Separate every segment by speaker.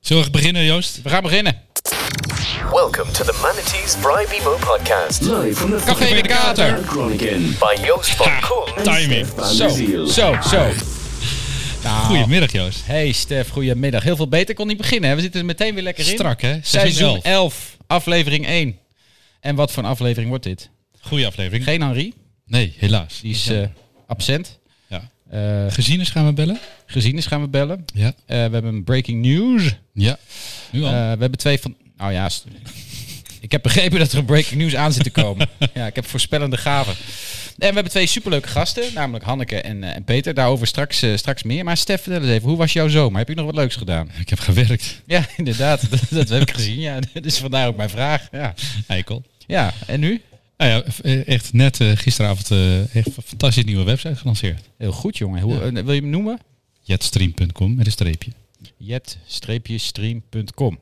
Speaker 1: Zullen we beginnen, Joost?
Speaker 2: We gaan beginnen.
Speaker 3: Welcome to the Manatees Bribe Emo podcast
Speaker 4: Live from the
Speaker 2: Café de Kater.
Speaker 4: Groningen.
Speaker 3: by Joost van Koen.
Speaker 1: Timing.
Speaker 2: Zo, zo, zo. Nou,
Speaker 1: Goedemiddag, Joost.
Speaker 2: Hey Stef, goedemiddag. Heel veel beter kon niet beginnen. Hè? We zitten er meteen weer lekker in.
Speaker 1: Strak, hè?
Speaker 2: Seizoen
Speaker 1: 11.
Speaker 2: 11, aflevering 1. En wat voor een aflevering wordt dit?
Speaker 1: Goeie aflevering.
Speaker 2: Geen Henri,
Speaker 1: Nee, helaas.
Speaker 2: die is
Speaker 1: Ja.
Speaker 2: eh, absent.
Speaker 1: ja.
Speaker 2: Eh
Speaker 1: Gezien is gaan we bellen.
Speaker 2: gezien is gaan we bellen.
Speaker 1: Ja.
Speaker 2: Eh, we hebben een breaking news.
Speaker 1: Ja. Nu
Speaker 2: Eh,
Speaker 1: al.
Speaker 2: we hebben twee van... Nou ja, st- ik heb begrepen dat er een breaking news aan zit te komen. ja, ik heb voorspellende gaven. En we hebben twee superleuke gasten, namelijk Hanneke en, eh, en Peter. Daarover straks, eh, straks meer. Maar Stef, vertel eens even, hoe was jouw zomer? Heb je nog wat leuks gedaan?
Speaker 1: ik heb gewerkt.
Speaker 2: Ja, inderdaad. Dat, dat heb ik gezien. Ja, dus vandaar ook mijn vraag. Ja,
Speaker 1: Eikel.
Speaker 2: ja en nu?
Speaker 1: Nou ja, f- eh, echt net eh, gisteravond eh, echt een fantastisch nieuwe website gelanceerd.
Speaker 2: Heel goed, jongen. Hoe, eh, wil je hem noemen?
Speaker 1: Jetstream.com met een streepje.
Speaker 2: jet-stream.com.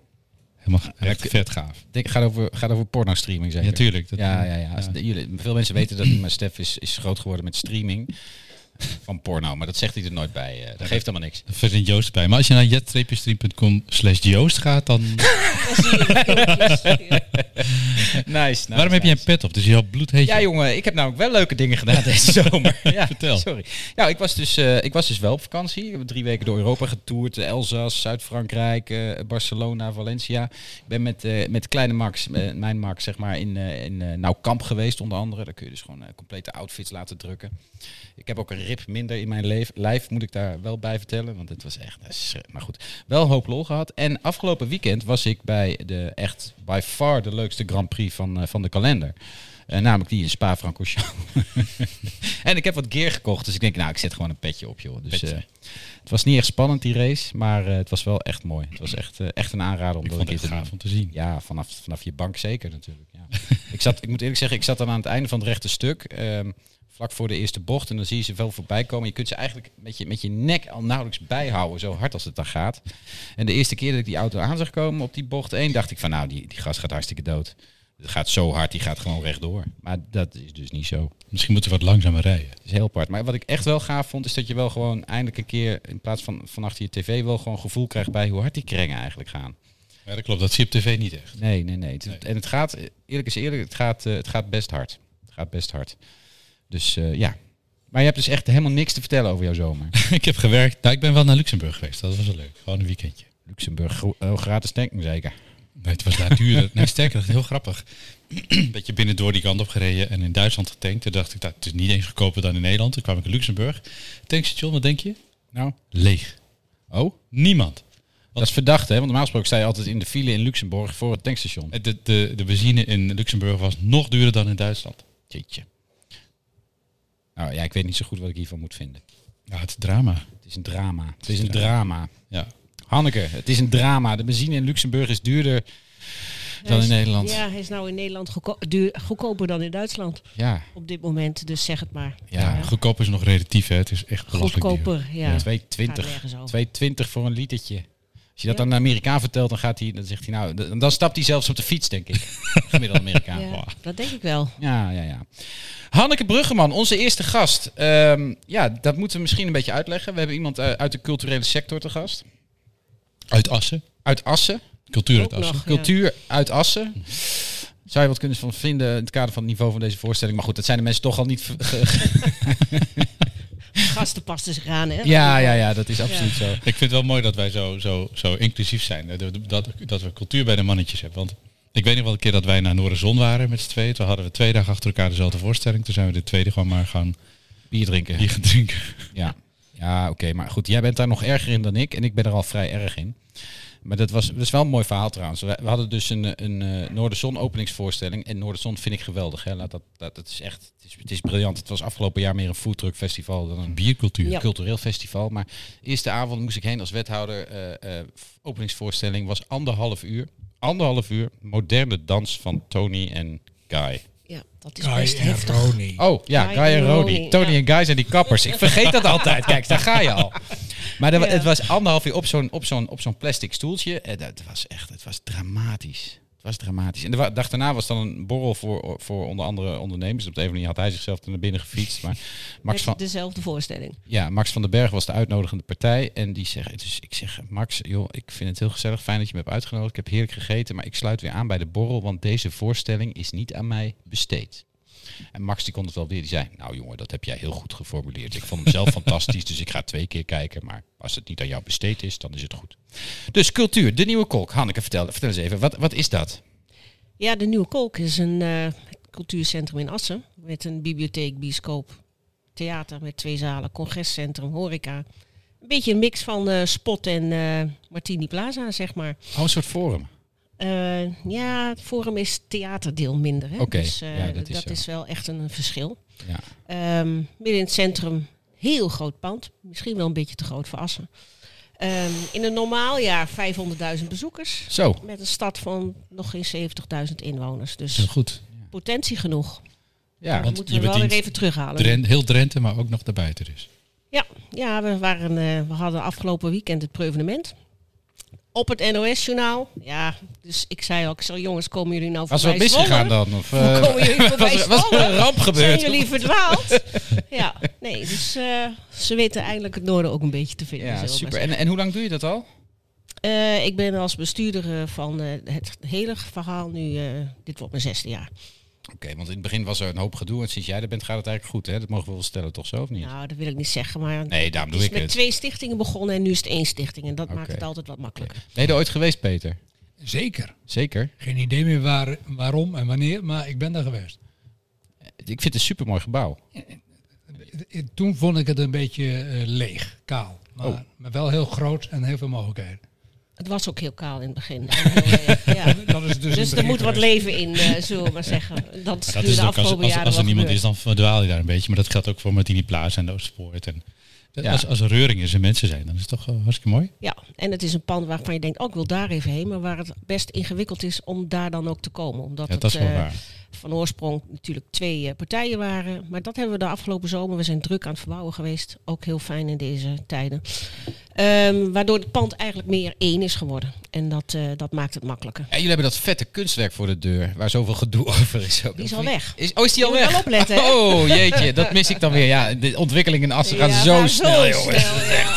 Speaker 1: Helemaal g- echt vet gaaf.
Speaker 2: Ik denk, gaat over, gaat over porno streaming, zeker?
Speaker 1: Ja, tuurlijk. Dat-
Speaker 2: Ja, ja, ja. Als- Jullie, veel mensen weten dat niet, maar Stef is, is groot geworden met streaming van porno. Maar dat zegt hij er nooit bij. eh, dat geeft helemaal niks.
Speaker 1: Daar verdient Joost bij. Maar als je naar jet-stream.com slash Joost gaat, dan...
Speaker 2: Nice, nice,
Speaker 1: Waarom heb je een
Speaker 2: nice.
Speaker 1: pet op? Dus je had bloedheet.
Speaker 2: Ja, jongen, ik heb namelijk wel leuke dingen gedaan deze zomer. ja,
Speaker 1: Vertel.
Speaker 2: Sorry. Ja, ik was dus, eh, ik was dus wel op vakantie. We hebben drie weken door Europa getoerd. eh, Elzas, Zuid-Frankrijk, eh, Barcelona, Valencia. Ik ben met, eh, met kleine Max, eh, mijn Max, zeg maar, in, eh in eh, Nauwkamp geweest onder andere. Daar kun je dus gewoon eh, complete outfits laten drukken. Ik heb ook een rib minder in mijn leef, lijf, moet ik daar wel bij vertellen. Want het was echt, eh, schri- maar goed, wel een hoop lol gehad. En afgelopen weekend was ik bij de echt by far de leukste Grand Prix van, eh, van de kalender. Eh, namelijk die in Spa-Francorchamps. en ik heb wat gear gekocht, dus ik denk, nou, ik zet gewoon een petje op, joh. Dus
Speaker 1: Petje.
Speaker 2: eh, het was niet echt spannend, die race, maar eh, het was wel echt mooi. Het was echt, eh, echt een aanrader om
Speaker 1: Ik
Speaker 2: dat
Speaker 1: vond
Speaker 2: een keer
Speaker 1: het
Speaker 2: te doen.
Speaker 1: gaaf om te zien.
Speaker 2: Ja, vanaf, vanaf je bank zeker natuurlijk. Ja. ik, zat, ik moet eerlijk zeggen, ik zat dan aan het einde van het rechte stuk. ehm, vlak voor de eerste bocht. En dan zie je ze wel voorbij komen. Je kunt ze eigenlijk met je, met je nek al nauwelijks bijhouden. Zo hard als het daar gaat. En de eerste keer dat ik die auto aan zag komen op die bocht 1... dacht ik van nou, die, die gast gaat hartstikke dood. Het gaat zo hard, die gaat gewoon rechtdoor. Maar dat is dus niet zo.
Speaker 1: Misschien moeten we wat langzamer rijden.
Speaker 2: Het is heel apart. Maar wat ik echt wel gaaf vond, is dat je wel gewoon eindelijk een keer... in plaats van van achter je tv wel gewoon gevoel krijgt bij hoe hard die krengen eigenlijk gaan.
Speaker 1: Ja, dat klopt. Dat zie je op tv niet echt.
Speaker 2: Nee, nee, nee. Het- En het gaat, eh, eerlijk is eerlijk, het gaat, eh, het gaat best hard. Het gaat best hard. Dus eh, ja. Maar je hebt dus echt helemaal niks te vertellen over jouw zomer.
Speaker 1: ik heb gewerkt. Nou, ik ben wel naar Luxemburg geweest. Dat was wel leuk. Gewoon een weekendje.
Speaker 2: Luxemburg, gro- eh, gratis tanken zeker.
Speaker 1: Nee, het was daar duurder. Nee, sterker, dat is heel grappig. Dat je binnen door die kant op gereden en in Duitsland getankt. Toen dacht ik, dat het is niet eens goedkoper dan in Nederland. Toen kwam ik in Luxemburg. Tankstation, wat denk je?
Speaker 2: Nou,
Speaker 1: Leeg.
Speaker 2: oh,
Speaker 1: Niemand.
Speaker 2: dat is verdacht hè, want normaal gesproken sta je altijd in de file in Luxemburg voor het tankstation.
Speaker 1: De, de, de benzine in Luxemburg was nog duurder dan in Duitsland.
Speaker 2: Jeetje. Nou ja, ik weet niet zo goed wat ik hiervan moet vinden.
Speaker 1: Ja, het is drama.
Speaker 2: Het is een drama. Het is een drama.
Speaker 1: Ja.
Speaker 2: Hanneke, het is een drama. De benzine in Luxemburg is duurder dan
Speaker 5: Hij
Speaker 2: in
Speaker 5: is-
Speaker 2: Nederland.
Speaker 5: Ja, hij is nou in Nederland goedko- duur- goedkoper dan in Duitsland
Speaker 2: Ja,
Speaker 5: op dit moment. Dus zeg het maar.
Speaker 1: Ja, goedkoop is nog relatief, hè. Het is echt belachelijk duur.
Speaker 5: Goedkoper, ja.
Speaker 2: 220.
Speaker 5: Gaat nergens over.
Speaker 2: 220 voor een litertje. Als je dat
Speaker 5: Ja.
Speaker 2: aan een Amerikaan vertelt, dan gaat hij, dan zegt hij nou, dan, dan stapt hij zelfs op de fiets, denk ik. Gemiddelde Amerikaan.
Speaker 5: Ja,
Speaker 2: Wow.
Speaker 5: Dat denk ik wel.
Speaker 2: Ja, ja, ja. Hanneke Bruggeman, onze eerste gast. Ehm, ja, dat moeten we misschien een beetje uitleggen. We hebben iemand eh, uit de culturele sector te gast.
Speaker 1: Uit Assen.
Speaker 2: Uit Assen.
Speaker 1: Cultuur uit
Speaker 5: Ook nog.
Speaker 1: Assen.
Speaker 5: Ja.
Speaker 2: Cultuur uit Assen. Zou je wat kunnen van vinden in het kader van het niveau van deze voorstelling? Maar goed, dat zijn de mensen toch al niet. ver- ge-
Speaker 5: eh, Gasten pasten zich aan, hè?
Speaker 2: Ja, ja, ja, dat is absoluut zo.
Speaker 1: Ik vind het wel mooi dat wij zo, zo, zo inclusief zijn. hè. Dat, dat, dat we cultuur bij de mannetjes hebben. Want ik weet nog wel een keer dat wij naar Noorderzon waren met z'n tweeën. Toen hadden we twee dagen achter elkaar dezelfde voorstelling. Toen zijn we de tweede gewoon maar gaan
Speaker 2: Bier drinken.
Speaker 1: hier gaan drinken.
Speaker 2: Ja, ja oké. maar goed, jij bent daar nog erger in dan ik. En ik ben er al vrij erg in. Maar dat was, dat is wel een mooi verhaal trouwens. We, we hadden dus een, eh, een eh, Noorderzon openingsvoorstelling. En Noorderzon vind ik geweldig. Hè. Laat dat, dat, dat is echt, het is, het is briljant. Het was afgelopen jaar meer een foodtruck festival dan een
Speaker 1: Biercultuur.
Speaker 5: Ja.
Speaker 2: cultureel festival. Maar eerste avond moest ik heen als wethouder. eh, eh, openingsvoorstelling was anderhalf uur. Anderhalf uur moderne dans van Tony en Guy.
Speaker 5: Ja, dat is best heftig.
Speaker 2: Oh ja,
Speaker 5: Guy
Speaker 2: Guy en
Speaker 5: en
Speaker 2: Roni.
Speaker 5: Roni,
Speaker 2: Tony
Speaker 5: ja.
Speaker 2: en Guy zijn die kappers. Ik vergeet dat altijd. Kijk, daar ga je al. Maar er wa-
Speaker 5: Ja.
Speaker 2: Eh, het was anderhalf uur op zo'n op zo'n op zo'n plastic stoeltje. En dat was echt, het was dramatisch. Het Het was dramatisch. En de wa- dag daarna was dan een borrel voor, voor onder andere ondernemers. Op de een of andere manier had hij zichzelf er naar binnen gefietst. Maar Max
Speaker 5: Met
Speaker 2: van,
Speaker 5: dezelfde voorstelling.
Speaker 2: ja, Max van den Berg was de uitnodigende partij. En die zegt, dus ik zeg, Max, joh, ik vind het heel gezellig. Fijn dat je me hebt uitgenodigd. Ik heb heerlijk gegeten, maar ik sluit weer aan bij de borrel. Want deze voorstelling is niet aan mij besteed. En Max die kon het wel weer. Die zei, nou jongen, dat heb jij heel goed geformuleerd. Ik vond hem zelf fantastisch, dus ik ga twee keer kijken. Maar als het niet aan jou besteed is, dan is het goed. Dus cultuur, de nieuwe kolk. Hanneke, vertel, vertel eens even, wat, wat is dat?
Speaker 5: Ja, de Nieuwe Kolk is een eh, cultuurcentrum in Assen. Met een bibliotheek, bioscoop, theater met twee zalen, congrescentrum, horeca. Een beetje een mix van eh, Spot en eh, Martini Plaza, zeg maar.
Speaker 2: Oh, een soort forum.
Speaker 5: Eh, ja, het forum is theaterdeel minder. hè.
Speaker 2: Oké,
Speaker 5: Dus eh,
Speaker 2: ja, dat
Speaker 5: dat,
Speaker 2: is
Speaker 5: is,
Speaker 2: zo.
Speaker 5: wel echt een, een verschil.
Speaker 2: Ja.
Speaker 5: Ehm, midden in het centrum, heel groot pand. Misschien wel een beetje te groot voor Assen. Ehm, in een normaal jaar 500.000 bezoekers.
Speaker 2: Zo,
Speaker 5: Met een stad van nog geen 70.000 inwoners.
Speaker 6: Heel
Speaker 5: Dus
Speaker 6: goed.
Speaker 5: potentie genoeg.
Speaker 2: ja.
Speaker 5: Dat
Speaker 6: want
Speaker 5: moeten
Speaker 6: je
Speaker 5: we wel weer
Speaker 6: bedient
Speaker 5: even terughalen.
Speaker 6: Dren- heel Drenthe, maar ook nog daarbuiten dus.
Speaker 5: Ja, ja we, waren, eh, we hadden afgelopen weekend het preuvenement. Op het NOS-journaal. Ja, dus ik zei ook, zo jongens, komen jullie nou
Speaker 2: Was er
Speaker 5: voorbij
Speaker 2: wat misgegaan
Speaker 5: Zwolle?
Speaker 2: dan? Of,
Speaker 5: Hoe
Speaker 2: eh,
Speaker 5: komen jullie voorbij
Speaker 2: was, er- was er
Speaker 5: Zwolle?
Speaker 2: een ramp
Speaker 5: Zijn
Speaker 2: gebeurd?
Speaker 5: jullie verdwaald? ja, nee, dus eh, ze weten eindelijk het noorden ook een beetje te vinden. zullen
Speaker 2: Ja,
Speaker 5: we maar
Speaker 2: super.
Speaker 5: zeggen.
Speaker 2: En, en hoe lang doe je dat al?
Speaker 5: Eh, ik ben als bestuurder eh, van eh, het hele verhaal nu, eh, dit wordt mijn zesde jaar.
Speaker 2: Oké, want in het begin was er een hoop gedoe. En sinds jij er bent, gaat het eigenlijk goed. Hè? Dat mogen we wel stellen, toch zo of niet?
Speaker 5: Nou, dat wil ik niet zeggen, maar
Speaker 2: nee, daarom
Speaker 5: het
Speaker 2: doe
Speaker 5: is
Speaker 2: ik
Speaker 5: met
Speaker 2: het.
Speaker 5: twee stichtingen begonnen en nu is het één stichting. En dat maakt
Speaker 2: Oké.
Speaker 5: het altijd wat makkelijker.
Speaker 2: Ben je er ooit geweest, Peter?
Speaker 1: Zeker.
Speaker 2: Zeker.
Speaker 1: Geen idee meer waar, waarom en wanneer, maar ik ben daar geweest.
Speaker 2: Ik vind het een supermooi gebouw.
Speaker 1: Toen vond ik het een beetje eh, leeg, kaal. Maar,
Speaker 2: Oh.
Speaker 1: maar wel heel groot en heel veel mogelijkheden.
Speaker 5: Het was ook heel kaal in het begin. En heel, eh, ja.
Speaker 1: Dat is dus in het
Speaker 5: Dus er
Speaker 1: begin
Speaker 5: moet wat
Speaker 1: geweest.
Speaker 5: leven in, eh, zullen we maar zeggen. Dat is
Speaker 6: Maar
Speaker 5: nu
Speaker 6: dat is
Speaker 5: de
Speaker 6: het ook, als,
Speaker 5: afgelopen
Speaker 6: als,
Speaker 5: jaren
Speaker 6: als er
Speaker 5: wel
Speaker 6: niemand
Speaker 5: gebeurd.
Speaker 6: is, dan verdwaal je daar een beetje. Maar dat geldt ook voor Martini Plaza en de Oostpoort. En dat-
Speaker 2: Ja.
Speaker 6: als, als er reuring is en mensen zijn, dan is het toch eh, hartstikke mooi.
Speaker 5: Ja, en het is een pand waarvan je denkt, oh, ik wil daar even heen. Maar waar het best ingewikkeld is om daar dan ook te komen. Omdat
Speaker 6: Ja,
Speaker 5: het
Speaker 6: dat is wel
Speaker 5: eh,
Speaker 6: waar.
Speaker 5: van oorsprong natuurlijk twee eh, partijen waren. Maar dat hebben we de afgelopen zomer. We zijn druk aan het verbouwen geweest. Ook heel fijn in deze tijden. Ehm, waardoor het pand eigenlijk meer één is geworden. En dat, eh, dat maakt het makkelijker.
Speaker 2: En jullie hebben dat vette kunstwerk voor de deur, waar zoveel gedoe over is. ook.
Speaker 5: Die is al weg.
Speaker 2: Is, oh, is die al
Speaker 5: Je moet
Speaker 2: weg?
Speaker 5: wel opletten, hè?
Speaker 2: Oh, jeetje, dat mis ik dan weer. Ja, de ontwikkeling in Assen gaat
Speaker 5: Ja,
Speaker 2: zo
Speaker 5: maar
Speaker 2: snel, jongens.
Speaker 5: ja.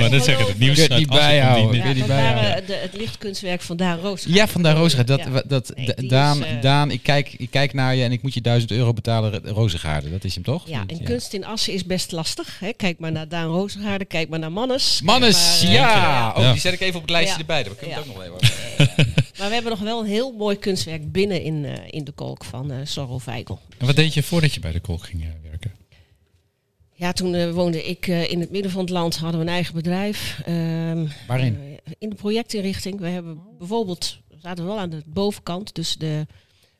Speaker 6: Maar dat zeggen het nieuws
Speaker 2: Kun je
Speaker 6: uit
Speaker 2: het niet
Speaker 6: Assen komt
Speaker 2: bijhouden?
Speaker 6: niet-
Speaker 5: Ja,
Speaker 2: die
Speaker 5: dat
Speaker 2: bij, ja.
Speaker 5: waren de, het lichtkunstwerk van Daan Roos.
Speaker 2: Ja, van Daan Rozengaard. Dat,
Speaker 5: Ja.
Speaker 2: wa- dat,
Speaker 5: Nee,
Speaker 2: da-
Speaker 5: die is,
Speaker 2: Daan,
Speaker 5: eh,
Speaker 2: Daan ik, kijk, ik kijk naar je en ik moet je 1000 euro betalen, Rozengaarden. Dat is hem toch?
Speaker 5: Ja, en kunst in Assen is best lastig. Hè. Kijk maar naar Daan Rozengaarde, kijk maar naar Mannes.
Speaker 2: Mannes,
Speaker 5: Kijk maar, eh,
Speaker 2: ja. Oh,
Speaker 6: Ja.
Speaker 2: die zet ik even op het lijstje
Speaker 5: Ja.
Speaker 2: erbij. Daar kunnen we
Speaker 5: Ja.
Speaker 2: het ook nog even over.
Speaker 5: Maar we hebben nog wel een heel mooi kunstwerk binnen in, eh, in de kolk van eh Zorro Vijgel.
Speaker 6: En wat deed je voordat je bij de kolk ging eh, werken?
Speaker 5: Ja, toen eh, woonde ik eh, in het midden van het land, hadden we een eigen bedrijf. Ehm,
Speaker 2: Waarin?
Speaker 5: eh, in de projectinrichting. We hebben bijvoorbeeld, we zaten wel aan de bovenkant, dus de,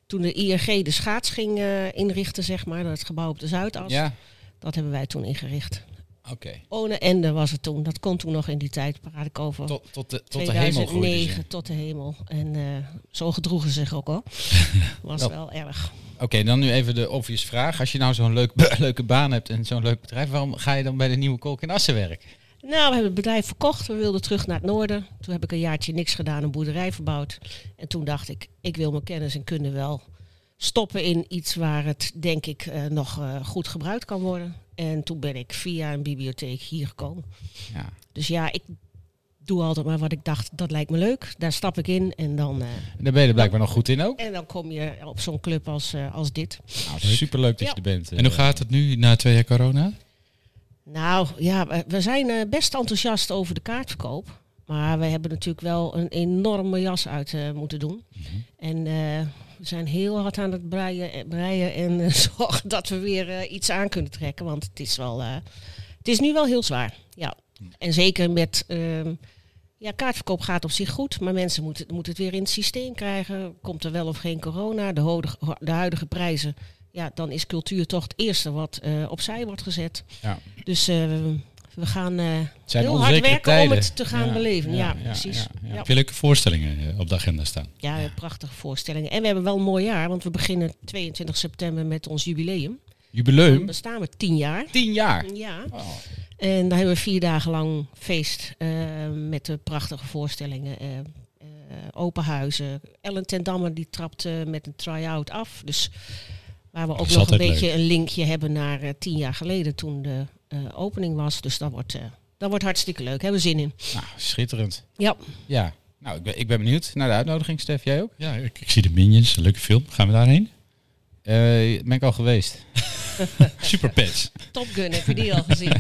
Speaker 5: toen de IRG de schaats ging eh, inrichten, zeg maar, dat gebouw op de Zuidas,
Speaker 2: Eh, Ja,
Speaker 5: dat hebben wij toen ingericht.
Speaker 2: oké.
Speaker 5: One Ende was het toen. Dat kon toen nog in die tijd, praat ik over.
Speaker 2: Tot, tot, de, tot de hemel groeide
Speaker 5: 2009
Speaker 2: ze.
Speaker 5: tot de hemel. En eh, zo gedroegen ze zich ook al. Was
Speaker 2: Wel.
Speaker 5: wel erg.
Speaker 2: Oké, dan nu even de obvious vraag. Als je nou zo'n leuk, leuke baan hebt en zo'n leuk bedrijf, waarom ga je dan bij de nieuwe kolk in Assen werken?
Speaker 5: Nou, we hebben het bedrijf verkocht. We wilden terug naar het noorden. Toen heb ik een jaartje niks gedaan, een boerderij verbouwd. En toen dacht ik, ik wil mijn kennis en kunde wel stoppen in iets waar het, denk ik, eh, nog eh, goed gebruikt kan worden. En toen ben ik via een bibliotheek hier gekomen.
Speaker 2: Ja.
Speaker 5: Dus ja, ik doe altijd maar wat ik dacht, dat lijkt me leuk. Daar stap ik in en dan, eh,
Speaker 2: En daar ben je er blijkbaar nog goed in ook.
Speaker 5: en dan kom je op zo'n club als, eh, als dit.
Speaker 2: Nou, superleuk dat je
Speaker 5: Ja.
Speaker 2: er bent. eh.
Speaker 6: En hoe gaat het nu na twee jaar corona?
Speaker 5: Nou ja, we- we zijn eh, best enthousiast over de kaartverkoop. Maar we hebben natuurlijk wel een enorme jas uit eh, moeten doen. En eh, we zijn heel hard aan het breien, eh, breien en eh, zorgen dat we weer eh, iets aan kunnen trekken. Want het is, wel, eh, het is nu wel heel zwaar. Ja. En zeker met. ehm, ja, kaartverkoop gaat op zich goed, maar mensen moeten, moeten het weer in het systeem krijgen. Komt er wel of geen corona, de, hodig- de huidige prijzen. Ja, dan is cultuur toch het eerste wat eh, opzij wordt gezet.
Speaker 2: Ja.
Speaker 5: Dus eh, we- we gaan eh,
Speaker 2: Het zijn
Speaker 5: heel hard
Speaker 2: onzekere
Speaker 5: werken om
Speaker 2: tijden.
Speaker 5: het te gaan
Speaker 2: Ja,
Speaker 5: beleven. Ja,
Speaker 2: ja, ja,
Speaker 5: precies.
Speaker 2: ja,
Speaker 5: Ja,
Speaker 2: ja.
Speaker 5: ja.
Speaker 6: Heb je leuke voorstellingen eh, op de agenda staan?
Speaker 5: we hebben prachtige voorstellingen. En we hebben wel een mooi jaar, want we beginnen 22 september met ons jubileum. We
Speaker 2: Jubileum?
Speaker 5: bestaan we tien jaar.
Speaker 2: Tien jaar.
Speaker 5: Ja.
Speaker 2: Oh.
Speaker 5: En daar hebben we vier dagen lang feest eh, met de prachtige voorstellingen. eh, eh, open huizen. Ellen ten Damme die trapte met een try-out af. Dus waar we
Speaker 6: Dat
Speaker 5: ook
Speaker 6: is
Speaker 5: nog een
Speaker 6: altijd
Speaker 5: beetje een linkje hebben naar eh, tien jaar geleden toen de eh, opening was. Dus dat wordt, eh, dat wordt hartstikke leuk. Hebben we zin in.
Speaker 2: Nou, schitterend.
Speaker 5: Ja.
Speaker 2: Ja. Nou, ik ben, ik ben benieuwd naar de uitnodiging, Stef. Jij ook?
Speaker 6: Ja, ik, ik zie de Minions, een leuke film. Gaan we daarheen?
Speaker 2: Eh, ben ik al geweest?
Speaker 6: Super Pets.
Speaker 5: Top Gun, heb je die al gezien?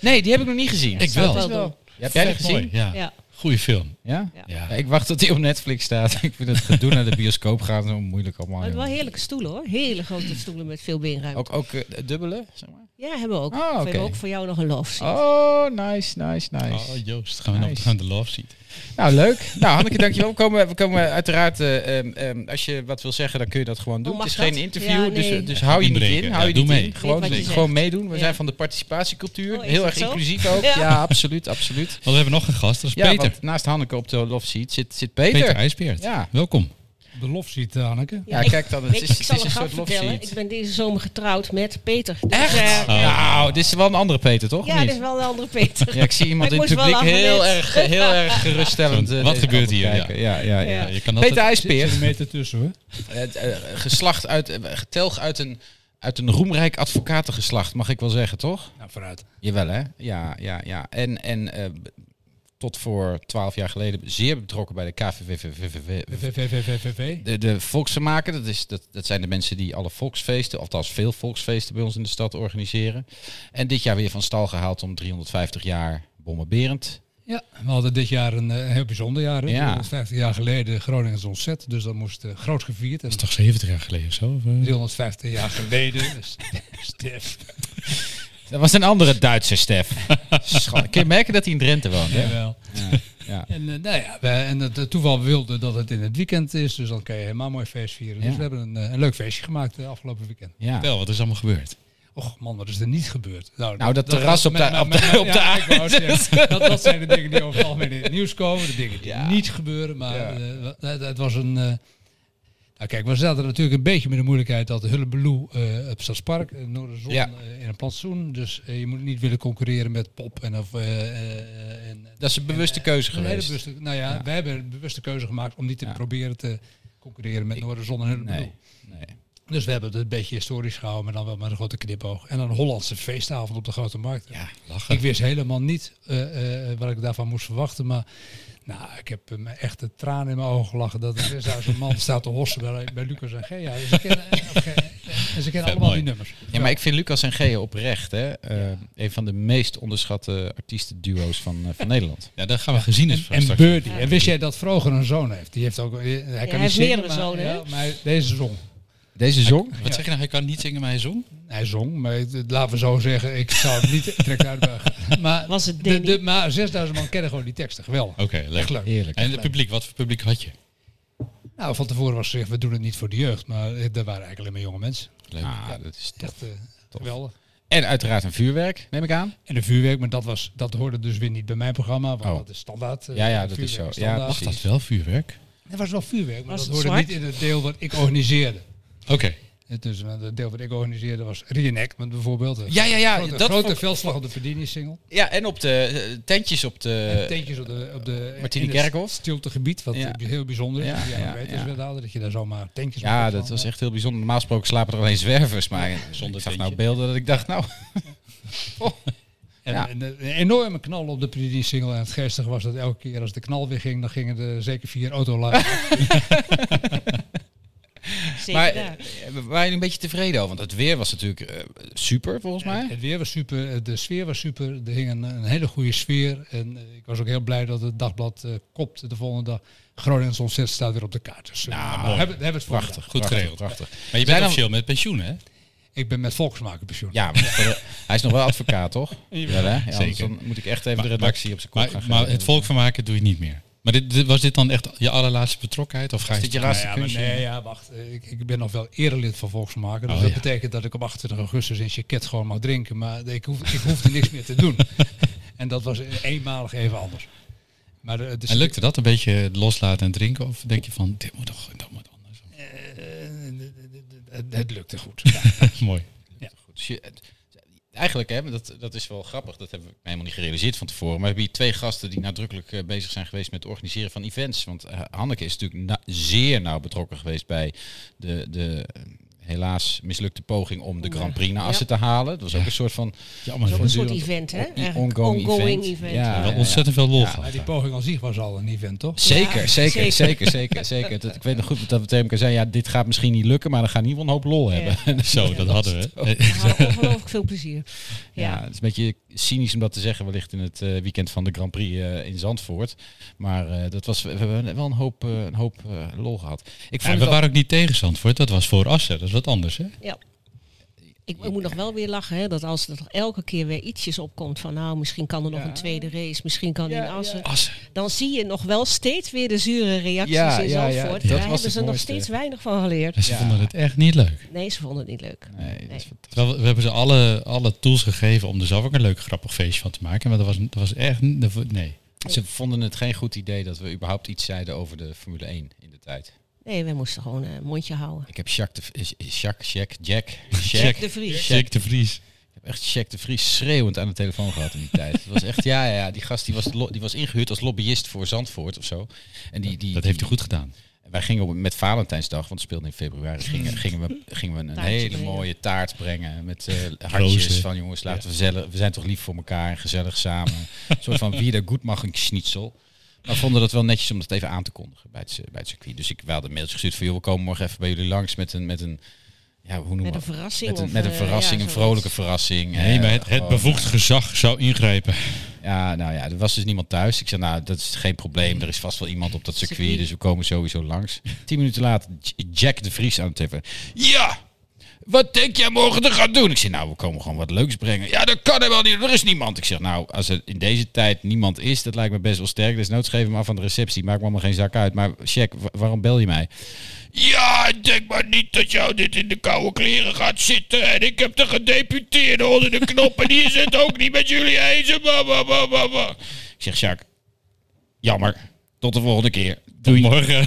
Speaker 2: Nee, die heb ik nog niet gezien.
Speaker 6: Ik
Speaker 5: Zou
Speaker 6: wel.
Speaker 5: ik wel doen.
Speaker 2: Ja, heb jij die
Speaker 6: Vet
Speaker 2: gezien?
Speaker 6: mooi, ja.
Speaker 5: Ja.
Speaker 6: Goeie film.
Speaker 2: Ja?
Speaker 5: Ja.
Speaker 6: Ja.
Speaker 2: Ja, Ik wacht tot die op Netflix staat. ik vind het gedoe naar de bioscoop gaan zo moeilijk allemaal.
Speaker 5: Maar het
Speaker 2: joh.
Speaker 5: Oh, wel heerlijke stoelen hoor. Hele grote stoelen met veel
Speaker 2: Oh,
Speaker 5: beenruimte.
Speaker 2: Ook, ook eh, dubbele, zeg maar.
Speaker 5: Ja, hebben we ook.
Speaker 2: Ah,
Speaker 5: We hebben
Speaker 2: oké.
Speaker 5: ook voor jou nog een love seat.
Speaker 2: Oh, nice, nice, nice.
Speaker 6: Oh, Joost, gaan we nog
Speaker 2: Nice.
Speaker 6: gaan we de Love Seat.
Speaker 2: Nou, leuk. Nou, Hanneke, dankjewel. We komen, we komen uiteraard, eh, ehm, ehm, als je wat wil zeggen, dan kun je dat gewoon doen.
Speaker 5: Oh,
Speaker 2: het is
Speaker 5: mag
Speaker 2: geen
Speaker 5: dat?
Speaker 2: interview,
Speaker 5: Ja, nee.
Speaker 2: dus, dus hou je niet
Speaker 6: Inbreken.
Speaker 2: in. Hou
Speaker 6: Ja,
Speaker 2: je
Speaker 6: doe
Speaker 2: niet
Speaker 6: mee.
Speaker 2: in.
Speaker 6: Weet
Speaker 2: Gewoon,
Speaker 5: wat je zegt.
Speaker 2: gewoon meedoen. We
Speaker 5: Ja.
Speaker 2: zijn van de participatiecultuur.
Speaker 5: Oh, is
Speaker 2: Heel
Speaker 5: dat
Speaker 2: erg
Speaker 5: zo?
Speaker 2: inclusief ook. Ja,
Speaker 5: Ja.
Speaker 2: absoluut, absoluut.
Speaker 6: Want Oh, we hebben nog een gast, dat is
Speaker 2: Ja,
Speaker 6: Peter.
Speaker 2: want naast Hanneke op de love seat zit, zit
Speaker 6: Peter,
Speaker 2: Peter.
Speaker 6: IJsbeert.
Speaker 2: Ja.
Speaker 6: Welkom.
Speaker 1: De lof ziet, eh, Hanneke.
Speaker 2: Ja, kijk dan. Het
Speaker 5: Weet
Speaker 2: is,
Speaker 5: je, ik
Speaker 2: het
Speaker 5: zal
Speaker 2: is
Speaker 5: een
Speaker 2: een
Speaker 5: grap
Speaker 2: soort love
Speaker 5: vertellen. Ik
Speaker 2: seat.
Speaker 5: ben deze zomer getrouwd met Peter. Dus,
Speaker 2: Echt?
Speaker 5: eh,
Speaker 6: Oh.
Speaker 2: Nou, dit is wel een andere Peter, toch?
Speaker 5: ja,
Speaker 2: Of niet?
Speaker 5: dit is wel een andere Peter.
Speaker 2: Ja, ik zie iemand in
Speaker 5: Maar
Speaker 2: het
Speaker 5: ik moest
Speaker 2: publiek
Speaker 5: wel lachen
Speaker 2: heel
Speaker 5: net.
Speaker 2: erg, heel erg geruststellend.
Speaker 6: Zo'n,
Speaker 2: eh,
Speaker 6: wat
Speaker 2: deze
Speaker 6: gebeurt
Speaker 2: kant op
Speaker 6: hier?
Speaker 2: kijken. Ja, ja, ja.
Speaker 5: Ja.
Speaker 6: Ja, je kan
Speaker 2: Peter
Speaker 6: altijd-
Speaker 1: Zit
Speaker 2: IJspeer,
Speaker 1: een meter tussen hoor.
Speaker 2: het, eh, geslacht uit, eh, getelg uit een, uit een roemrijk advocatengeslacht, mag ik wel zeggen, toch?
Speaker 1: Nou, vooruit.
Speaker 2: Jawel, hè? Ja, ja, ja. En, en eh, b- tot voor twaalf jaar geleden zeer betrokken bij de KVVVVV.
Speaker 1: VVVVVV.
Speaker 2: De, de volksvermaken, dat, is, dat, dat zijn de mensen die alle volksfeesten, althans veel volksfeesten bij ons in de stad organiseren. En dit jaar weer van stal gehaald om 350 jaar Bommen Berend.
Speaker 1: Ja, we hadden dit jaar een eh, heel bijzonder jaar. Hè?
Speaker 2: Ja.
Speaker 1: 350 jaar geleden Groningens ontzet. Dus dat moest eh, groot gevierd. En
Speaker 6: Dat is toch 70 jaar geleden of zo? Of, eh?
Speaker 1: 350 jaar geleden. s- Stef.
Speaker 2: Dat was een andere Duitse Stef. Schat, kun je merken dat hij in Drenthe woont, hè?
Speaker 1: Jawel.
Speaker 2: Ja.
Speaker 1: eh, En, eh, nou ja, we- en het eh, toeval wilde dat het in het weekend is. Dus dan kan je helemaal mooi feest vieren.
Speaker 2: Ja.
Speaker 1: Dus we hebben een, eh, een leuk feestje gemaakt de afgelopen weekend.
Speaker 2: Ja.
Speaker 6: Wel, wat is allemaal gebeurd?
Speaker 1: Och man, wat is er niet gebeurd?
Speaker 2: Nou, dat terras op de-
Speaker 1: met-
Speaker 2: op
Speaker 1: met-
Speaker 2: de-
Speaker 1: met-
Speaker 2: op de
Speaker 1: ja, ik wou
Speaker 2: aarde.
Speaker 1: zeggen, dat, dat zijn de dingen die over het algemeen in het nieuws komen. De dingen die
Speaker 2: Ja.
Speaker 1: niet gebeuren. Maar
Speaker 2: Ja.
Speaker 1: eh, wa- het, het was een... eh, nou kijk, we zaten natuurlijk een beetje met de moeilijkheid dat Hullebloe eh op Stadspark, eh, Noorderzon,
Speaker 2: Ja.
Speaker 1: eh, in een plantsoen. Dus eh, je moet niet willen concurreren met Pop en of... eh, eh, en,
Speaker 2: Dat is een bewuste keuze
Speaker 1: Een hele
Speaker 2: geweest.
Speaker 1: bewuste- nou ja,
Speaker 2: Ja.
Speaker 1: wij hebben een bewuste keuze gemaakt om niet te
Speaker 2: Ja.
Speaker 1: proberen te concurreren met
Speaker 2: Ik-
Speaker 1: Noorderzon en Hullebloe.
Speaker 2: Nee. nee.
Speaker 1: Dus we hebben het een beetje historisch gehouden, maar dan wel met een grote knipoog. En een Hollandse feestavond op de Grote Markt.
Speaker 6: Ja,
Speaker 1: Ik
Speaker 6: lachen.
Speaker 1: wist helemaal niet eh, eh, wat ik daarvan moest verwachten, maar nou, ik heb me echt de tranen in mijn ogen gelachen dat er weer zo'n man staat te hossen bij, bij Lucas en Gea. Dus En ze kennen, en ze kennen- en ze kennen dus allemaal
Speaker 6: mooi.
Speaker 1: die nummers.
Speaker 2: Ja, maar ik vind Lucas en Gea oprecht hè, eh, een van de meest onderschatte artiestenduo's van, eh, van Nederland.
Speaker 6: Ja, daar gaan we gezien is.
Speaker 1: En, en Birdie. En wist jij dat Vroger een zoon heeft? Die heeft ook, eh, hij kan niet
Speaker 5: heeft
Speaker 1: zingen,
Speaker 5: meerdere
Speaker 1: maar-
Speaker 5: zonen, hè?
Speaker 1: ja, maar hij- deze zong.
Speaker 2: Deze zong?
Speaker 6: Wat zeg je nou? Hij kan niet zingen, maar hij zong?
Speaker 1: Hij zong, maar het- het- laten we zo zeggen, ik zou het niet direct uitbuigen. Maar,
Speaker 5: Was het
Speaker 1: de,
Speaker 5: Danny?
Speaker 1: de, maar 6000 man kennen gewoon die teksten, geweldig.
Speaker 6: Oké, leuk.
Speaker 1: Echt leuk.
Speaker 2: Heerlijk.
Speaker 6: En het publiek, wat voor publiek had je?
Speaker 1: Nou, van tevoren was gezegd, we doen het niet voor de jeugd, maar eh, daar waren eigenlijk alleen maar jonge mensen.
Speaker 6: Leuk.
Speaker 2: Ah, dat is tof.
Speaker 1: Echt eh, geweldig.
Speaker 2: En uiteraard een vuurwerk, neem ik aan.
Speaker 1: En de vuurwerk, maar dat, was, dat hoorde dus weer niet bij mijn programma, want
Speaker 2: Oh.
Speaker 1: dat is standaard. eh,
Speaker 2: Ja, ja, dat
Speaker 1: vuurwerk
Speaker 2: is zo. Ja,
Speaker 1: standaard.
Speaker 6: Mag dat
Speaker 2: precies.
Speaker 6: wel vuurwerk?
Speaker 1: Er was wel vuurwerk, maar
Speaker 5: Was
Speaker 1: dat
Speaker 5: het
Speaker 1: hoorde
Speaker 5: zwart?
Speaker 1: niet in het deel wat ik organiseerde.
Speaker 6: Oké.
Speaker 1: Het, dus, eh, het deel wat ik organiseerde was reenactment bijvoorbeeld. Een
Speaker 2: Ja, ja, ja.
Speaker 1: grote,
Speaker 2: dat
Speaker 1: grote
Speaker 2: vond-
Speaker 1: veldslag op de verdieningssingel.
Speaker 2: ja en op de eh, tentjes op de...
Speaker 1: tentjes op de, op de
Speaker 2: Martini
Speaker 1: in het
Speaker 2: Kerkhof.
Speaker 1: stiltegebied, wat
Speaker 2: Ja.
Speaker 1: heel bijzonder is.
Speaker 2: Ja,
Speaker 1: Ja, ja,
Speaker 2: ja,
Speaker 1: weet
Speaker 2: ja.
Speaker 1: we hadden, dat je daar zomaar tentjes
Speaker 2: Ja,
Speaker 1: mee
Speaker 2: dat
Speaker 1: kan.
Speaker 2: was echt heel bijzonder. Normaal gesproken slapen er alleen zwervers, maar
Speaker 6: zonder
Speaker 2: ik zag nou
Speaker 6: tentje.
Speaker 2: beelden dat ik dacht, nou...
Speaker 1: En,
Speaker 2: ja.
Speaker 1: en, eh, een enorme knal op de Predini single. En het geestige was dat elke keer als de knal weer ging, dan gingen er zeker vier autoladen.
Speaker 5: Zeker
Speaker 2: Maar
Speaker 5: daar.
Speaker 2: eh, waren jullie een beetje tevreden over? Want het weer was natuurlijk eh, super, volgens mij.
Speaker 1: Het weer was super, eh, de sfeer was super. Er hing een, een hele goede sfeer. En eh, ik was ook heel blij dat het dagblad eh kopt de volgende dag. Groningens ontzet staat weer op de kaart. Dus eh, we
Speaker 6: mooi.
Speaker 1: hebben, we hebben het voor
Speaker 2: Nou, Prachtig.
Speaker 1: vandaag.
Speaker 6: Goed geregeld.
Speaker 2: Prachtig.
Speaker 6: Maar je
Speaker 2: Zijn
Speaker 6: bent
Speaker 2: dan-
Speaker 6: officieel met pensioen, hè?
Speaker 1: Ik ben met volksmaken pensioen.
Speaker 2: Ja, maar voor de- hij is nog wel advocaat, toch? Wel, hè? Ja, anders
Speaker 6: Zeker.
Speaker 2: Dan moet ik echt even de
Speaker 6: Maar-
Speaker 2: redactie op zijn kop
Speaker 6: maar,
Speaker 2: gaan
Speaker 6: Maar
Speaker 2: geven.
Speaker 6: het volk van maken doe je niet meer. Maar dit, dit- was dit dan echt je allerlaatste betrokkenheid? Of ga je
Speaker 2: dit je
Speaker 6: toch-
Speaker 2: laatste
Speaker 6: Nou
Speaker 1: Ja, maar
Speaker 2: kunstje?
Speaker 1: nee, ja, wacht. Eh, Ik, ik ben nog wel erelid van Volksmaker. Dus
Speaker 6: Oh,
Speaker 1: dat
Speaker 6: ja.
Speaker 1: betekent dat ik op 28 augustus in Chiquet gewoon mag drinken. Maar ik, hoef, ik hoefde niks meer te doen. En dat was eenmalig even anders. Maar de, de-
Speaker 6: En lukte dat een beetje loslaten en drinken? Of denk je van, dit moet toch dat moet anders?
Speaker 1: eh, het, het lukte goed.
Speaker 6: Mooi.
Speaker 2: Dus je- het- eigenlijk, hè, dat, dat is wel grappig, dat hebben we helemaal niet gerealiseerd van tevoren. Maar we hebben hier twee gasten die nadrukkelijk eh, bezig zijn geweest met het organiseren van events. Want eh, Hanneke is natuurlijk na- zeer nauw betrokken geweest bij de, de eh, helaas mislukte poging om de Grand Prix naar Assen te halen. Dat was ook een soort van
Speaker 6: Ja,
Speaker 5: Dat
Speaker 6: maar
Speaker 5: is ook een soort
Speaker 2: voortdurend
Speaker 5: event, hè?
Speaker 2: on-
Speaker 5: Eigenlijk
Speaker 2: ongoing,
Speaker 5: ongoing
Speaker 2: event.
Speaker 5: event.
Speaker 2: Ja,
Speaker 6: wel
Speaker 2: ja, ja.
Speaker 6: ontzettend veel lol
Speaker 2: Ja,
Speaker 6: gehad.
Speaker 1: Maar die
Speaker 6: daar.
Speaker 1: poging aan zich was al een event, toch?
Speaker 2: Zeker,
Speaker 5: Ja,
Speaker 2: zeker,
Speaker 5: zeker.
Speaker 2: zeker, zeker, zeker. Dat, ik weet nog goed dat we tegen elkaar zeiden, ja, dit gaat misschien niet lukken, maar dan gaan we in ieder geval een hoop lol hebben.
Speaker 6: Zo, dat hadden we. Eh,
Speaker 5: We hadden ongelooflijk veel plezier.
Speaker 2: Ja.
Speaker 5: Ja.
Speaker 2: het is een beetje cynisch om dat te zeggen, wellicht in het eh, weekend van de Grand Prix eh, in Zandvoort. Maar eh, dat was, we hebben wel een hoop, eh, een hoop eh, lol gehad. Ik
Speaker 6: Ja,
Speaker 2: vond
Speaker 6: we
Speaker 2: het al-
Speaker 6: waren ook niet tegen Zandvoort, dat was voor Assen. Dat is wat anders, hè?
Speaker 5: Ik, ik moet nog wel weer lachen, hè, dat als er toch elke keer weer ietsjes opkomt van nou, misschien kan er nog een tweede race, misschien kan in Assen.
Speaker 6: Assen.
Speaker 5: Dan zie je nog wel steeds weer de zure reacties
Speaker 2: Ja,
Speaker 5: in
Speaker 2: ja, ja,
Speaker 5: Zandvoort.
Speaker 2: dat
Speaker 5: Daar
Speaker 2: was
Speaker 5: hebben
Speaker 2: het
Speaker 5: ze nog
Speaker 2: mooiste.
Speaker 5: steeds weinig van geleerd.
Speaker 6: En ze
Speaker 2: Ja.
Speaker 6: vonden het echt niet leuk.
Speaker 5: Nee, ze vonden het niet leuk.
Speaker 2: Nee, dat is
Speaker 5: Nee.
Speaker 2: fantastisch.
Speaker 6: Terwijl we, we hebben ze alle, alle tools gegeven om er zelf ook een leuk grappig feestje van te maken. Maar dat was, dat was echt... niet- dat vo- Nee.
Speaker 2: Ze vonden het geen goed idee dat we überhaupt iets zeiden over de Formule 1 in de tijd.
Speaker 5: Nee, we moesten gewoon een mondje houden.
Speaker 2: Ik heb Jacques, de, eh, Jacques, Jack, Jack, Jack.
Speaker 5: Jack de Vries.
Speaker 6: Jack de Vries.
Speaker 2: Ik heb echt Jack de Vries schreeuwend aan de telefoon gehad in die tijd. Het was echt, ja, ja, ja, die gast die was, lo- die was ingehuurd als lobbyist voor Zandvoort of zo. En die, die,
Speaker 6: Dat heeft hij goed gedaan.
Speaker 2: Wij gingen op, met Valentijnsdag, want het speelde in februari, gingen, gingen we, gingen we een
Speaker 5: Mm. Taartje
Speaker 2: hele
Speaker 5: brengen.
Speaker 2: mooie taart brengen. Met eh hartjes
Speaker 6: Rozen.
Speaker 2: van jongens, laten we, zelf, we zijn toch lief voor elkaar en gezellig samen. een soort van wie er goed mag een schnitzel. Maar we vonden dat wel netjes om dat even aan te kondigen bij het, eh, bij het circuit. Dus ik we hadden een mailtje gestuurd van joh, we komen morgen even bij jullie langs met een, met een ja, hoe noemen
Speaker 5: Met
Speaker 2: we
Speaker 5: een verrassing.
Speaker 2: met een,
Speaker 5: of,
Speaker 2: met een
Speaker 5: eh,
Speaker 2: verrassing,
Speaker 5: ja,
Speaker 2: een
Speaker 5: zoiets.
Speaker 2: vrolijke verrassing.
Speaker 6: Nee,
Speaker 2: eh,
Speaker 6: maar het, het
Speaker 2: gewoon,
Speaker 6: bevoegd gezag zou ingrijpen.
Speaker 2: ja, nou ja, er was dus niemand thuis. Ik zei, nou, dat is geen probleem. Er is vast wel iemand op dat circuit,
Speaker 5: Circuit.
Speaker 2: dus we komen sowieso langs. Tien minuten later, J- Jack de Vries aan het even. Ja! Wat denk jij morgen te gaan doen? Ik zeg, nou, we komen gewoon wat leuks brengen. Ja, dat kan helemaal niet, er is niemand. Ik zeg, nou, als er in deze tijd niemand is, dat lijkt me best wel sterk. Dus noods geef hem af aan de receptie. Maakt me allemaal geen zak uit. Maar Jack, wa- waarom bel je mij? Ja, ik denk maar niet dat jou dit in de koude kleren gaat zitten. En ik heb de gedeputeerde onder de knop. En die is het ook niet met jullie eens. Bah, bah, bah, bah, bah. Ik zeg, Jacques, jammer. Tot de volgende keer.
Speaker 6: Tot
Speaker 2: Doei.
Speaker 6: morgen.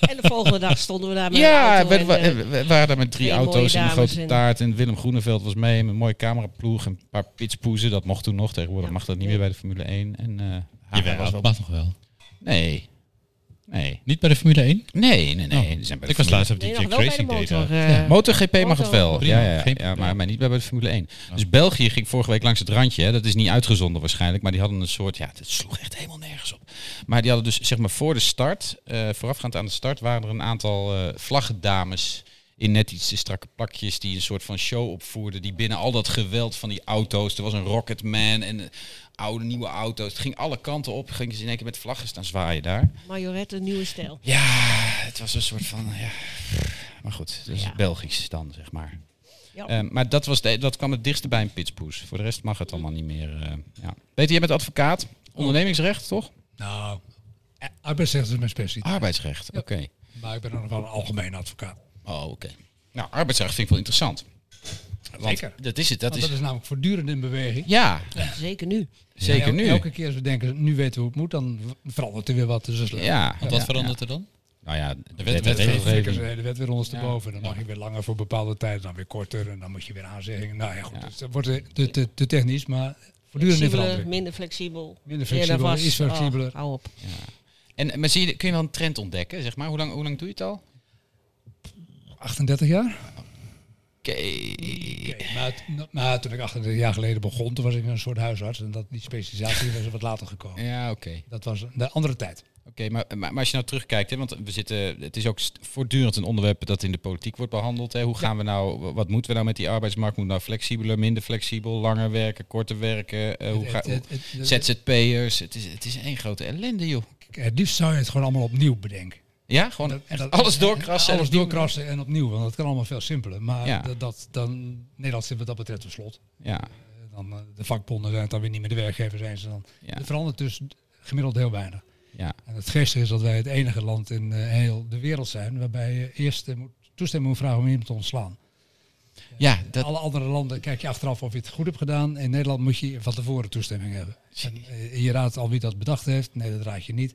Speaker 5: En de volgende dag stonden we daar met een
Speaker 2: Ja,
Speaker 5: auto
Speaker 2: we,
Speaker 5: en,
Speaker 2: we-
Speaker 5: eh,
Speaker 2: we waren daar met drie
Speaker 5: twee mooie
Speaker 2: auto's en een
Speaker 5: dames
Speaker 2: grote
Speaker 5: en-
Speaker 2: taart. En Willem Groeneveld was mee. Met een mooie cameraploeg. En een paar pitspoezen. Dat mocht toen nog. Tegenwoordig
Speaker 5: Ja,
Speaker 2: mag dat niet
Speaker 5: nee.
Speaker 2: meer bij de Formule 1. En, eh, ah,
Speaker 6: Jawel,
Speaker 2: was wel-
Speaker 6: dat mag nog wel.
Speaker 2: Nee. Nee.
Speaker 6: Niet bij de Formule 1?
Speaker 2: Nee, nee, nee.
Speaker 6: Oh,
Speaker 2: Die zijn bij de
Speaker 6: ik was
Speaker 2: Formule
Speaker 6: laatst op die
Speaker 5: nee,
Speaker 6: Jack
Speaker 5: nog wel bij de
Speaker 6: Racing Day.
Speaker 5: motor.
Speaker 6: daar.
Speaker 5: eh,
Speaker 2: MotoGP mag het
Speaker 5: Motor-
Speaker 2: wel.
Speaker 6: Prima,
Speaker 2: ja, ja,
Speaker 6: geen
Speaker 2: ja, maar,
Speaker 6: probleem.
Speaker 2: maar niet bij de Formule 1. Dus België ging vorige week langs het randje. Hè. Dat is niet uitgezonden waarschijnlijk. Maar die hadden een soort... Ja, dat sloeg echt helemaal nergens op. Maar die hadden dus, zeg maar, voor de start... eh, voorafgaand aan de start waren er een aantal eh, vlaggendames... In net iets te strakke plakjes die een soort van show opvoerden. Die binnen al dat geweld van die auto's. Er was een Rocketman en eh, oude, nieuwe auto's. Het ging alle kanten op. Gingen ze in één keer met vlaggen staan zwaaien daar.
Speaker 5: Majorette, nieuwe stijl.
Speaker 2: Ja, het was een soort van. Ja. Maar goed, dat is
Speaker 5: Ja.
Speaker 2: Belgisch dan, zeg maar.
Speaker 5: Ja.
Speaker 2: Eh, maar dat, was de, dat kwam het dichtst bij een pitspoes. Voor de rest mag het allemaal niet meer. eh, ja. Peter, jij bent advocaat. Ondernemingsrecht, toch?
Speaker 1: Nou, eh, arbeidsrecht is mijn specialiteit.
Speaker 2: Arbeidsrecht, oké.
Speaker 1: Maar ik ben ook nog wel een algemeen advocaat.
Speaker 2: Oh, oké. Nou, arbeidsrecht vind ik wel interessant. Want
Speaker 1: Zeker.
Speaker 2: Dat is het. Dat
Speaker 1: Want
Speaker 2: is,
Speaker 1: dat is namelijk voortdurend in beweging.
Speaker 2: Ja,
Speaker 5: Zeker nu.
Speaker 2: zeker
Speaker 1: Elke-
Speaker 2: nu.
Speaker 1: Elke keer als we denken, nu weten we hoe het moet, dan v- verandert er weer wat. Dus dat is leuk.
Speaker 2: ja,
Speaker 6: Want
Speaker 2: ja,
Speaker 6: wat verandert er dan?
Speaker 2: ja. Nou ja, de
Speaker 6: wet-
Speaker 2: wet,
Speaker 6: wet-
Speaker 1: Dan
Speaker 2: regelgeving.
Speaker 1: trekken ze De wet weer ondersteboven. Dan mag je weer langer voor bepaalde tijden, dan weer korter. En dan moet je weer aanzeggingen. Nou ja, goed. dus dat wordt eh, te, te, te technisch, maar voortdurend in
Speaker 5: Flexibeler,
Speaker 1: verandering.
Speaker 5: minder flexibel.
Speaker 1: Minder
Speaker 5: eerder
Speaker 1: flexibeler,
Speaker 5: vast.
Speaker 1: is flexibeler.
Speaker 5: Oh, hou op.
Speaker 2: En maar zie je, kun je wel een trend ontdekken, zeg maar? Hoe lang, hoe lang doe je het al?
Speaker 1: 38 jaar?
Speaker 2: Oké.
Speaker 1: Oké, maar, t- maar toen ik 38 jaar geleden begon, toen was ik een soort huisarts. En dat, die specialisatie was er wat later gekomen.
Speaker 2: Ja, oké.
Speaker 1: Dat was de andere tijd.
Speaker 2: Oké, maar, maar, maar als je nou terugkijkt, hè, want we zitten, het is ook st- voortdurend een onderwerp dat in de politiek wordt behandeld. Hè. Hoe gaan we nou, wat moeten we nou met die arbeidsmarkt? Moet nou flexibeler, minder flexibel, langer werken, korter werken? eh, hoe
Speaker 1: Het-
Speaker 2: ga,
Speaker 1: het- het- het- het-
Speaker 2: ZZP'ers, het is, het is één grote ellende, joh.
Speaker 1: Het liefst zou je het gewoon allemaal opnieuw bedenken.
Speaker 2: Ja, gewoon
Speaker 1: Dat-
Speaker 2: echt
Speaker 1: dat-
Speaker 2: alles doorkrassen. en
Speaker 1: Alles
Speaker 2: opnieuw-
Speaker 1: doorkrassen en opnieuw, want dat kan allemaal veel simpeler. Maar
Speaker 2: Ja.
Speaker 1: dat, dat, dan, Nederland zit wat dat betreft op slot.
Speaker 2: Ja,
Speaker 1: Eh, Dan, eh, de vakbonden zijn het dan weer niet meer de werkgever zijn ze dan.
Speaker 2: Ja.
Speaker 1: Er verandert dus gemiddeld heel weinig.
Speaker 2: ja,
Speaker 1: En het geestige is dat wij het enige land in eh, heel de wereld zijn waarbij je eerst eh, moet, toestemming moet vragen om iemand te ontslaan.
Speaker 2: ja, dat,
Speaker 1: Alle andere landen kijk je achteraf of je het goed hebt gedaan. In Nederland moet je van tevoren toestemming hebben. En, eh, je raadt al wie dat bedacht heeft. Nee, dat raad je niet.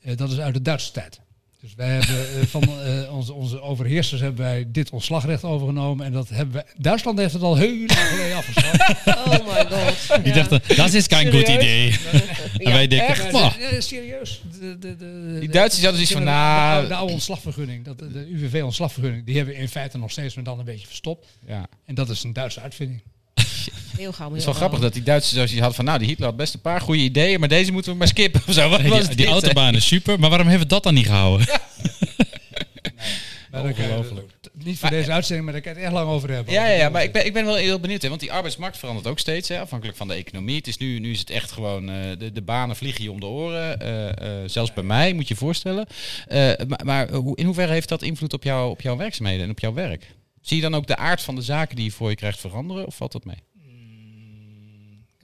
Speaker 1: Eh, dat is uit de Duitse tijd. Dus wij hebben eh, van eh, onze, onze overheersers hebben wij dit ontslagrecht overgenomen. En dat hebben wij, Duitsland heeft het al heel lang geleden afgeschaft.
Speaker 5: Oh my god.
Speaker 6: Die dachten, dat is geen goed
Speaker 5: Serieus?
Speaker 6: idee. en wij denken,
Speaker 1: Ja,
Speaker 6: "Pah,
Speaker 1: dit- ja, serieus. De, de, de,
Speaker 2: Die Duitsers hadden zoiets van, nou-
Speaker 1: De, oude ontslagvergunning, dat, de UWV-ontslagvergunning, die hebben we in feite nog steeds, maar dan een beetje verstopt.
Speaker 2: Ja.
Speaker 1: En dat is een Duitse uitvinding.
Speaker 5: Heel gauw. eh,
Speaker 2: Het is wel grappig dat die Duitsers zoiets hadden van, nou, die Hitler had best een paar goede ideeën, maar deze moeten we maar skippen of zo. Wat was
Speaker 6: die,
Speaker 2: dit,
Speaker 6: die
Speaker 2: hè?
Speaker 6: autobaan is super, maar waarom hebben we dat dan niet gehouden?
Speaker 1: Maar daar kan je-
Speaker 2: Ongelooflijk.
Speaker 1: t- Niet voor deze uitzending, maar daar kan je het echt lang over hebben.
Speaker 2: Ja, ja, ja, maar ik ben, ik ben wel heel benieuwd. Hè, want die arbeidsmarkt verandert ook steeds, hè, afhankelijk van de economie. Het is nu, nu is het echt gewoon, eh, de, de banen vliegen je om de oren. eh, eh, zelfs bij mij, moet je je voorstellen. Eh, maar maar hoe, in hoeverre heeft dat invloed op, jou, op jouw werkzaamheden en op jouw werk? Zie je dan ook de aard van de zaken die je voor je krijgt veranderen? Of valt dat mee?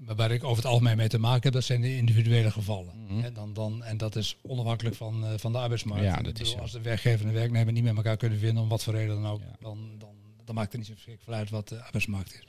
Speaker 1: Maar waar ik over het algemeen mee te maken heb, dat zijn de individuele gevallen. Hè, dan, dan, en dat is onafhankelijk van, eh, van de arbeidsmarkt.
Speaker 2: Mhm. Ja,
Speaker 1: Ik
Speaker 2: dat is
Speaker 1: bedoel,
Speaker 2: zo.
Speaker 1: Als de werkgever en de werknemer niet met elkaar kunnen vinden, om wat voor reden dan ook, dan, dan, dan maakt het niet zo verschrikkelijk veel uit wat de arbeidsmarkt is.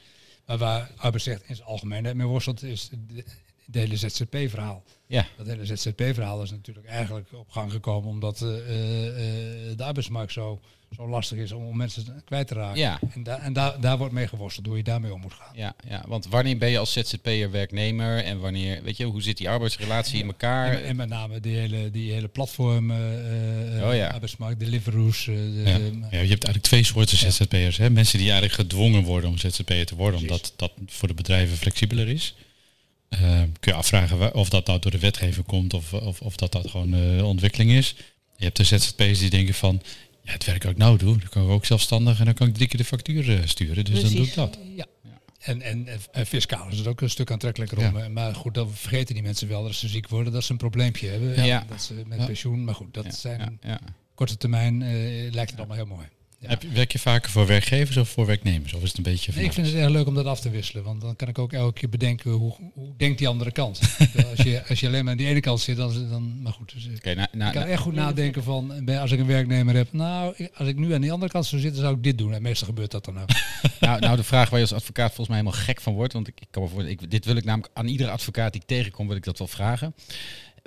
Speaker 1: Maar waar arbeidsrecht in zijn algemeenheid mee worstelt, is de- het hele ZZP-verhaal.
Speaker 2: Ja.
Speaker 1: Dat hele ZZP-verhaal is natuurlijk eigenlijk op gang gekomen omdat eh, eh, eh, de arbeidsmarkt zo, zo lastig is om, om mensen kwijt te raken.
Speaker 2: Ja.
Speaker 1: En, da en daar daar wordt mee geworsteld, hoe je daarmee om moet gaan.
Speaker 2: Ja, ja, want wanneer ben je als ZZP'er werknemer en wanneer, weet je, hoe zit die arbeidsrelatie in elkaar?
Speaker 1: En, en met name die hele, die hele platform, eh, eh,
Speaker 2: Oh ja.
Speaker 1: arbeidsmarkt, Deliveroo's. eh, de-
Speaker 6: Ja.
Speaker 1: de-
Speaker 6: Ja, je hebt eigenlijk twee soorten ZZP'ers. Hè? Mensen die eigenlijk gedwongen worden om ZZP'er te worden, omdat dat voor de bedrijven flexibeler is. Eh, kun je afvragen wa- of dat nou door de wetgever komt of, of, of dat dat gewoon eh, ontwikkeling is. Je hebt de ZZP'ers die denken van, ja, het werk dat ik nou doe, dan kan ik ook zelfstandig en dan kan ik drie keer de factuur eh, sturen. Dus dan doe ik
Speaker 5: Precies.
Speaker 6: dat.
Speaker 1: ja. En, en, en fiscaal is het ook een stuk aantrekkelijker om.
Speaker 6: Ja.
Speaker 1: eh, Maar goed, dan vergeten die mensen wel dat ze ziek worden, dat ze een probleempje hebben.
Speaker 2: Ja.
Speaker 1: en
Speaker 2: Ja.
Speaker 1: Dat ze met
Speaker 6: Ja.
Speaker 1: pensioen, maar goed, dat
Speaker 2: Ja,
Speaker 1: zijn
Speaker 2: ja, ja.
Speaker 1: korte termijn, eh, lijkt het allemaal heel mooi. Ja.
Speaker 6: Heb je- werk je vaker voor werkgevers of voor werknemers? Of is het een beetje van
Speaker 1: Nee, ik vind het erg leuk om dat af te wisselen, want dan kan ik ook elke keer bedenken hoe, hoe denkt die andere kant. Ik bedoel, als, je, als je alleen maar aan die ene kant zit, dan, is het- dan maar goed. Dus, eh,
Speaker 2: Oké, nou,
Speaker 1: Ik
Speaker 2: nou,
Speaker 1: kan echt goed nadenken van, ben- als ik een werknemer heb, nou, ik- als ik nu aan die andere kant zou zitten, zou ik dit doen. En meestal gebeurt dat dan ook.
Speaker 2: nou, nou, de vraag waar je als advocaat volgens mij helemaal gek van wordt, want ik, ik kan me voor, ik, dit wil ik namelijk aan iedere advocaat die ik tegenkom, wil ik dat wel vragen.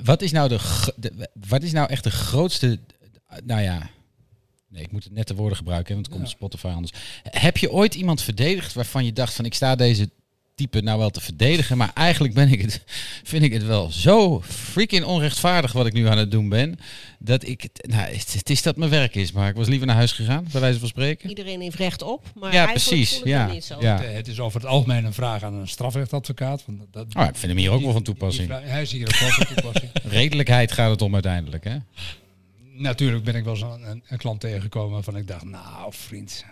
Speaker 2: Wat is nou, de, gro- de- wat is nou echt de grootste, nou ja, nee, ik moet het net de woorden gebruiken, hè, want het komt op Spotify anders. Heb je ooit iemand verdedigd waarvan je dacht van, ik sta deze type nou wel te verdedigen, maar eigenlijk ben ik het, vind ik het wel zo freaking onrechtvaardig wat ik nu aan het doen ben, dat ik, het- nou, het, het is dat mijn werk is, maar ik was liever naar huis gegaan, bij wijze van spreken.
Speaker 5: Iedereen heeft recht op, maar
Speaker 2: Ja,
Speaker 5: eigenlijk
Speaker 2: precies.
Speaker 5: voel ik
Speaker 2: Ja,
Speaker 5: het niet zo.
Speaker 2: ja.
Speaker 1: Eh, Het is over het algemeen een vraag aan een strafrechtadvocaat. Want dat,
Speaker 2: Oh, ik vind hem hier ook wel van toepassing.
Speaker 1: die vraag- hij is hier ook wel van toepassing.
Speaker 2: Redelijkheid gaat het om uiteindelijk, hè?
Speaker 1: Natuurlijk ben ik wel eens een, een, een klant tegengekomen waarvan ik dacht, nou vriend.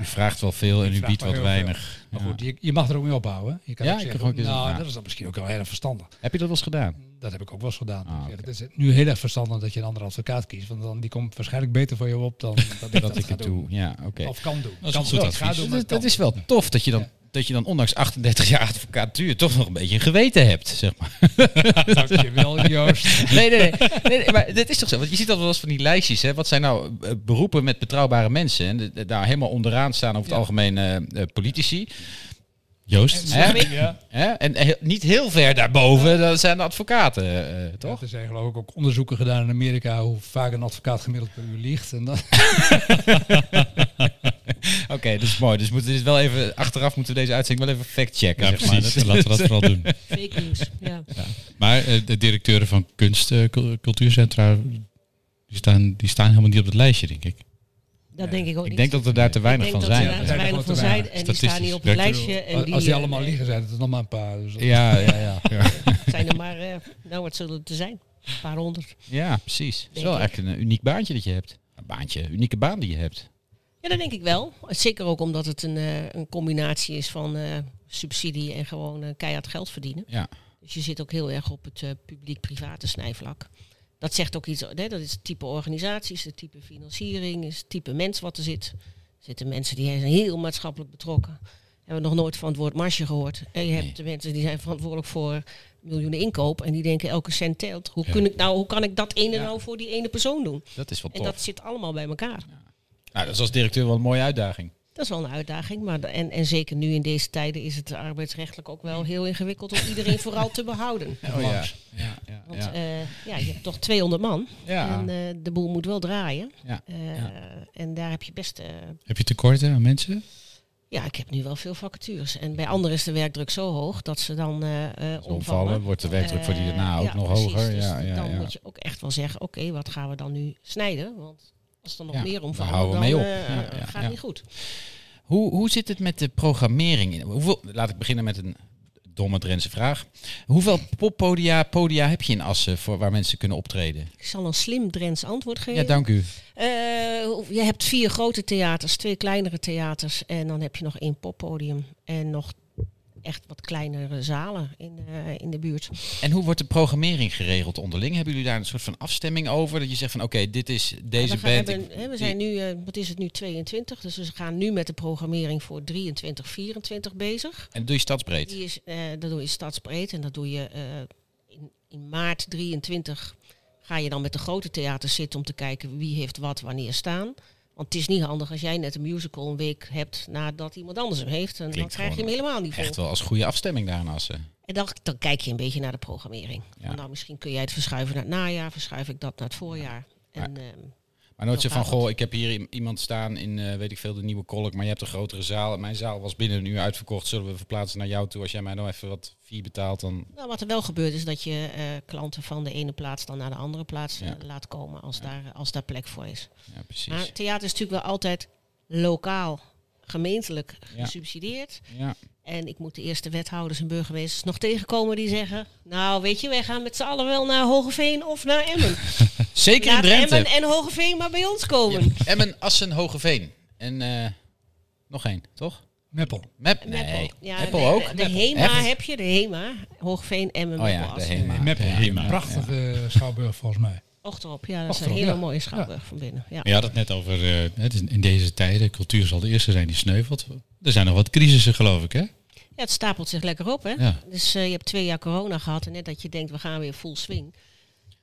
Speaker 2: U vraagt wel veel en u
Speaker 1: vraag
Speaker 2: biedt
Speaker 1: maar
Speaker 2: wat
Speaker 1: heel veel.
Speaker 2: weinig.
Speaker 1: Maar
Speaker 2: Ja.
Speaker 1: goed, je, je mag er ook mee ophouden. Je kan
Speaker 2: Ja,
Speaker 1: ook
Speaker 2: ik
Speaker 1: zeggen,
Speaker 2: kan ook eens-
Speaker 1: nou,
Speaker 2: ja.
Speaker 1: dat is dan misschien ook wel heel erg verstandig.
Speaker 2: Heb je dat wel eens gedaan?
Speaker 1: Dat heb ik ook wel eens gedaan.
Speaker 2: Ah,
Speaker 1: Ik zeg,
Speaker 2: oké.
Speaker 1: Het is nu heel erg verstandig dat je een andere advocaat kiest. Want dan, die komt waarschijnlijk beter voor je op dan dat ik
Speaker 2: Dat,
Speaker 1: dat,
Speaker 2: ik
Speaker 1: ga
Speaker 2: het
Speaker 1: doen.
Speaker 2: doe. Ja, oké.
Speaker 1: Of kan doen.
Speaker 6: is
Speaker 1: Kan
Speaker 6: een
Speaker 1: doen.
Speaker 6: goed
Speaker 1: Ik ga
Speaker 6: advies.
Speaker 1: doen, maar
Speaker 2: Dat,
Speaker 1: kan
Speaker 2: dat is
Speaker 1: doen.
Speaker 2: wel tof dat je dan, dat je dan ondanks 38 jaar advocatuur toch nog een beetje een geweten hebt, zeg maar.
Speaker 1: Dankjewel, Joost.
Speaker 2: Nee, nee, nee. nee, nee, maar dit is toch zo? Want je ziet dat wel eens van die lijstjes. Hè? Wat zijn nou eh, beroepen met betrouwbare mensen? En de- de- daar helemaal onderaan staan over het algemeen eh, eh, politici.
Speaker 6: Joost?
Speaker 2: Hè? Hè? En heel- niet heel ver daarboven, dat zijn de advocaten, eh, eh, toch?
Speaker 1: Ja, er zijn geloof ik ook onderzoeken gedaan in Amerika hoe vaak een advocaat gemiddeld per uur liegt. En dat,
Speaker 2: Oké, dat is mooi. Dus moeten we dit wel even achteraf moeten we deze uitzending wel even fact-checken.
Speaker 6: Ja,
Speaker 2: zeg maar.
Speaker 6: precies.
Speaker 2: Dat-
Speaker 6: Laten we dat vooral doen.
Speaker 5: Fake news. Ja.
Speaker 6: Maar eh, de directeuren van kunst- eh, cul- cultuurcentra, die staan, die staan helemaal niet op het lijstje, denk ik.
Speaker 5: Dat denk ik ook
Speaker 2: ik
Speaker 5: niet.
Speaker 2: denk dat er daar te weinig
Speaker 5: Ik
Speaker 2: van
Speaker 5: denk dat
Speaker 2: zijn.
Speaker 5: er
Speaker 1: Ja,
Speaker 5: daar te
Speaker 1: er
Speaker 5: weinig
Speaker 1: zijn
Speaker 5: van
Speaker 1: er
Speaker 5: zijn
Speaker 1: te
Speaker 5: en die
Speaker 6: weinig.
Speaker 5: staan niet op het
Speaker 6: Statistisch.
Speaker 5: lijstje. En die,
Speaker 1: als die
Speaker 5: eh,
Speaker 1: allemaal
Speaker 5: nee,
Speaker 1: liegen zijn, het er nog maar een paar. Dus dat-
Speaker 2: Ja, ja, ja, ja.
Speaker 5: zijn er maar, eh, nou wat zullen het er zijn? Een paar honderd.
Speaker 2: ja, precies. Het is
Speaker 5: Denk
Speaker 2: wel
Speaker 5: ik.
Speaker 2: echt een eh, uniek baantje dat je hebt. Een baantje, een unieke baan die je hebt.
Speaker 5: Ja, dat denk ik wel. Zeker ook omdat het een, eh, een combinatie is van eh, subsidie en gewoon eh, keihard geld verdienen.
Speaker 2: Ja.
Speaker 5: Dus je zit ook heel erg op het eh, publiek-private snijvlak. Dat zegt ook iets, hè, dat is het type organisaties, het type financiering, is het type mens wat er zit. Er zitten mensen die zijn heel maatschappelijk betrokken. Hebben we nog nooit van het woord marge gehoord. En je hebt
Speaker 2: Nee.
Speaker 5: de mensen die zijn verantwoordelijk voor miljoenen inkoop. En die denken elke cent telt. Hoe,
Speaker 6: Ja.
Speaker 5: kun ik nou, hoe kan ik dat ene
Speaker 2: Ja.
Speaker 5: nou voor die ene persoon doen?
Speaker 2: Dat is wel
Speaker 5: En
Speaker 2: tof.
Speaker 5: dat zit allemaal bij elkaar.
Speaker 2: Nou, dat is als directeur wel een mooie uitdaging.
Speaker 5: Dat is wel een uitdaging. Maar de- en, en zeker nu in deze tijden is het arbeidsrechtelijk ook wel heel ingewikkeld om iedereen vooral te behouden.
Speaker 2: Oh ja. Ja, ja,
Speaker 5: Want
Speaker 2: ja.
Speaker 5: eh, ja, je hebt toch 200 man.
Speaker 2: Ja.
Speaker 5: En eh, de boel moet wel draaien.
Speaker 2: Ja,
Speaker 5: Eh, En daar heb je best... eh,
Speaker 6: Heb je tekorten aan mensen?
Speaker 5: ja, ik heb nu wel veel vacatures. En bij anderen is de werkdruk zo hoog dat ze dan eh, eh, omvallen.
Speaker 2: omvallen, wordt de werkdruk voor die daarna
Speaker 5: Eh,
Speaker 2: ook
Speaker 5: ja,
Speaker 2: nog
Speaker 5: precies.
Speaker 2: hoger.
Speaker 5: Dus
Speaker 2: Ja, ja,
Speaker 5: dan
Speaker 2: ja.
Speaker 5: moet je ook echt wel zeggen, oké, wat gaan we dan nu snijden? Want als er nog
Speaker 2: Ja,
Speaker 5: meer
Speaker 2: daar
Speaker 5: omvallen,
Speaker 2: houden we
Speaker 5: dan
Speaker 2: mee op.
Speaker 5: eh,
Speaker 2: Ja, ja,
Speaker 5: gaat
Speaker 2: ja.
Speaker 5: het niet goed.
Speaker 2: Hoe, hoe zit het met de programmering? in? Hoeveel, laat ik beginnen met een domme Drentse vraag. Hoeveel poppodia podia heb je in Assen voor, waar mensen kunnen optreden?
Speaker 5: Ik zal een slim Drents antwoord geven.
Speaker 2: Ja, dank u.
Speaker 5: Eh, hoe- je hebt vier grote theaters, twee kleinere theaters en dan heb je nog één poppodium en nog echt wat kleinere zalen in, eh, in de buurt.
Speaker 2: En hoe wordt de programmering geregeld onderling? Hebben jullie daar een soort van afstemming over? Dat je zegt van oké, dit is deze
Speaker 5: we, gaan-
Speaker 2: band.
Speaker 5: hebben- hè, we zijn nu, eh, wat is het nu, 22, dus we gaan nu met de programmering voor 23, 24 bezig.
Speaker 2: En doe je stadsbreed?
Speaker 5: Die is, eh, dat doe je stadsbreed en dat doe je eh, in, in maart 23 ga je dan met de grote theaters zitten om te kijken wie heeft wat wanneer staan. Want het is niet handig als jij net een musical een week hebt nadat iemand anders hem heeft. En dan
Speaker 2: Klinkt
Speaker 5: krijg je hem
Speaker 2: gewoon
Speaker 5: helemaal niet vol.
Speaker 2: Echt wel als goede afstemming daar in Assen.
Speaker 5: En dan, dan kijk je een beetje naar de programmering.
Speaker 2: Ja.
Speaker 5: Van, Nou, misschien kun jij het verschuiven naar het najaar, verschuif ik dat naar het voorjaar. En, ehm,
Speaker 2: Maar nooit zo
Speaker 5: Zo
Speaker 2: van,
Speaker 5: gaat dat.
Speaker 2: goh, ik heb hier i- iemand staan in, eh, weet ik veel, de Nieuwe Kolk, maar je hebt een grotere zaal. En mijn zaal was binnen een uur uitverkocht, zullen we verplaatsen naar jou toe. Als jij mij nou even wat fee betaalt, dan...
Speaker 5: nou, wat er wel gebeurt is dat je eh, klanten van de ene plaats dan naar de andere plaats eh,
Speaker 2: Ja.
Speaker 5: laat komen als, daar, als daar plek voor is.
Speaker 2: Ja, precies.
Speaker 5: Maar theater is natuurlijk wel altijd lokaal, gemeentelijk
Speaker 2: Ja.
Speaker 5: gesubsidieerd.
Speaker 2: Ja.
Speaker 5: En ik moet de eerste wethouders en burgemeesters nog tegenkomen die zeggen... Nou, weet je, wij gaan met z'n allen wel naar Hogeveen of naar Emmen.
Speaker 2: Zeker in
Speaker 5: Laat
Speaker 2: Drenthe.
Speaker 5: Emmen en Hogeveen maar bij ons komen.
Speaker 2: Ja, Emmen, Assen, Hogeveen. En eh, nog één, toch?
Speaker 1: Meppel.
Speaker 2: Mep?
Speaker 5: Meppel.
Speaker 2: Nee.
Speaker 5: Ja,
Speaker 2: Meppel
Speaker 5: de-
Speaker 2: ook?
Speaker 5: De,
Speaker 2: Meppel.
Speaker 5: HEMA
Speaker 2: Echt?
Speaker 5: heb je, de HEMA. Hoogveen en
Speaker 2: Oh ja, de HEMA.
Speaker 1: Nee, Meppel.
Speaker 6: Ja, Hema.
Speaker 1: Prachtige eh, schouwburg volgens mij.
Speaker 5: Ochterop, ja, dat is een
Speaker 1: Ochterop,
Speaker 5: hele
Speaker 1: ja.
Speaker 5: mooie schouwburg van binnen. Ja.
Speaker 6: Je had het net over, eh, het is in deze tijden, cultuur zal de eerste zijn die sneuvelt. Er zijn nog wat crisissen geloof ik hè?
Speaker 5: Ja, het stapelt zich lekker op, hè.
Speaker 6: Ja.
Speaker 5: Dus eh, je hebt twee jaar corona gehad en net dat je denkt, we gaan weer full swing.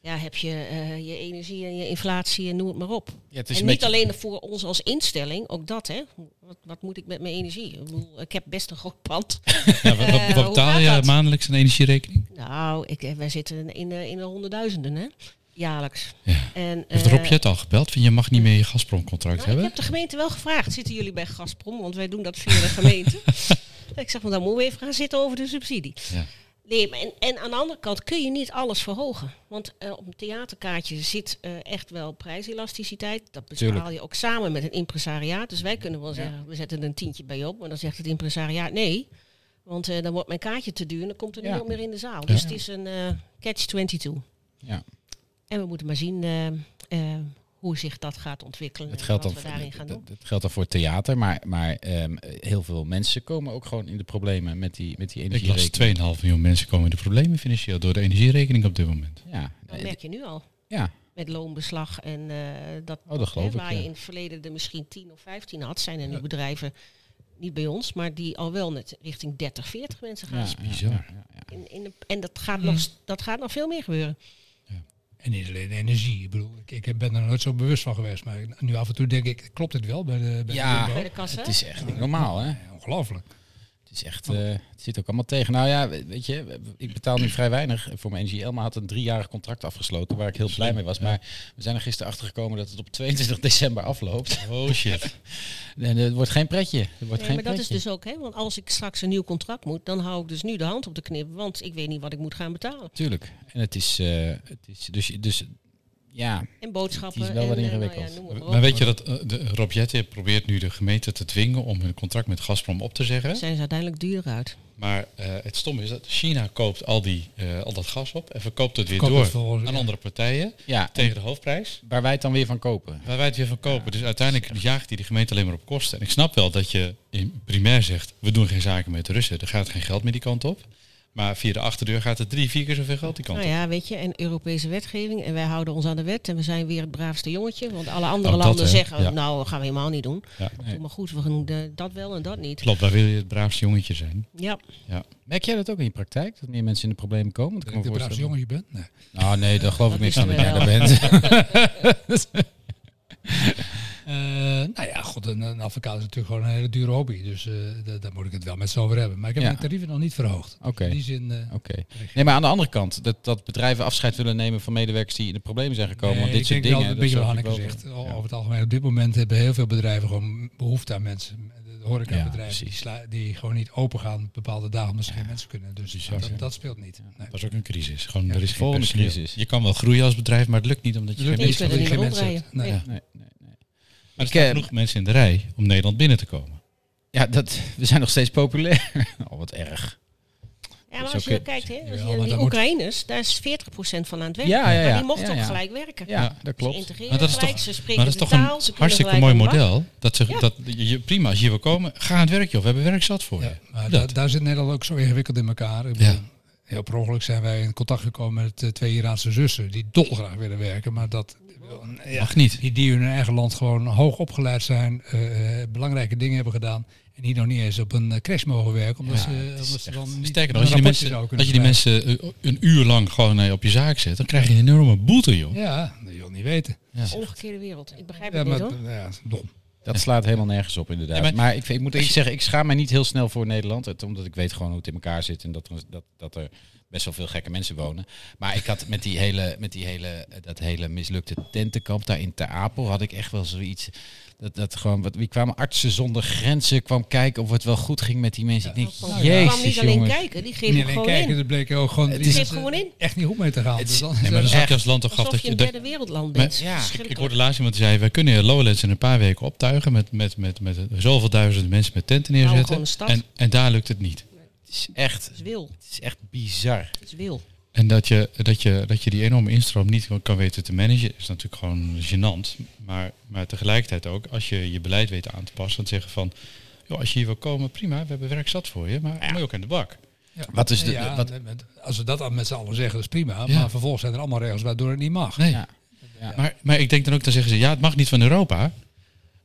Speaker 5: Ja, heb je eh, je energie en je inflatie en noem het maar op.
Speaker 2: Ja, het
Speaker 5: en
Speaker 2: is
Speaker 5: niet
Speaker 2: een beetje-
Speaker 5: alleen voor ons als instelling, ook dat, hè. Wat, wat moet ik met mijn energie? Ik, bedoel, ik heb best een groot pand.
Speaker 6: Ja, wat,
Speaker 5: Eh,
Speaker 6: wat, wat
Speaker 5: hoe
Speaker 6: betaal
Speaker 5: gaat
Speaker 6: je
Speaker 5: dat?
Speaker 6: maandelijks aan energierekening?
Speaker 5: Nou, ik, eh, wij zitten in, de- in de honderdduizenden, hè. Jaarlijks. En,
Speaker 6: Heeft
Speaker 5: eh,
Speaker 6: Rob Jet al gebeld? Vind je mag niet meer je Gazprom-contract
Speaker 5: Nou, ik
Speaker 6: hebben?
Speaker 5: heb de gemeente wel gevraagd, zitten jullie bij Gazprom? Want wij doen dat via de gemeente. ik zeg, maar dan moeten we even gaan zitten over de subsidie.
Speaker 6: Ja.
Speaker 5: Nee, maar en, en aan de andere kant kun je niet alles verhogen. Want eh, op een theaterkaartje zit eh, echt wel prijselasticiteit. Dat bepaal
Speaker 2: Tuurlijk.
Speaker 5: je ook samen met een impresariaat. Dus wij kunnen wel zeggen, we zetten een tientje bij je op. Maar dan zegt het impresariaat nee. Want eh, dan wordt mijn kaartje te duur en dan komt er
Speaker 2: Ja.
Speaker 5: niemand meer in de zaal. Dus het is een eh, catch-22.
Speaker 2: Ja.
Speaker 5: En we moeten maar zien eh, eh, hoe zich dat gaat ontwikkelen.
Speaker 2: Het
Speaker 5: en
Speaker 2: geldt,
Speaker 5: wat
Speaker 2: dan
Speaker 5: we
Speaker 2: voor,
Speaker 5: daarin gaan doen.
Speaker 2: het, geldt dan voor het theater, maar, maar ehm, heel veel mensen komen ook gewoon in de problemen met die, met die
Speaker 6: Ik las
Speaker 2: energierekening.
Speaker 6: 2,5 miljoen mensen komen in de problemen financieel door de energierekening op dit moment.
Speaker 2: Ja,
Speaker 5: Dat
Speaker 2: eh,
Speaker 5: merk je nu al.
Speaker 2: ja,
Speaker 5: Met loonbeslag en eh, dat,
Speaker 2: Oh, dat geloof ik,
Speaker 5: waar je
Speaker 2: ja.
Speaker 5: in het verleden er misschien 10 of 15 had, zijn er nu bedrijven, niet bij ons, maar die al wel net richting 30, 40 mensen gaan.
Speaker 2: ja,
Speaker 5: sp-
Speaker 6: Bizar.
Speaker 2: ja, ja, ja. Mm.
Speaker 5: In, in de, en dat gaat, nog, s- dat gaat nog veel meer gebeuren.
Speaker 1: En niet alleen energie. Ik bedoel, ik, ik ben er nooit zo bewust van geweest. Maar ik- nu af en toe denk ik, klopt dit wel bij de bij de
Speaker 2: Ja.
Speaker 1: Jumbo?
Speaker 5: Bij de kassa.
Speaker 2: Oh, Het is echt niet normaal, hè?
Speaker 1: Ja, Ongelooflijk.
Speaker 2: Het is echt, eh, het zit ook allemaal tegen. Nou ja, we- weet je, we- ik betaal nu vrij weinig voor mijn energie. Elma had een driejarig contract afgesloten waar ik heel blij mee was. Maar we zijn er gisteren achter gekomen dat het op 22 december afloopt.
Speaker 6: Oh shit.
Speaker 2: En het wordt geen pretje. Het wordt
Speaker 5: Nee,
Speaker 2: geen
Speaker 5: maar dat is
Speaker 2: pretje.
Speaker 5: dus ook, hè, want als ik straks een nieuw contract moet, dan hou ik dus nu de hand op de knip, want ik weet niet wat ik moet gaan betalen.
Speaker 2: Tuurlijk. En het is, eh, het is dus, dus ja,
Speaker 5: En boodschappen.
Speaker 2: Het is wel wat
Speaker 5: en, eh, nou
Speaker 2: ingewikkeld.
Speaker 5: ja, noem het maar
Speaker 6: Maar
Speaker 5: op.
Speaker 6: weet je dat eh, de, Rob Jetten probeert nu de gemeente te dwingen om hun contract met Gazprom op te zeggen?
Speaker 5: zijn ze uiteindelijk duurder uit.
Speaker 6: Maar eh, het stomme is dat China koopt al, die, eh, al dat gas op en verkoopt het weer
Speaker 1: Verkoopt
Speaker 6: door
Speaker 1: het vervolgens,
Speaker 6: aan
Speaker 1: ja.
Speaker 6: andere partijen
Speaker 2: ja
Speaker 6: tegen de hoofdprijs.
Speaker 2: waar wij het dan weer van kopen.
Speaker 6: Waar wij het weer van kopen. Dus uiteindelijk jaagt hij de gemeente alleen maar op kosten. En ik snap wel dat je in primair zegt, we doen geen zaken met de Russen. Er gaat geen geld meer die kant op. Maar via de achterdeur gaat er drie, vier keer zoveel geld die kant
Speaker 2: Oh
Speaker 5: Nou
Speaker 6: op.
Speaker 5: ja, weet je, en Europese wetgeving. En wij houden ons aan de wet en we zijn weer het braafste jongetje. Want alle andere
Speaker 6: Ook dat,
Speaker 5: landen
Speaker 6: hè?
Speaker 5: zeggen,
Speaker 6: Ja.
Speaker 5: nou, dat gaan we helemaal niet doen.
Speaker 6: Ja.
Speaker 5: Doe maar goed, we doen de- dat wel en dat niet.
Speaker 6: Klopt, daar wil je het braafste jongetje zijn.
Speaker 5: Ja,
Speaker 2: Merk jij dat ook in je praktijk? Dat meer mensen in de problemen komen? Want ik
Speaker 1: Dat
Speaker 2: kan me
Speaker 1: ik de braafste
Speaker 2: voorstellen.
Speaker 1: jongen je bent. Nee.
Speaker 2: Ah
Speaker 6: Nou,
Speaker 2: nee, daar geloof ik
Speaker 5: Dat
Speaker 2: niks
Speaker 5: is
Speaker 2: van dat
Speaker 5: er
Speaker 2: jij daar bent.
Speaker 1: Eh, nou ja, god, goed, een, een advocaat is natuurlijk gewoon een hele dure hobby. Dus eh, da- daar moet ik het wel met z'n over hebben. Maar ik heb
Speaker 2: Ja.
Speaker 1: mijn tarieven nog niet verhoogd.
Speaker 2: Oké.
Speaker 1: In die zin... eh,
Speaker 2: Oké. Nee, maar aan de andere kant, dat, dat bedrijven afscheid willen nemen van medewerkers die in de problemen zijn gekomen.
Speaker 1: nee,
Speaker 2: want dit
Speaker 1: ik
Speaker 2: soort
Speaker 1: denk
Speaker 2: dingen.
Speaker 1: wel een beetje
Speaker 2: dat
Speaker 1: wat
Speaker 2: snap ik
Speaker 1: Hanneke
Speaker 2: wel.
Speaker 1: zegt. O-
Speaker 2: Ja.
Speaker 1: Over het algemeen, op dit moment hebben heel veel bedrijven gewoon behoefte aan mensen. De horecabedrijven
Speaker 2: Ja,
Speaker 1: die,
Speaker 2: precies.
Speaker 1: sla- die gewoon niet open gaan bepaalde dagen omdat ze geen mensen kunnen. Dus
Speaker 6: Precies,
Speaker 1: dat,
Speaker 6: ja.
Speaker 1: dat speelt niet. Nee.
Speaker 6: Dat is ook een crisis. Gewoon,
Speaker 1: Ja,
Speaker 6: er is geen
Speaker 2: volgende
Speaker 6: personeel.
Speaker 2: crisis.
Speaker 6: Je kan wel groeien als bedrijf, maar het lukt niet omdat je geen
Speaker 5: Nee, je
Speaker 6: mensen
Speaker 5: kunt er
Speaker 1: Dus dat
Speaker 5: niet
Speaker 1: je
Speaker 5: meer
Speaker 1: geen mensen
Speaker 5: oprijden.
Speaker 1: hebt. Nee.
Speaker 5: Nee.
Speaker 2: Nee, nee, nee.
Speaker 6: Maar er
Speaker 2: Ik,
Speaker 6: staan
Speaker 2: eh,
Speaker 6: genoeg mensen in de rij om Nederland binnen te komen.
Speaker 2: Ja, dat, we zijn nog steeds populair. Oh, wat erg.
Speaker 5: Ja,
Speaker 2: Dat
Speaker 5: maar
Speaker 2: is
Speaker 5: als je
Speaker 2: ook, eh,
Speaker 5: kijkt, hè,
Speaker 1: jawel,
Speaker 5: als je,
Speaker 1: maar
Speaker 5: die
Speaker 1: dat moet-
Speaker 5: Oekraïners, daar is 40% van aan het werk.
Speaker 2: Ja, ja, ja.
Speaker 5: Maar die mochten
Speaker 2: Ja, ja.
Speaker 5: ook gelijk werken.
Speaker 2: Ja, dat
Speaker 5: Ze
Speaker 2: klopt.
Speaker 5: integreren
Speaker 6: Maar dat is
Speaker 5: gelijk,
Speaker 6: toch-
Speaker 5: ze spreken
Speaker 6: Maar dat is
Speaker 5: de
Speaker 6: toch
Speaker 5: taal,
Speaker 6: een
Speaker 5: ze kunnen
Speaker 6: hartstikke
Speaker 5: gelijk
Speaker 6: mooi
Speaker 5: aan de bak.
Speaker 6: model. Dat ze,
Speaker 5: Ja.
Speaker 6: dat, je, prima, als je wil komen, ga aan het werk joh. We hebben werk zat voor je.
Speaker 1: Ja, maar
Speaker 6: Dat.
Speaker 1: da- daar zit Nederland ook zo ingewikkeld in elkaar. Ik
Speaker 6: Ja.
Speaker 1: bedoel, Heel per ongeluk zijn wij in contact gekomen met eh, twee Iraanse zussen die dolgraag willen werken. Maar dat, ja,
Speaker 6: Mag niet.
Speaker 1: die, die in hun eigen land gewoon hoog opgeleid zijn, eh, eh, belangrijke dingen hebben gedaan. En die nog niet eens op een eh, crash mogen werken. Omdat
Speaker 6: Ja,
Speaker 1: ze,
Speaker 6: het is
Speaker 1: omdat ze
Speaker 6: echt-
Speaker 1: dan niet
Speaker 6: Sterker nog,
Speaker 1: een
Speaker 6: als je
Speaker 1: rapportje
Speaker 6: die mensen,
Speaker 1: zouden kunnen
Speaker 6: als je die
Speaker 1: schrijven.
Speaker 6: mensen eh, een uur lang gewoon eh, op je zaak zet, dan krijg je een enorme boete joh.
Speaker 1: Ja, dat wil je niet weten.
Speaker 5: Omgekeerde wereld. Ik begrijp
Speaker 1: Ja,
Speaker 5: het
Speaker 1: maar
Speaker 5: niet hoor.
Speaker 1: ja, dom.
Speaker 2: Dat slaat helemaal nergens op, inderdaad.
Speaker 6: Nee,
Speaker 2: maar
Speaker 6: maar-
Speaker 2: ik, ik moet eerlijk zeggen, ik schaam mij niet heel snel voor Nederland. het- Omdat ik weet gewoon hoe het in elkaar zit en dat er, dat, dat er best wel veel gekke mensen wonen. Maar ik had met, die hele, met die hele, eh, dat hele mislukte tentenkamp daar in Ter Apel, had ik echt wel zoiets. Dat, dat gewoon, wat, wie kwamen artsen zonder grenzen, kwam kijken of het wel goed ging met die mensen. Ik denk,
Speaker 5: Want Nou, die kwam
Speaker 2: jezus
Speaker 5: niet alleen
Speaker 2: jongens.
Speaker 5: kijken, die
Speaker 1: Niet
Speaker 5: greep ook
Speaker 1: alleen
Speaker 5: gewoon
Speaker 1: kijken,
Speaker 5: in.
Speaker 1: er bleken ook gewoon,
Speaker 2: Het
Speaker 1: die
Speaker 2: is-
Speaker 5: Geef
Speaker 1: mensen
Speaker 5: gewoon in.
Speaker 1: echt niet goed mee te gaan.
Speaker 2: Het
Speaker 1: Dus
Speaker 2: is-
Speaker 1: dan is
Speaker 6: Nee, maar
Speaker 1: er-
Speaker 6: dan zat je als land toch af
Speaker 5: Alsof
Speaker 6: dat
Speaker 5: je een
Speaker 6: je...
Speaker 5: derde wereldland
Speaker 6: Maar-
Speaker 5: bent.
Speaker 2: Ja, ik- ik
Speaker 6: dat- ik
Speaker 5: Verschrikkelijk.
Speaker 6: hoorde laatst iemand die zei, wij kunnen hier Lowlands in een paar weken optuigen met, met, met, met, zoveel duizenden mensen met tenten
Speaker 5: Bouwen
Speaker 6: neerzetten.
Speaker 5: gewoon een stad.
Speaker 6: En, en daar lukt het niet.
Speaker 2: Het is echt,
Speaker 5: Het is wil.
Speaker 2: het is echt bizar.
Speaker 5: Het is wil.
Speaker 6: En dat je, dat, je, dat je die enorme instroom niet kan weten te managen, is natuurlijk gewoon gênant. Maar, maar tegelijkertijd ook, als je je beleid weet aan te passen en te zeggen van, joh, als je hier wil komen, prima, we hebben werk zat voor je, maar moet je ook aan de bak.
Speaker 1: Ja.
Speaker 2: Wat is Dus de-
Speaker 1: Ja,
Speaker 2: wat-
Speaker 1: met- als we dat dan met z'n allen zeggen, dat is prima.
Speaker 6: Ja.
Speaker 1: Maar vervolgens zijn er allemaal regels waardoor het niet mag.
Speaker 6: Nee.
Speaker 2: Ja. Ja.
Speaker 6: Maar, maar ik denk dan ook, dan zeggen ze, ja, het mag niet van Europa.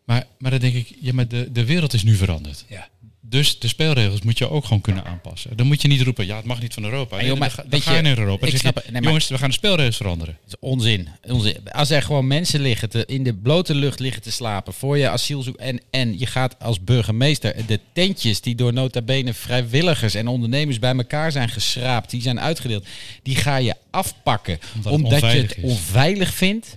Speaker 6: Maar, maar dan denk ik, ja, maar de, de wereld is nu veranderd.
Speaker 1: Ja.
Speaker 6: Dus de speelregels moet je ook gewoon kunnen aanpassen. Dan moet je niet roepen, ja, het mag niet van Europa.
Speaker 2: Maar
Speaker 6: Nee,
Speaker 2: joh, maar
Speaker 6: dan ga- dan
Speaker 2: weet
Speaker 6: ga je
Speaker 2: je,
Speaker 6: naar Europa.
Speaker 2: ik
Speaker 6: Dan
Speaker 2: snap
Speaker 6: zeg je,
Speaker 2: het. Nee, maar-
Speaker 6: jongens, we gaan de speelregels veranderen.
Speaker 2: Het is onzin. onzin. Als er gewoon mensen liggen te, in de blote lucht liggen te slapen voor je asiel zoekt. En, en je gaat als burgemeester de tentjes die door nota bene vrijwilligers en ondernemers bij elkaar zijn geschraapt, die zijn uitgedeeld, die ga je afpakken.
Speaker 6: Omdat
Speaker 2: Omdat,
Speaker 6: het
Speaker 2: je
Speaker 6: onveilig
Speaker 2: het
Speaker 6: is.
Speaker 2: onveilig vindt.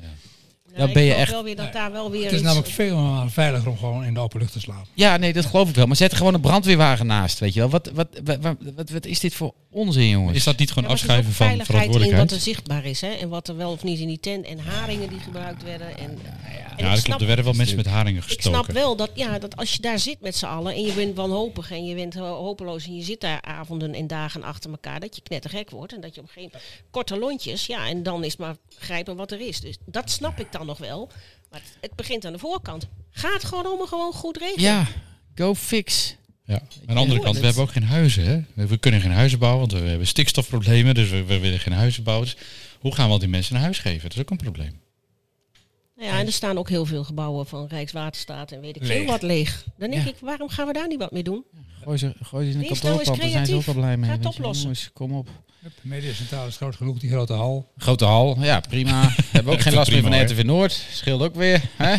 Speaker 2: Dan
Speaker 5: ik
Speaker 2: ben je
Speaker 5: geloof
Speaker 2: echt-
Speaker 5: Wel weer dat daar wel weer
Speaker 1: Het is
Speaker 5: iets-
Speaker 1: namelijk veel veiliger om gewoon in de open lucht te slapen.
Speaker 2: Ja, nee, dat geloof ik wel. Maar zet er gewoon een brandweerwagen naast, weet je wel. Wat, wat, wat, wat, wat, wat is dit voor onzin, jongens?
Speaker 6: Is dat niet gewoon
Speaker 5: Ja, maar het is
Speaker 6: afschuiven
Speaker 5: ook
Speaker 6: van
Speaker 5: veiligheid in wat
Speaker 6: verantwoordelijkheid?
Speaker 5: er zichtbaar is. Hè? En wat er wel of niet in die tent. En haringen die gebruikt werden. En, en ik,
Speaker 6: Ja, dat
Speaker 5: snap,
Speaker 6: klopt. Er werden wel mensen met haringen
Speaker 5: ik
Speaker 6: gestoken.
Speaker 5: snap wel dat, ja, dat als je daar zit met z'n allen. En je bent wanhopig en je bent ho- hopeloos. En je zit daar avonden en dagen achter elkaar. Dat je knettergek wordt. En dat je op een gegeven moment korte lontjes. Ja, en dan is maar grijpen wat er is. Dus dat snap ik dan nog wel. Maar het, het begint aan de voorkant. Ga het gewoon allemaal gewoon goed regelen.
Speaker 2: Ja, go fix.
Speaker 6: Ja. Aan de andere
Speaker 5: hoor
Speaker 6: kant,
Speaker 5: het.
Speaker 6: we hebben ook geen huizen. Hè? We- We kunnen geen huizen bouwen, want we hebben stikstofproblemen. Dus we, we willen geen huizen bouwen. Dus hoe gaan we al die mensen een huis geven? Dat is ook een probleem.
Speaker 5: Nou ja, en er staan ook heel veel gebouwen van Rijkswaterstaat en weet ik veel
Speaker 1: Leeg.
Speaker 5: wat leeg. Dan denk
Speaker 1: Ja.
Speaker 5: ik, waarom gaan we daar niet wat mee doen?
Speaker 2: Gooi ze, gooi ze in een
Speaker 5: Wees nou eens
Speaker 2: kantoorpand, daar zijn ze ook
Speaker 5: creatief.
Speaker 2: al blij mee.
Speaker 5: Ga het
Speaker 2: weet je wel.
Speaker 5: oplossen.
Speaker 2: Jongens, kom op.
Speaker 1: De mediacentraal is groot genoeg, die grote hal.
Speaker 2: Grote hal, ja prima. Hebben we ook geen last meer van
Speaker 6: Prima,
Speaker 2: RTV Noord. Scheelt ook weer. Hè?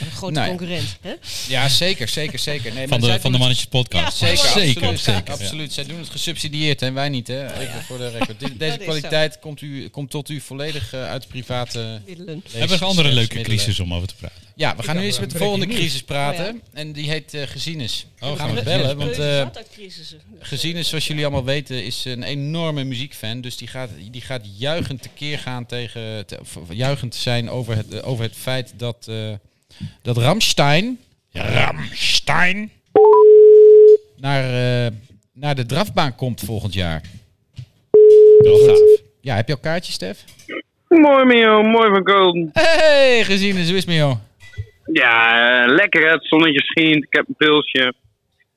Speaker 5: Een grote
Speaker 2: Nou ja.
Speaker 5: concurrent. Hè?
Speaker 2: Ja, zeker, zeker, zeker. Nee,
Speaker 6: Van
Speaker 2: maar zij
Speaker 6: de, van de
Speaker 2: doen
Speaker 6: Mannetjes Podcast.
Speaker 2: het- Zeker,
Speaker 6: zeker.
Speaker 2: absoluut.
Speaker 6: zeker, ja.
Speaker 2: absoluut. Zij doen het gesubsidieerd en wij niet. Hè? Even voor de record. Dit- Deze
Speaker 5: zo.
Speaker 2: kwaliteit komt, u, komt tot u volledig eh, uit private...
Speaker 5: Middelen.
Speaker 6: Hebben we nog andere leuke
Speaker 2: levensmiddelen.
Speaker 6: crisis om over te praten?
Speaker 2: Ja, we gaan nu
Speaker 1: Ja,
Speaker 2: eens
Speaker 1: we
Speaker 2: met de
Speaker 1: breaking
Speaker 2: volgende
Speaker 1: news.
Speaker 2: crisis praten.
Speaker 5: Oh,
Speaker 2: En die heet eh Gezienis.
Speaker 6: Oh,
Speaker 2: we
Speaker 6: gaan
Speaker 2: gaan
Speaker 6: we
Speaker 2: hem
Speaker 6: Gezienis
Speaker 2: bellen, want...
Speaker 5: Keuze
Speaker 2: eh,
Speaker 5: zat uit crisissen.
Speaker 2: Gezien is, zoals jullie allemaal weten, is een enorme muziekfan. Dus die gaat, die gaat juichend tekeer gaan tegen. Te, of juichend zijn over het, eh, over het feit dat. eh, dat Ramstein. Ramstein. Naar, eh, naar de drafbaan komt volgend jaar.
Speaker 6: Wel gaaf.
Speaker 2: Ja, heb je al kaartjes, Stef?
Speaker 7: Mooi, Mio. Mooi van Golden.
Speaker 2: Hey, gezien is, hoe is het met jou?
Speaker 7: Ja, eh, lekker hè. Het zonnetje schijnt. Ik heb een pilsje.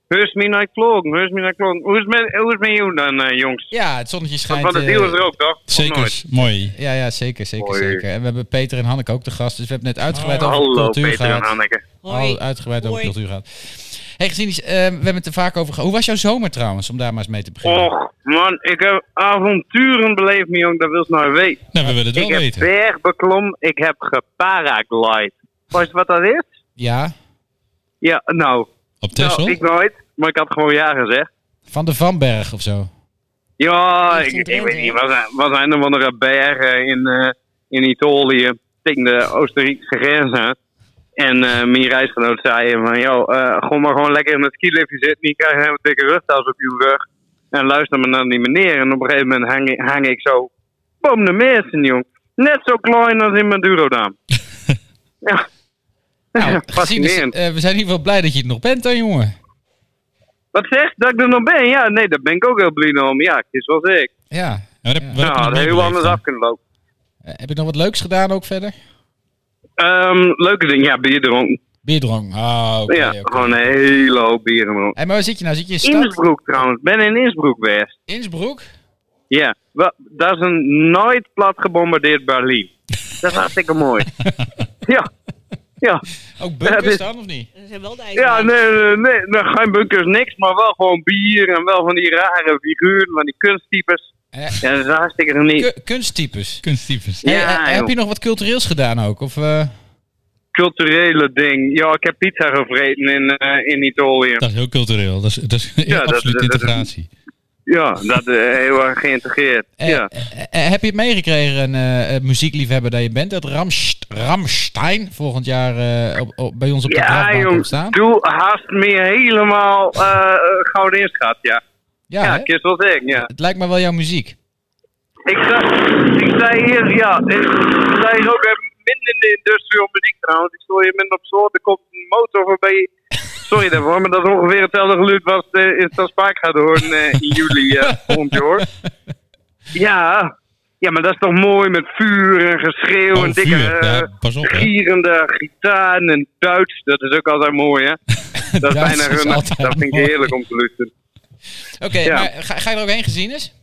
Speaker 7: Heus me naar klokken. Heus me naar klokken. Hoe is het met- hoe is het met jou dan, eh, jongens?
Speaker 2: Ja, het zonnetje
Speaker 7: Want
Speaker 2: schijnt.
Speaker 7: van de
Speaker 2: eh,
Speaker 7: deal is er ook, toch? Of nooit?
Speaker 6: Zeker. Mooi.
Speaker 2: ja, ja, zeker, zeker,
Speaker 7: Hoi.
Speaker 2: zeker. En we hebben Peter en Hanneke ook de gast. Dus we hebben net uitgebreid over
Speaker 7: Hallo,
Speaker 2: cultuur
Speaker 7: Peter en
Speaker 2: gehad.
Speaker 7: Hanneke.
Speaker 5: Hoi.
Speaker 2: Al uitgebreid over
Speaker 5: Hoi.
Speaker 2: cultuur gaat. Hey, gezien is, eh, we hebben het er vaak over gehad. Hoe was jouw zomer trouwens, om daar maar eens mee te
Speaker 6: Eh,
Speaker 2: beginnen?
Speaker 7: Och, man. Ik heb avonturen beleefd, Mio. Dat wil ze nou weten.
Speaker 6: Nou, we willen het wel
Speaker 7: Ik heb
Speaker 6: weten.
Speaker 7: berg beklom. Ik heb geparaglide. Weet je wat dat is?
Speaker 2: Ja,
Speaker 7: Ja, nou,
Speaker 6: Op Texel?
Speaker 7: nou, ik nooit, maar ik had gewoon ja gezegd.
Speaker 2: Van de Vanberg of zo.
Speaker 7: Ja,
Speaker 5: Echt
Speaker 7: ik,
Speaker 5: in
Speaker 7: ik
Speaker 5: Drenthe,
Speaker 7: weet niet, wat zijn, wat zijn er van de bergen in, eh, in Italië tegen de Oostenrijkse grens aan. En eh, mijn reisgenoot zei van, joh, eh gewoon maar gewoon lekker in het skiliftje zitten. Die krijgt helemaal dikke rugtas op je rug. En luister maar naar die meneer. En op een gegeven moment hang, ik- hang ik zo, boom de meesten, jong. Net zo klein als in Madurodam. ja.
Speaker 2: Nou, gezien is,
Speaker 7: Fascinerend.
Speaker 2: eh, we zijn in ieder geval blij dat je het nog bent dan, jongen.
Speaker 7: Wat zeg? Dat ik er nog ben? Ja, nee, daar ben ik ook heel blij om. Ja, het is wel ik.
Speaker 2: Ja.
Speaker 6: Ja, wat heb- wat heb je
Speaker 7: Nou,
Speaker 6: nog
Speaker 7: dat had heel
Speaker 6: meebeleefd
Speaker 7: anders
Speaker 6: dan?
Speaker 7: af kunnen lopen.
Speaker 2: Eh, heb je nog wat leuks gedaan ook verder?
Speaker 7: Ehm, leuke ding, ja, bier dronken.
Speaker 2: Bierdrong. Ah, oké.
Speaker 7: ja,
Speaker 2: oké.
Speaker 7: gewoon een hele hoop bier dronken.
Speaker 2: Hé, maar waar zit je nou? Zit je in stad?
Speaker 7: Innsbruck trouwens, ben in Innsbruck geweest.
Speaker 2: Innsbruck?
Speaker 7: Ja, wel, dat is een nooit plat gebombardeerd Berlijn. Dat is hartstikke mooi. ja, ja.
Speaker 2: Ook
Speaker 7: Ja, dit-
Speaker 2: bunkers dan, of niet?
Speaker 5: Dat zijn wel de
Speaker 7: Ja,
Speaker 5: ijsbaan.
Speaker 7: nee, nee, nee, nee, geen bunkers, niks, maar wel gewoon bier en wel van die rare figuren, van die kunsttypes.
Speaker 2: Eh,
Speaker 7: Ja, dat is hartstikke geniet.
Speaker 2: ku- kunsttypes.
Speaker 6: Kunsttypes.
Speaker 2: Hé,
Speaker 7: Ja,
Speaker 2: eh, heb
Speaker 7: joh.
Speaker 2: je nog wat cultureels gedaan ook? Of, eh,
Speaker 7: Culturele ding. Ja, ik heb pizza gevreten in, eh, in Italië.
Speaker 6: Dat is heel cultureel. Dat is, dat is
Speaker 7: dat-
Speaker 6: absoluut
Speaker 7: dat- dat-
Speaker 6: integratie.
Speaker 7: Ja, dat is heel erg geïntegreerd.
Speaker 2: eh,
Speaker 7: ja.
Speaker 2: eh, eh, heb je het meegekregen, eh eh, muziekliefhebber dat je bent, dat Ramst Ramstein volgend jaar eh, op, op- bij ons op de
Speaker 7: Ja,
Speaker 2: draagbank komt
Speaker 7: jongens,
Speaker 2: staan?
Speaker 7: doe haast meer helemaal eh gouden inschat, ja.
Speaker 2: Ja,
Speaker 7: Ja,
Speaker 2: hè?
Speaker 7: kist wat ik, ja.
Speaker 2: het lijkt me wel jouw muziek.
Speaker 7: Ik zei, ik zei hier, ja, ik zei hier ook eh, minder in de industrieel muziek trouwens. Ik stoor je minder op soort, er komt een motor voorbij. Sorry daarvoor, maar dat is ongeveer hetzelfde geluid wat eh, in Stadspark gaat horen eh, in juli eh volgend jaar. Ja. ja, maar dat is toch mooi met vuur en geschreeuw
Speaker 6: Oh,
Speaker 7: en dikke
Speaker 6: vuur. Ja,
Speaker 7: eh,
Speaker 6: pas op, hè.
Speaker 7: gierende gitaar en Duits. Dat is ook altijd mooi, hè? Dat is
Speaker 2: Duits
Speaker 7: bijna
Speaker 2: is
Speaker 7: hun.
Speaker 2: altijd
Speaker 7: Dat vind ik
Speaker 2: mooi.
Speaker 7: heerlijk om te luisteren.
Speaker 2: Oké,
Speaker 7: Ja.
Speaker 2: maar ga, ga je er ook heen gezien eens?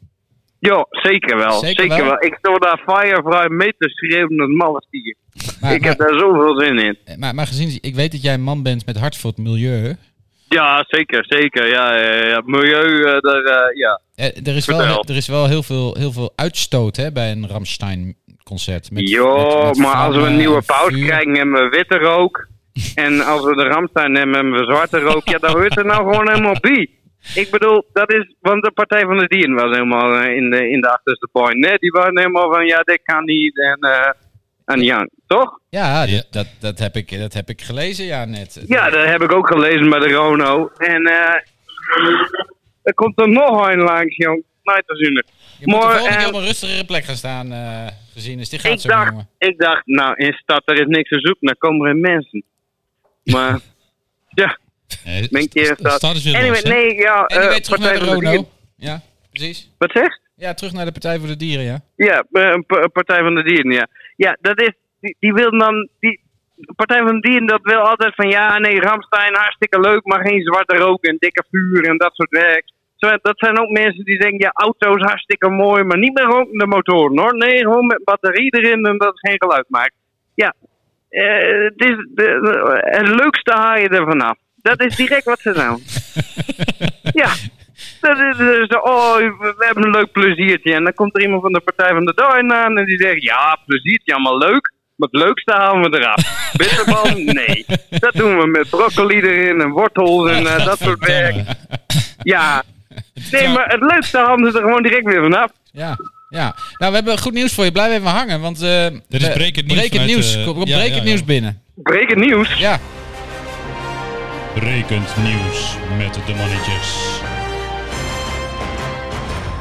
Speaker 7: Ja, zeker wel.
Speaker 2: Zeker
Speaker 7: Zeker,
Speaker 2: wel.
Speaker 7: wel. Ik stond daar Firefly mee te schreeuwen als mallestier.
Speaker 2: Maar,
Speaker 7: ik
Speaker 2: maar,
Speaker 7: heb daar zoveel zin in.
Speaker 2: Eh, maar, maar gezien, ik weet dat jij een man bent met hart voor het milieu.
Speaker 7: Ja, zeker, zeker. Ja, ja, ja, ja. Milieu, eh, daar, eh, ja.
Speaker 2: Eh, er, is wel,
Speaker 7: Vertel.
Speaker 2: er is wel heel veel, heel veel uitstoot hè, bij een Ramstein-concert. Met-
Speaker 7: Jo,
Speaker 2: met- met
Speaker 7: maar als we
Speaker 2: vlammen
Speaker 7: een nieuwe
Speaker 2: en
Speaker 7: pauze
Speaker 2: vuur.
Speaker 7: krijgen, hebben we witte rook. en als we de Ramstein nemen, hebben we zwarte rook. Ja, dan hoort er nou gewoon helemaal bij. Ik bedoel, dat is, want de Partij van de Dieren was helemaal eh, in de, in de achterste point. Nee, die waren helemaal van, ja, dit kan niet. En, eh en ja, toch?
Speaker 2: Ja,
Speaker 6: Ja.
Speaker 2: Dat, dat, dat, heb ik, dat heb ik gelezen, ja, net.
Speaker 7: Ja, dat heb ik ook gelezen bij de Rono. En eh er komt er nog een langs, jong. Nee, te zien.
Speaker 2: Je moet de
Speaker 7: Maar,
Speaker 2: volgende keer op
Speaker 7: eh,
Speaker 2: een rustigere plek gaan staan, eh, gezien is. Dit gaat
Speaker 7: Ik
Speaker 2: zo,
Speaker 7: dacht,
Speaker 2: jongen.
Speaker 7: ik dacht, nou, in stad, er is niks te zoeken. Daar komen geen mensen. Maar, ja,
Speaker 6: Nee,
Speaker 7: mijn
Speaker 6: st-
Speaker 7: keer
Speaker 6: st-
Speaker 7: staat.
Speaker 6: Stad is weer
Speaker 7: Anyway,
Speaker 6: los, hè?
Speaker 7: nee, ja.
Speaker 2: En die
Speaker 7: eh,
Speaker 2: weet terug naar
Speaker 7: Partij
Speaker 2: de
Speaker 7: van Dieren.
Speaker 2: Rono. Ja, precies.
Speaker 7: Wat zegt?
Speaker 2: Ja, terug naar de Partij voor de Dieren, ja.
Speaker 7: Ja, eh, een pa- een Partij van de Dieren, ja. Ja, dat is, die, die wil dan, die Partij van de Dieren, dat wil altijd van, ja, nee, Ramstein, hartstikke leuk, maar geen zwarte rook en dikke vuur en dat soort werk. Zo, Dat zijn ook mensen die denken, ja, auto's hartstikke mooi, maar niet met ronkende motoren, hoor. Nee, gewoon met batterie erin en dat het geen geluid maakt. Ja, eh, het is de- de- het leukste haal je er vanaf. Dat is direct wat ze doen. ja. Dat is dus, oh, we we hebben een leuk pleziertje. En dan komt er iemand van de Partij van de Duin aan en die zegt, ja, pleziertje, allemaal leuk. Maar het leukste halen we eraf. Bitterbal? Nee. Dat doen we met broccoli erin en wortels en eh, dat soort werk. Ja. Nee, maar het leukste halen ze er gewoon direct weer vanaf.
Speaker 2: Ja, ja. Nou, we hebben goed nieuws voor je. Blijf even hangen, want... eh
Speaker 6: Dit is brekend nieuws
Speaker 2: Breek het
Speaker 6: vanuit,
Speaker 2: nieuws.
Speaker 6: eh,
Speaker 2: Kom, kom,
Speaker 6: ja,
Speaker 2: breek
Speaker 6: ja,
Speaker 2: het
Speaker 6: ja.
Speaker 2: nieuws binnen.
Speaker 7: Breaking nieuws.
Speaker 2: Ja.
Speaker 6: Rekend nieuws met de mannetjes.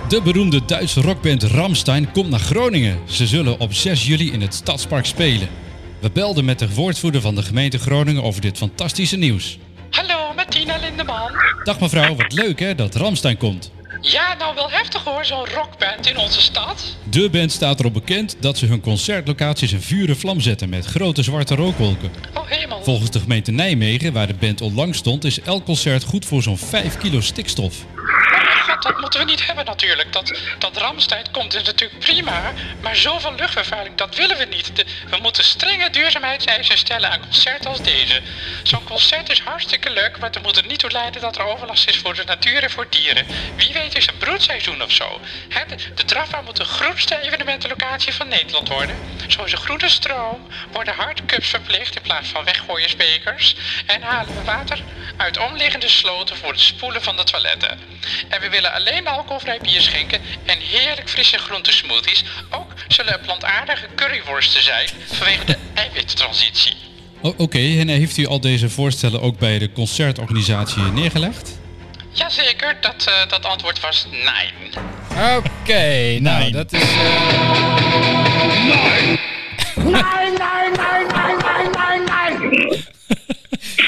Speaker 6: De beroemde Duitse rockband Ramstein komt naar Groningen. Ze zullen op 6 juli in het Stadspark spelen. We belden met de woordvoerder van de gemeente Groningen over dit fantastische nieuws.
Speaker 8: Hallo, met Tina Lindeman.
Speaker 6: Dag mevrouw, wat leuk hè dat Ramstein komt.
Speaker 8: Ja, nou wel heftig hoor, zo'n rockband in onze stad.
Speaker 6: De band staat erop bekend dat ze hun concertlocaties in vuur en vlam zetten met grote zwarte rookwolken.
Speaker 8: Oh hemel.
Speaker 6: Volgens de gemeente Nijmegen, waar de band onlangs stond, is elk concert goed voor zo'n 5 kilo stikstof.
Speaker 8: Oh mijn god, dat moeten we niet hebben natuurlijk. Dat, dat Ramstein komt is natuurlijk prima, maar zoveel luchtvervuiling, dat willen we niet. De- we moeten strenge duurzaamheidseisen stellen aan concerten als deze. Zo'n concert is hartstikke leuk, maar het moet er niet toe leiden dat er overlast is voor de natuur en voor dieren. Wie weet is een broedseizoen of zo. Hè, de, de Drafwa moet de grootste evenementenlocatie van Nederland worden. Zoals de groene stroom worden hardcups verplicht in plaats van weggooien bekers. En halen we water uit omliggende sloten voor het spoelen van de toiletten. En we willen alleen alcoholvrij bier schenken en heerlijk frisse groentesmoothies. Ook zullen er plantaardige curryworsten zijn vanwege de eiwittransitie.
Speaker 6: O- Oké, en heeft u al deze voorstellen ook bij de concertorganisatie neergelegd?
Speaker 8: Jazeker, dat, eh, dat antwoord was nein.
Speaker 2: Oké, nou
Speaker 6: Nee.
Speaker 2: dat is... eh,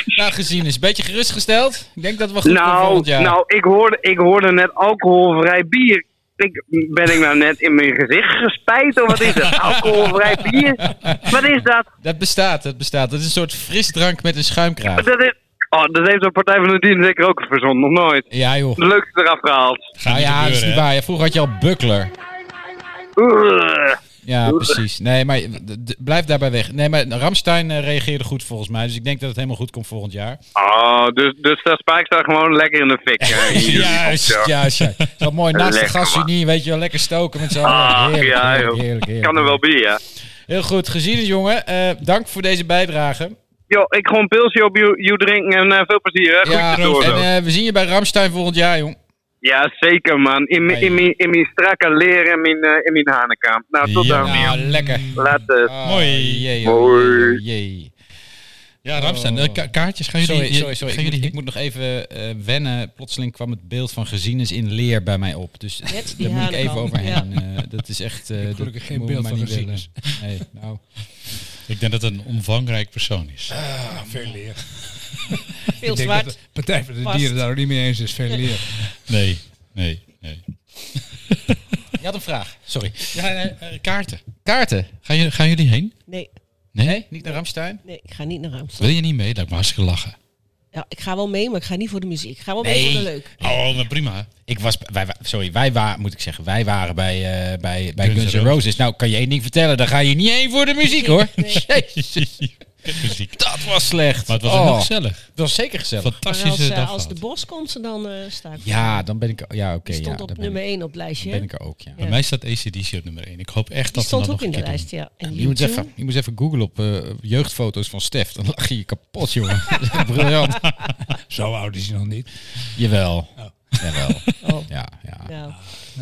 Speaker 2: Nou gezien is een beetje gerustgesteld. Ik denk dat we goed zijn
Speaker 7: Nou,
Speaker 2: volgend jaar.
Speaker 7: nou ik, hoorde, ik hoorde net alcoholvrij bier. Ik, ben ik nou net in mijn gezicht gespijt of wat is dat? Alcoholvrij bier? Wat is dat?
Speaker 2: Dat bestaat, dat bestaat. Dat is een soort frisdrank met een schuimkraag.
Speaker 7: Dat, is, oh, dat heeft de Partij van de Dieren zeker ook verzonnen, nog nooit.
Speaker 2: Ja joh.
Speaker 7: De leukste eraf gehaald.
Speaker 2: Nou ja, dat is niet waar. Ja, vroeger had je al buckler.
Speaker 7: Ugh.
Speaker 2: Ja, precies. Nee, maar d- d- blijf daarbij weg. Nee, maar Ramstein eh, reageerde goed volgens mij. Dus ik denk dat het helemaal goed komt volgend jaar.
Speaker 7: Oh, dus, dus dat spaak staat gewoon lekker in de fik. hè, in jullie
Speaker 2: Juist,
Speaker 7: opzorg.
Speaker 2: juist. ja. Zo mooi naast de
Speaker 7: Lekker,
Speaker 2: gasunie, weet je wel, lekker stoken met z'n
Speaker 7: Ah,
Speaker 2: allen. Heerlijk,
Speaker 7: ja,
Speaker 2: heerlijk,
Speaker 7: joh.
Speaker 2: heerlijk, heerlijk.
Speaker 7: Kan er wel bij, ja.
Speaker 2: Heel goed, gezien het jongen. Eh, dank voor deze bijdrage.
Speaker 7: Yo, ik gewoon pilsje op jou jou drinken en eh, veel plezier. Hè. Goed
Speaker 2: Ja, en
Speaker 7: door, zo.
Speaker 2: eh, we zien je bij Ramstein volgend jaar, jong.
Speaker 7: Ja, zeker man. In mijn- in mijn- in mijn strakke leer en mijn, eh, in mijn hanenkamp. Nou, tot
Speaker 6: Ja.
Speaker 7: dan weer.
Speaker 2: Nou, lekker.
Speaker 7: Later.
Speaker 2: Ah,
Speaker 6: Mooi.
Speaker 2: jee, jee,
Speaker 7: Mooi.
Speaker 2: jee.
Speaker 6: Ja, Ramstein, eh, ka- kaartjes gaan jullie...
Speaker 2: Oh. Sorry, sorry, sorry.
Speaker 6: Gaan
Speaker 2: Ik, moet,
Speaker 6: jullie
Speaker 2: ik moet nog even eh, wennen. Plotseling kwam het beeld van gezienis in leer bij mij op. Dus
Speaker 5: Met die
Speaker 2: daar moet ik even
Speaker 5: hanenkam,
Speaker 2: overheen. Eh, dat is echt... eh, dat
Speaker 1: gelukkig geen
Speaker 2: moeten we
Speaker 1: beeld
Speaker 2: maar
Speaker 1: van
Speaker 2: niet willen.
Speaker 1: Gezienis.
Speaker 2: Nee, nou.
Speaker 6: ik denk dat het een omvangrijk persoon is.
Speaker 1: Ah, veel leer.
Speaker 5: Veel
Speaker 1: Ik denk dat
Speaker 5: zwart.
Speaker 1: de Partij van de
Speaker 5: Past.
Speaker 1: Dieren daar ook niet mee eens is. Veel leer.
Speaker 6: Nee, nee, nee.
Speaker 2: Je had een vraag. Sorry.
Speaker 6: Ja, eh, eh, kaarten.
Speaker 2: Kaarten?
Speaker 6: Gaan, jullie- gaan jullie heen?
Speaker 5: Nee,
Speaker 2: Nee, niet naar Ramstein?
Speaker 5: nee, ik ga niet naar Amsterdam.
Speaker 6: Wil je niet mee? Laat me hartstikke lachen.
Speaker 5: Ja, ik ga wel mee, maar ik ga niet voor de muziek. Ik ga wel mee
Speaker 2: Nee.
Speaker 5: voor de leuk.
Speaker 6: Oh, maar prima.
Speaker 2: Ik was, wij, wa- sorry, wij waren, moet ik zeggen, wij waren bij, eh, bij, bij
Speaker 6: Guns
Speaker 2: Guns N'
Speaker 6: N'
Speaker 2: Roses. Nou, kan je één ding vertellen, daar ga je niet heen voor de muziek hoor. Jezus,
Speaker 6: Muziek.
Speaker 2: dat was slecht.
Speaker 6: Maar het was
Speaker 2: Oh,
Speaker 6: heel gezellig.
Speaker 2: Het was zeker gezellig.
Speaker 5: Maar
Speaker 6: Fantastische
Speaker 5: als, eh,
Speaker 6: dag
Speaker 5: als de
Speaker 6: gehad.
Speaker 5: bos komt, ze, dan eh, sta ik.
Speaker 2: Ja, dan ben ik, ja oké.
Speaker 5: Die
Speaker 2: ja,
Speaker 5: stond
Speaker 2: dan
Speaker 5: op
Speaker 2: ben
Speaker 5: nummer
Speaker 2: ik-
Speaker 5: 1 op het lijstje.
Speaker 2: dan
Speaker 5: hè?
Speaker 2: ben ik er ook, ja.
Speaker 6: Bij mij staat ACDC op nummer 1. Ik hoop echt
Speaker 5: Die
Speaker 6: dat we
Speaker 5: stond
Speaker 6: dat nog
Speaker 5: ook in
Speaker 6: een
Speaker 5: de
Speaker 6: keer
Speaker 5: lijst, ja. En
Speaker 2: Je moet,
Speaker 5: YouTube?
Speaker 2: even, je moet eens even googlen op eh, jeugdfoto's van Stef. Dan lach je je kapot, jongen. Briljant.
Speaker 1: Zo oud is hij nog niet.
Speaker 2: Jawel. Jawel.
Speaker 5: Oh.
Speaker 2: Ja, ja.
Speaker 5: Nou,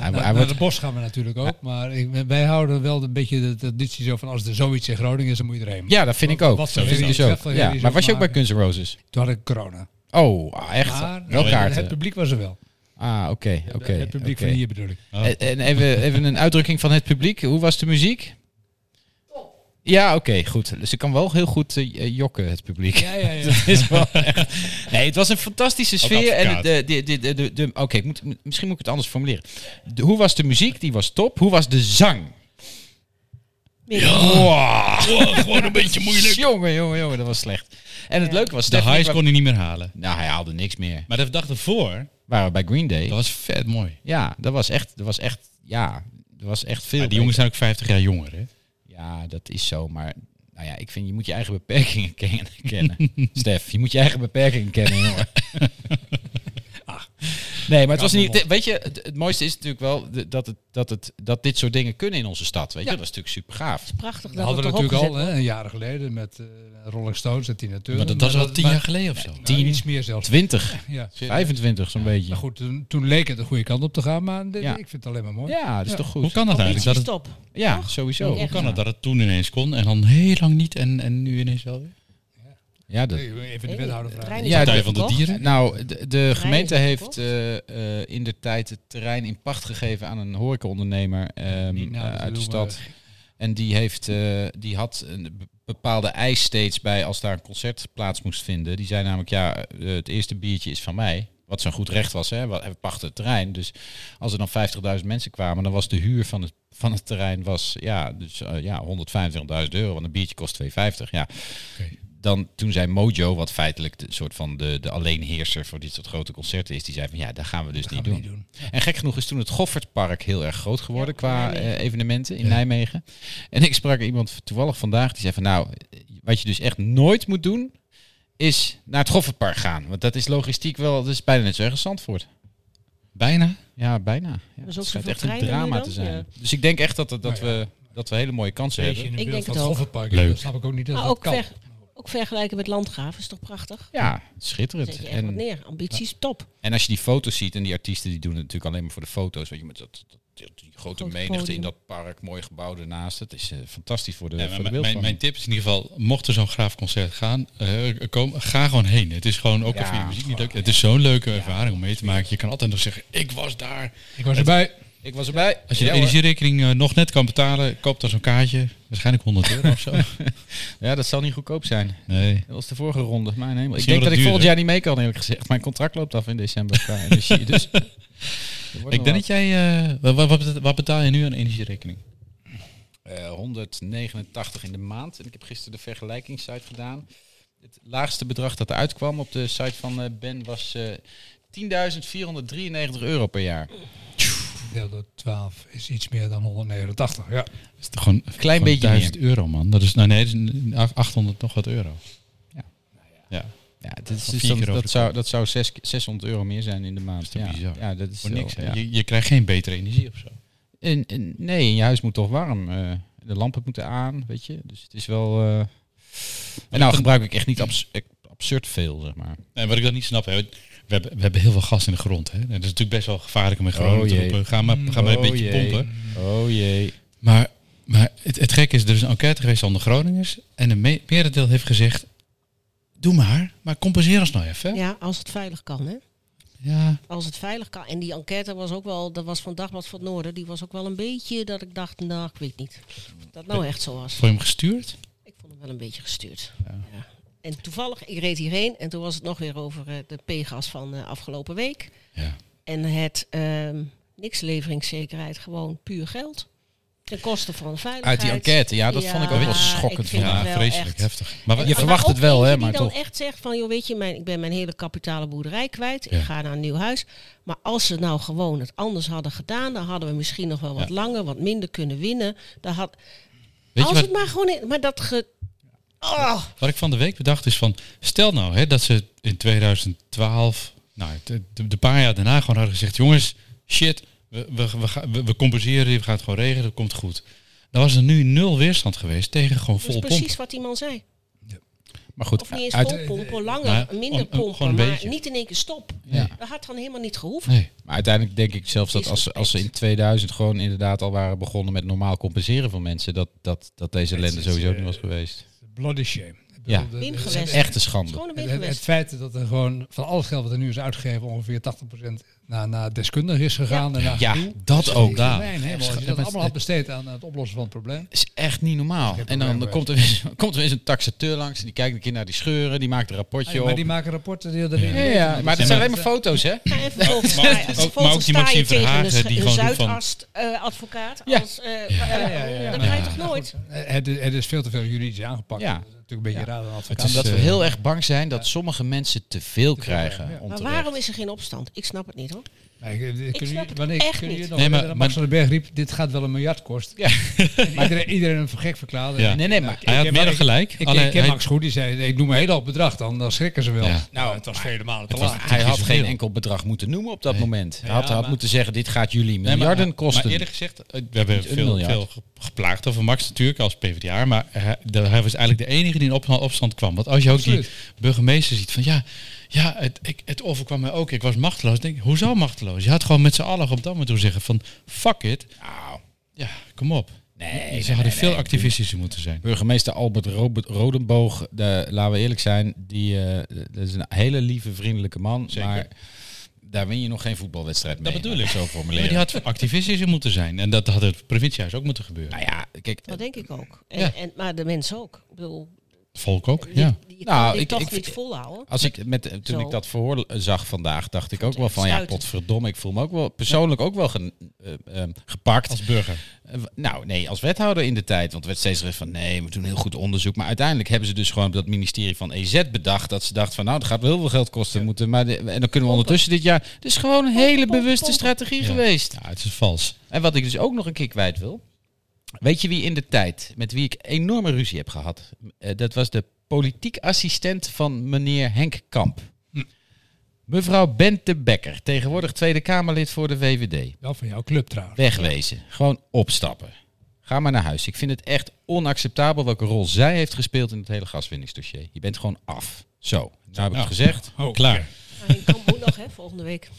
Speaker 2: Hij,
Speaker 1: Naar,
Speaker 2: hij
Speaker 1: naar
Speaker 2: wordt,
Speaker 1: de bos gaan we natuurlijk ook. Maar ik, wij houden wel een beetje de traditie zo van... als er zoiets in Groningen is, dan moet je erheen.
Speaker 2: ja, dat vind ik ook.
Speaker 1: Wat
Speaker 2: Dat
Speaker 1: zou
Speaker 2: vind ik
Speaker 1: je
Speaker 2: dus
Speaker 1: die
Speaker 2: ook.
Speaker 1: treffel
Speaker 2: Ja,
Speaker 1: jullie
Speaker 2: maar
Speaker 1: zo
Speaker 2: was je ook bij
Speaker 1: maken?
Speaker 2: Guns N' Roses?
Speaker 1: Toen had ik corona.
Speaker 2: Oh, ah, echt?
Speaker 1: Maar eh,
Speaker 2: Wel
Speaker 1: het
Speaker 2: kaarten.
Speaker 1: publiek was er wel.
Speaker 2: Ah, oké. oké.
Speaker 1: het publiek
Speaker 2: oké.
Speaker 1: van hier bedoel ik.
Speaker 2: En- Oh. E- En even, even een uitdrukking van het publiek. Hoe was de muziek? Ja, oké, goed. Ze kan wel heel goed eh, jokken, het publiek. Ja, ja, ja. dat is wel echt... Nee, het was een fantastische sfeer. En
Speaker 6: advocaat.
Speaker 2: de, de, de, de, de, de- Oké, ik moet, misschien moet ik het anders formuleren. De- hoe was de muziek? Die was top. Hoe was de zang?
Speaker 6: Oh. gewoon een beetje moeilijk.
Speaker 2: Jongen, jongen, jongen, dat was slecht. En het leuke was...
Speaker 6: De
Speaker 2: Stefanie
Speaker 6: highs
Speaker 2: kwam-
Speaker 6: kon hij niet meer halen.
Speaker 2: Nou, hij haalde niks meer.
Speaker 6: Maar de dag ervoor,
Speaker 2: Waren we bij Green Day.
Speaker 6: dat was vet mooi.
Speaker 2: Ja, dat was echt... Dat was echt ja, dat was echt veel
Speaker 6: Maar
Speaker 2: beter.
Speaker 6: die jongens zijn ook 50 jaar jonger, hè?
Speaker 2: Ja, dat is zo, maar nou ja, ik vind je moet je eigen beperkingen ken- kennen. Stef, je moet je eigen beperkingen kennen, jongen. Nee, maar het was niet. Weet je, het, het mooiste is natuurlijk wel de- dat, het, dat, het, dat dit soort dingen kunnen in onze stad. Weet je, dat is natuurlijk super gaaf.
Speaker 5: prachtig
Speaker 1: Dat
Speaker 5: dat
Speaker 1: hadden we
Speaker 5: het erop
Speaker 1: natuurlijk al
Speaker 5: gezet
Speaker 1: hè, een jaar geleden met eh, Rolling Stones en Tina Turner.
Speaker 6: Maar dat was al tien
Speaker 1: maar-
Speaker 6: jaar geleden of zo.
Speaker 1: nou,
Speaker 2: tien.
Speaker 1: iets meer zelfs.
Speaker 2: 20,
Speaker 1: Ja.
Speaker 2: 25, zo'n beetje.
Speaker 1: Maar goed, toen, toen leek het de goede kant op te gaan, maar dit-
Speaker 2: Ja.
Speaker 1: ik vind het alleen maar mooi.
Speaker 2: Ja, dat is toch
Speaker 6: Hoe
Speaker 2: goed?
Speaker 6: kan dat
Speaker 5: wordt.
Speaker 6: eigenlijk? Dat het,
Speaker 5: Stop.
Speaker 2: Ja, sowieso.
Speaker 6: hoe kan het dat het toen ineens kon en dan heel lang niet en, en nu ineens wel weer?
Speaker 2: Ja, dat,
Speaker 1: Hey, Even de
Speaker 5: Hey,
Speaker 1: wethouder
Speaker 5: de
Speaker 1: vragen.
Speaker 5: trein is
Speaker 2: Ja,
Speaker 6: Partij
Speaker 2: de-
Speaker 6: van de
Speaker 5: verkocht.
Speaker 6: Dieren?
Speaker 2: Nou, de, de gemeente
Speaker 5: is
Speaker 2: heeft
Speaker 5: verkocht.
Speaker 2: eh, eh, in de tijd het terrein in pacht gegeven aan een horecaondernemer ehm,
Speaker 1: Niet nou,
Speaker 2: eh,
Speaker 1: dat
Speaker 2: uit de
Speaker 1: doen we.
Speaker 2: stad. En die, heeft, eh, die had een be- bepaalde eis steeds bij als daar een concert plaats moest vinden. Die zei namelijk, ja, eh, het eerste biertje is van mij. Wat zo'n goed recht was, hè? Wat- We pachten het terrein. Dus als er dan 50.000 mensen kwamen, dan was de huur van het, van het terrein was, ja, dus, eh, ja, 125.000 euro. Want een biertje kost 2,50. Ja, dan toen zei Mojo, wat feitelijk de soort van de, de alleenheerser voor dit soort grote concerten is, die zei van ja, dat gaan we dus niet,
Speaker 1: gaan we
Speaker 2: doen. En gek genoeg is toen het Goffertpark heel erg groot geworden qua eh, evenementen in Nijmegen. En ik sprak iemand toevallig vandaag die zei van nou, wat je dus echt nooit moet doen, is naar het Goffertpark gaan. Want dat is logistiek wel, dat is bijna net zo erg als Zandvoort.
Speaker 6: Bijna.
Speaker 2: Ja, bijna. Ja,
Speaker 5: is ook
Speaker 2: het schijnt
Speaker 5: zoveel
Speaker 2: echt een
Speaker 5: treinen
Speaker 2: drama
Speaker 5: nu
Speaker 2: te
Speaker 5: dan?
Speaker 2: zijn.
Speaker 5: Ja.
Speaker 2: Dus ik denk echt dat, dat, dat
Speaker 1: Nou ja.
Speaker 2: we, dat we hele mooie kansen
Speaker 1: Beetje
Speaker 2: hebben.
Speaker 1: in de
Speaker 5: Ik
Speaker 1: buurt
Speaker 5: denk
Speaker 1: van
Speaker 5: het
Speaker 1: het
Speaker 5: ook.
Speaker 1: Goffertpark.
Speaker 6: Leuk.
Speaker 1: Dat snap ik ook niet dat
Speaker 5: Maar
Speaker 1: dat
Speaker 5: ook,
Speaker 1: kan.
Speaker 5: ver- ook vergelijken met Landgraven is toch prachtig?
Speaker 2: Ja, schitterend.
Speaker 5: Zet je echt wat
Speaker 2: En,
Speaker 5: neer. Ambities, top.
Speaker 2: en als je die foto's ziet, en die artiesten die doen het natuurlijk alleen maar voor de foto's. Weet je, met dat, dat- dat- die grote
Speaker 5: Groot
Speaker 2: menigte
Speaker 5: podium.
Speaker 2: in dat park, mooi gebouw ernaast. Het is eh, fantastisch voor de,
Speaker 6: Ja,
Speaker 2: voor de
Speaker 6: maar mijn,
Speaker 2: beeldvorming.
Speaker 6: mijn tip is in ieder geval, mocht er zo'n graafconcert gaan, eh, kom, ga gewoon heen. Het is gewoon, ook
Speaker 2: Ja,
Speaker 6: al vind je muziek niet leuk, het is zo'n leuke ervaring om mee te maken. Je kan altijd nog zeggen, ik was daar.
Speaker 1: Ik was erbij.
Speaker 2: Ik was erbij.
Speaker 6: Als je
Speaker 2: ja,
Speaker 6: de
Speaker 2: hoor.
Speaker 6: energierekening eh, nog net kan betalen, koop dan zo'n kaartje. Waarschijnlijk 100 euro of zo.
Speaker 2: ja, dat zal niet goedkoop zijn.
Speaker 6: Nee.
Speaker 2: Dat was de vorige ronde. Mijn hemel. Ik
Speaker 6: Misschien
Speaker 2: denk dat
Speaker 6: wordt
Speaker 2: ik volgend
Speaker 6: het duurder.
Speaker 2: jaar niet mee kan, eerlijk gezegd. Mijn contract loopt af in december qua energie. Dus er wordt
Speaker 6: Ik
Speaker 2: nog
Speaker 6: denk dat jij, eh, wa- wa- wat, beta- wat betaal je nu aan energierekening?
Speaker 2: Eh, 189 in de maand. En ik heb gisteren de vergelijkingssite gedaan. Het laagste bedrag dat eruit kwam op de site van eh, Ben was eh 10.493 euro per jaar.
Speaker 1: Deel door 12 is iets meer dan 189. Ja.
Speaker 6: Dat is toch gewoon een
Speaker 2: Klein beetje
Speaker 6: 1000 euro man. Dat is, nou nee, dat is een- 800 nog wat euro.
Speaker 2: Ja.
Speaker 6: Ja.
Speaker 2: Ja, dit is,
Speaker 6: Van
Speaker 2: dus
Speaker 6: vier
Speaker 2: dan-
Speaker 6: keer over
Speaker 2: dat,
Speaker 6: de
Speaker 2: zou, dat zou zes- 600 euro meer zijn in de maand.
Speaker 6: Dat is
Speaker 2: ja.
Speaker 6: toch bizar?
Speaker 2: ja, dat is
Speaker 6: Voor
Speaker 2: wel-
Speaker 6: niks. hè?
Speaker 2: ja.
Speaker 6: Je, je krijgt geen betere energie of zo.
Speaker 2: En, en- nee, en je huis moet toch warm. eh, de lampen moeten aan, weet je. Dus het is wel... eh, En nou gebruik ik echt niet abs- eh, absurd veel, zeg maar.
Speaker 6: En wat ik dan niet snap, hè, we, hebben, we hebben heel veel gas in de grond. Hè? En dat is natuurlijk best wel gevaarlijk om in Groningen
Speaker 2: Oh,
Speaker 6: te
Speaker 2: jee.
Speaker 6: roepen. Ga maar, ga maar een
Speaker 2: Oh,
Speaker 6: beetje
Speaker 2: jee.
Speaker 6: pompen.
Speaker 2: Oh jee.
Speaker 6: Maar, maar het, het gekke is, er is een enquête geweest onder Groningers. En een me- merendeel heeft gezegd, doe maar, maar compenseer ons nou even. hè.
Speaker 5: Ja, als het veilig kan, hè?
Speaker 6: ja.
Speaker 5: Als het veilig kan. En die enquête was ook wel, dat was van Dagblad van het Noorden, die was ook wel een beetje dat ik dacht, nou, ik weet niet. Of dat nou echt zo was.
Speaker 6: Voor je hem gestuurd?
Speaker 5: Ik vond hem wel een beetje gestuurd. Ja. En toevallig, ik reed hierheen en toen was het nog weer over eh, de PGAS van eh, afgelopen week.
Speaker 6: Ja.
Speaker 5: En het ehm niks leveringszekerheid, gewoon puur geld. Ten koste van veiligheid.
Speaker 2: Uit die enquête, ja, dat vond ik ook wel
Speaker 5: Ja,
Speaker 2: schokkend
Speaker 5: ik vind
Speaker 2: vandaag.
Speaker 5: het wel
Speaker 6: vreselijk
Speaker 5: echt.
Speaker 6: heftig.
Speaker 2: Je
Speaker 6: Maar wat-
Speaker 5: Maar
Speaker 2: verwacht
Speaker 5: ook
Speaker 2: het wel,
Speaker 5: eentje
Speaker 2: hè, maar
Speaker 5: die dan
Speaker 2: toch.
Speaker 5: echt zegt van, joh, weet je, mijn, ik ben mijn hele kapitale boerderij kwijt.
Speaker 6: Ja.
Speaker 5: Ik ga naar een nieuw huis. Maar als ze nou gewoon het anders hadden gedaan, dan hadden we misschien nog wel wat
Speaker 6: Ja.
Speaker 5: langer, wat minder kunnen winnen. Dan had,
Speaker 6: weet je
Speaker 5: als
Speaker 6: wat,
Speaker 5: het maar gewoon, in- maar dat ge, oh,
Speaker 6: wat ik van de week bedacht is van, stel nou hè, dat ze in 2012, nou, het- het- de, de paar jaar daarna gewoon hadden gezegd, jongens, shit, we, we, we, gaan- we, we compenseren, we gaan het gewoon regelen, dat komt goed. Dan was er nu nul weerstand geweest tegen gewoon
Speaker 5: dat is
Speaker 6: vol pomp.
Speaker 5: precies wat die man zei.
Speaker 2: Maar goed,
Speaker 5: Of niet eens
Speaker 2: uit,
Speaker 5: vol pompen, langer,
Speaker 6: Nou, om-
Speaker 5: minder
Speaker 6: om-
Speaker 5: pompen,
Speaker 6: gewoon een
Speaker 5: maar
Speaker 6: beetje.
Speaker 5: niet in één keer stop.
Speaker 6: Ja.
Speaker 5: Dat had dan helemaal niet gehoeven.
Speaker 6: Nee.
Speaker 2: Maar uiteindelijk denk ik zelfs dat als, ze- als ze in 2000 gewoon inderdaad al waren begonnen met normaal compenseren van mensen, dat, dat, dat deze ellende sowieso
Speaker 6: eh,
Speaker 2: niet was geweest.
Speaker 1: Bloody shame. Ik
Speaker 2: Ja.
Speaker 1: bedoel, de- de-
Speaker 5: Ingewest.
Speaker 1: het-
Speaker 2: Echt een
Speaker 5: Het is
Speaker 2: schande.
Speaker 5: gewoon een
Speaker 1: Het,
Speaker 5: beetje
Speaker 1: het, het
Speaker 5: geweest.
Speaker 1: feit dat er gewoon van al het geld wat er nu is uitgegeven, ongeveer 80% naar, naar deskundigen is gegaan. En naar
Speaker 2: Ja,
Speaker 1: gedoe.
Speaker 2: dat ook.
Speaker 6: daar.
Speaker 1: Mijn hemel, als je dat allemaal had besteed aan het oplossen van het probleem.
Speaker 2: is echt niet normaal. En dan
Speaker 1: probleem,
Speaker 2: komt
Speaker 6: eh,
Speaker 2: er, weer, komt er eens een taxateur langs, die kijkt een keer naar die scheuren, die maakt een
Speaker 6: Ah,
Speaker 2: rapportje
Speaker 1: maar
Speaker 2: op.
Speaker 1: die maken rapporten. Die, die,
Speaker 2: Ja, ja, maar dat zijn alleen maar foto's, hè?
Speaker 5: Ja, en vervolgens sta je-
Speaker 6: ook-
Speaker 5: vervolgens
Speaker 6: maar ook die
Speaker 5: sta je
Speaker 6: Maxime
Speaker 5: tegen
Speaker 6: Verhagen
Speaker 5: een,
Speaker 6: die
Speaker 5: een
Speaker 6: gewoon roept van-
Speaker 5: Zuidas-advocaat.
Speaker 2: Ja.
Speaker 5: Als, eh, eh, Dat krijg je toch nooit?
Speaker 1: Eh, Het, is- het is veel te veel juridisch aangepakt.
Speaker 2: Ja.
Speaker 1: Dat is natuurlijk een beetje raar dan
Speaker 6: Het
Speaker 1: advocaat.
Speaker 6: is,
Speaker 2: Omdat we
Speaker 6: eh,
Speaker 2: heel erg bang zijn dat sommige mensen te veel krijgen.
Speaker 5: Maar
Speaker 2: onterecht.
Speaker 5: waarom is er geen opstand? Ik snap het niet hoor.
Speaker 1: Maar ik- ik-
Speaker 5: snap
Speaker 1: kun je-
Speaker 5: het
Speaker 1: Wanneer
Speaker 5: echt
Speaker 1: kun je
Speaker 5: niet.
Speaker 1: nog
Speaker 6: Nee, maar-
Speaker 1: maar, Max van den Berg riep, dit gaat wel een miljard kosten.
Speaker 2: Ja.
Speaker 1: maar iedereen, iedereen hem voor gek verklaarde.
Speaker 6: Ja.
Speaker 2: Nee, nee, maar
Speaker 6: Hij had
Speaker 1: ken-
Speaker 6: meer dan
Speaker 1: ik-
Speaker 6: gelijk.
Speaker 1: Ik,
Speaker 6: alleen
Speaker 1: ik ken
Speaker 6: hij-
Speaker 1: Max goed, die zei, ik noem een heel hoog bedrag, dan, dan schrikken ze wel.
Speaker 6: Ja.
Speaker 1: Nou, het was vele malen te
Speaker 6: was-
Speaker 1: laat.
Speaker 2: Hij had
Speaker 6: Is
Speaker 2: geen
Speaker 6: veel.
Speaker 2: enkel bedrag moeten noemen op dat moment. Hij had,
Speaker 1: Ja,
Speaker 2: had
Speaker 1: maar-
Speaker 2: moeten zeggen, dit gaat jullie
Speaker 6: Nee, maar-
Speaker 2: miljarden
Speaker 6: maar-
Speaker 2: kosten.
Speaker 6: Maar eerder gezegd, eh, we hebben
Speaker 2: Niet een
Speaker 6: veel,
Speaker 2: miljard.
Speaker 6: veel ge- geplaagd over Max natuurlijk als PvdA. Maar hij, de- hij was eigenlijk de enige die in op- opstand kwam. Want als je ook
Speaker 1: Absoluut.
Speaker 6: die burgemeester ziet van ja, ja het, ik, het overkwam mij ook. Ik was machteloos. Ik Denk, hoezo machteloos? Je had gewoon met z'n allen op dat moment toe zeggen van fuck it.
Speaker 2: Nou.
Speaker 6: Ja, kom op.
Speaker 2: nee,
Speaker 6: ze hadden veel activistischer moeten zijn.
Speaker 2: Burgemeester Albert Robert Rodenboog, de, laten we eerlijk zijn, die eh, dat is een hele lieve, vriendelijke man.
Speaker 6: Zeker.
Speaker 2: Maar daar win je nog geen voetbalwedstrijd mee.
Speaker 6: Dat bedoel ik.
Speaker 2: zo
Speaker 6: Ja, maar
Speaker 2: formuleren.
Speaker 6: die had activistischer moeten zijn. En dat had het provinciehuis ook moeten gebeuren.
Speaker 2: Nou ja, kijk,
Speaker 5: Dat denk ik ook. En,
Speaker 6: Ja.
Speaker 5: en, maar de mensen ook. Ik bedoel,
Speaker 6: Volk ook, ja.
Speaker 5: Je, je
Speaker 2: Nou,
Speaker 5: kan dit
Speaker 2: ik-
Speaker 5: toch
Speaker 2: ik-
Speaker 5: niet
Speaker 2: ik-
Speaker 5: volhouden.
Speaker 2: Als ik met, toen
Speaker 5: Zo.
Speaker 2: ik dat verhoor eh, zag vandaag, dacht ik ook
Speaker 5: Goed,
Speaker 2: wel van ja,
Speaker 5: sluiten.
Speaker 2: potverdomme, ik voel me ook wel persoonlijk ook wel gen- eh, ehm, gepakt.
Speaker 6: Als burger.
Speaker 2: Eh, w- Nou, nee, als wethouder in de tijd. Want er werd steeds gezegd van nee, we doen heel goed onderzoek. Maar uiteindelijk hebben ze dus gewoon op dat ministerie van EZ bedacht. Dat ze dachten van nou, dat gaat wel heel veel geld kosten. Moeten, maar de- en dan kunnen we ondertussen dit jaar. Het is gewoon een hele bewuste strategie
Speaker 6: Ja.
Speaker 2: geweest.
Speaker 6: Ja, het is vals.
Speaker 2: En wat ik dus ook nog een keer kwijt wil. Weet je wie in de tijd met wie ik enorme ruzie heb gehad? Eh, dat was de politiek assistent van meneer Henk Kamp. Mevrouw Bente Bekker, tegenwoordig Tweede Kamerlid voor de VVD.
Speaker 1: Wel van jouw club trouwens.
Speaker 2: Wegwezen. Gewoon opstappen. Ga maar naar huis. Ik vind het echt onacceptabel welke rol zij heeft gespeeld in het hele gaswinningsdossier. Je bent gewoon af. Zo, nou heb ik
Speaker 6: Nou.
Speaker 2: het gezegd.
Speaker 1: Oh.
Speaker 6: Klaar.
Speaker 5: Maar je kan moet nog, hè, volgende week.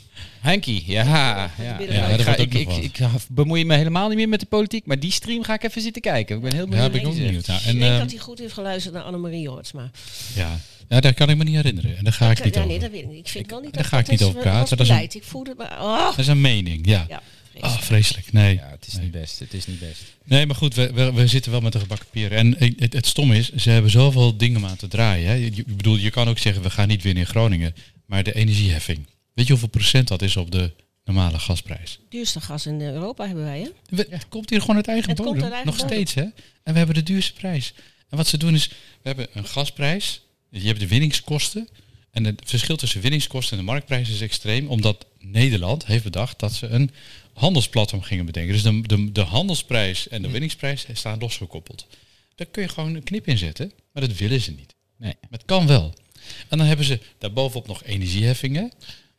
Speaker 2: Henkie, ja. ja.
Speaker 5: Ja, dat
Speaker 2: ik,
Speaker 6: wordt
Speaker 2: ga-
Speaker 6: ook
Speaker 2: ik,
Speaker 6: nog
Speaker 2: ik,
Speaker 6: wat.
Speaker 2: ik bemoei me helemaal niet meer met de politiek, maar die stream ga ik even zitten kijken. Ik ben heel
Speaker 6: Daar
Speaker 2: benieuwd.
Speaker 6: heb ik ook
Speaker 2: wie ze-
Speaker 6: benieuwd naar.
Speaker 5: ik
Speaker 6: En,
Speaker 5: denk
Speaker 6: ehm,
Speaker 5: dat hij goed heeft geluisterd naar Annemarie Jortsma.
Speaker 6: ja. ja, daar kan ik me niet herinneren. En daar ga ik niet
Speaker 5: ja,
Speaker 6: over.
Speaker 5: nee, dat weet ik niet. Ik vind wel niet
Speaker 6: daar
Speaker 5: dat
Speaker 6: ga ik
Speaker 5: dat
Speaker 6: niet
Speaker 5: is-
Speaker 6: over praten.
Speaker 5: was
Speaker 6: Dat is
Speaker 5: beleid. Ik voelde het maar... Oh.
Speaker 6: Dat is een mening, ja.
Speaker 5: Ja, vreselijk.
Speaker 6: Ah, vreselijk. Nee.
Speaker 2: Ja, het is niet best. Het is niet best.
Speaker 6: Nee, maar goed, we, we, we zitten wel met de gebakken peren. En ik- het, het stom is, ze hebben zoveel dingen om aan te draaien. Hè. Je, je- ik bedoel, je kan ook zeggen, we gaan niet winnen in Groningen. Maar de energieheffing. Weet je hoeveel procent dat is op de normale gasprijs?
Speaker 5: Duurste gas in Europa hebben wij, hè?
Speaker 6: We- Het komt hier gewoon uit eigen
Speaker 5: Het komt
Speaker 6: bodem.
Speaker 5: uit eigen
Speaker 6: nog
Speaker 5: bodem.
Speaker 6: steeds, hè? En we hebben de duurste prijs. En wat ze doen is, we hebben een gasprijs. Je hebt de winningskosten. En het verschil tussen winningskosten en de marktprijs is extreem. Omdat Nederland heeft bedacht dat ze een handelsplatform gingen bedenken. Dus de, de, de handelsprijs en de winningsprijs staan losgekoppeld. Daar kun je gewoon een knip in zetten. Maar dat willen ze niet.
Speaker 2: Nee.
Speaker 6: Maar het kan wel. En dan hebben ze daarbovenop nog energieheffingen.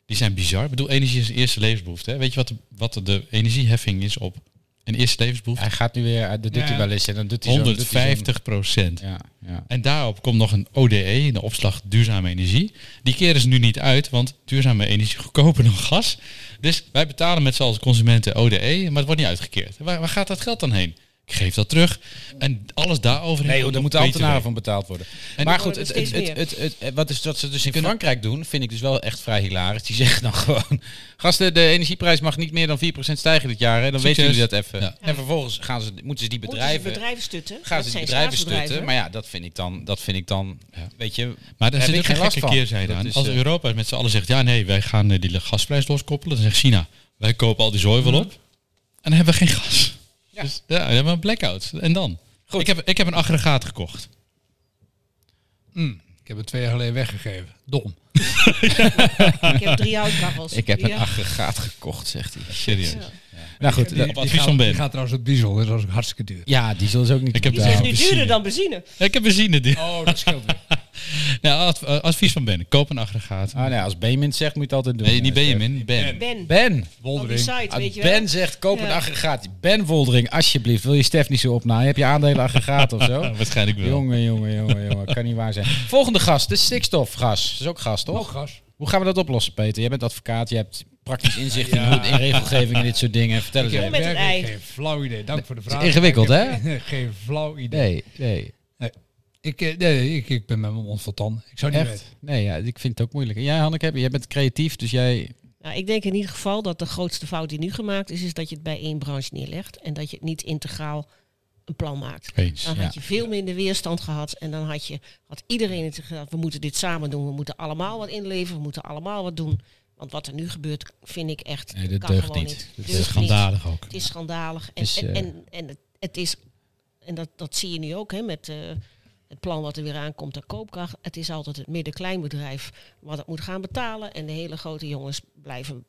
Speaker 6: Die zijn bizar. Ik bedoel, energie is een eerste levensbehoefte. Hè? Weet je wat de, wat de energieheffing is op een eerste levensbehoefte?
Speaker 2: Hij gaat nu weer, eh, dat doet hij wel eens en dan doet hij zo, doet hij zo.
Speaker 6: 150 procent.
Speaker 2: Ja, ja.
Speaker 6: En daarop komt nog een ODE, de opslag duurzame energie. Die keren ze nu niet uit, want duurzame energie is goedkoper dan gas. Dus wij betalen met z'n allen als consumenten ODE, maar het wordt niet uitgekeerd. Waar, waar gaat dat geld dan heen? Ik geef dat terug. En alles daarover...
Speaker 2: Nee,
Speaker 6: moet
Speaker 2: joh, daar moeten ambtenaren van betaald worden. maar goed, het,
Speaker 5: worden
Speaker 2: het,
Speaker 5: er steeds
Speaker 2: het, het, het- wat, is, wat ze dus in Frankrijk doen, vind ik dus wel echt vrij hilarisch. Die zeggen dan gewoon, gasten, de energieprijs mag niet meer dan 4% stijgen dit jaar. Hè? Dan weten
Speaker 6: Succes.
Speaker 2: jullie dat even.
Speaker 6: Ja.
Speaker 2: En vervolgens gaan ze, moeten ze die bedrijven...
Speaker 5: Moeten ze bedrijven stutten?
Speaker 2: Gaan
Speaker 5: Dat
Speaker 2: ze die
Speaker 5: zijn
Speaker 2: bedrijven
Speaker 5: staatsbedrijven.
Speaker 2: stutten? Maar ja, dat vind ik dan, dat vind ik dan, weet je,
Speaker 6: Maar daar
Speaker 2: heb
Speaker 6: zit
Speaker 2: ik
Speaker 6: ook geen
Speaker 2: geen last
Speaker 6: gekke
Speaker 2: van.
Speaker 6: keerzijde
Speaker 2: Dat
Speaker 6: aan.
Speaker 2: is,
Speaker 6: Als
Speaker 2: eh,
Speaker 6: Europa met z'n allen zegt, ja nee, wij gaan eh, die gasprijs loskoppelen. Dan zegt China, wij kopen al die zooi
Speaker 2: Mhm.
Speaker 6: wel op. En dan hebben we geen gas. Ja. Dus ja, dan hebben we een blackout. En dan? Ik, heb, ik heb een aggregaat gekocht.
Speaker 1: Mm. Ik heb het twee jaar geleden weggegeven. Dom.
Speaker 5: Ik heb drie houtkabbels.
Speaker 2: ik heb een
Speaker 5: Ja.
Speaker 2: aggregaat gekocht, zegt hij.
Speaker 6: Serieus.
Speaker 2: Nou goed,
Speaker 6: Die-
Speaker 2: dat-
Speaker 6: op advies van Ben.
Speaker 1: Die gaat trouwens op diesel, dus dat is ook hartstikke duur.
Speaker 2: ja, diesel is ook niet...
Speaker 6: Ik heb
Speaker 5: Die is
Speaker 6: Ja,
Speaker 5: nu
Speaker 6: benzine.
Speaker 5: duurder dan benzine.
Speaker 6: Ik heb benzine. Die.
Speaker 1: Oh, dat scheelt weer.
Speaker 6: Nou, adv- eh, advies van Ben. Koop een aggregaat.
Speaker 2: Ah, nee, als Benjamin zegt, moet je het altijd doen.
Speaker 6: nee, niet
Speaker 2: Eh,
Speaker 6: Benjamin. Ben.
Speaker 5: Ben.
Speaker 2: Ben.
Speaker 5: Op die site, weet je wel.
Speaker 2: Ah, Ben zegt, koop een
Speaker 5: Ja.
Speaker 2: aggregaat. Ben Woldering, alsjeblieft, wil je Stef niet zo opnaaien? Heb je aandelen aggregaat of zo?
Speaker 6: Ah, waarschijnlijk wel.
Speaker 2: Jongen, jongen, jongen, jongen. Kan niet waar zijn. Volgende gast, de stikstofgas. Dat is ook gas, toch?
Speaker 1: Toch Oh, gas.
Speaker 2: Hoe gaan we dat oplossen, Peter? Jij bent advocaat, je hebt praktisch inzicht in, hoe- in regelgeving en dit soort dingen. Vertel eens
Speaker 1: Ik heb
Speaker 2: even.
Speaker 5: met het
Speaker 1: werkelijk
Speaker 5: ei.
Speaker 1: geen flauw idee. Dank voor de vraag.
Speaker 2: ingewikkeld,
Speaker 1: Ik
Speaker 2: hè?
Speaker 1: heb geen- Geen flauw idee.
Speaker 2: Nee, nee.
Speaker 1: Ik, eh, nee, ik, ik ben met mijn mond vol tanden. Ik zou niet
Speaker 2: Echt?
Speaker 1: weten.
Speaker 2: Nee, ja, ik vind het ook moeilijk. En jij, Hanneke, heb- jij bent creatief, dus jij...
Speaker 5: Nou, ik denk in ieder geval dat de grootste fout die nu gemaakt is, is dat je het bij één branche neerlegt en dat je het niet integraal een plan maakt.
Speaker 6: Eens.
Speaker 5: Dan
Speaker 2: Ja.
Speaker 5: had je veel minder weerstand gehad en dan had, je, had iedereen het gedacht, we moeten dit samen doen, we moeten allemaal wat inleveren, we moeten allemaal wat doen. Want wat er nu gebeurt, vind ik echt,
Speaker 2: Nee, dat
Speaker 5: kan
Speaker 2: deugt
Speaker 5: gewoon
Speaker 2: niet.
Speaker 5: niet.
Speaker 2: Dat
Speaker 5: Deugt
Speaker 2: is
Speaker 5: niet.
Speaker 6: Schandalig ook.
Speaker 5: Het is schandalig. En,
Speaker 2: Dus,
Speaker 5: en,
Speaker 2: eh,
Speaker 5: en, en het, het is, en dat, dat zie je nu ook hè, met eh, het plan wat er weer aankomt aan koopkracht. Het is altijd het midden-kleinbedrijf wat het moet gaan betalen. En de hele grote jongens blijven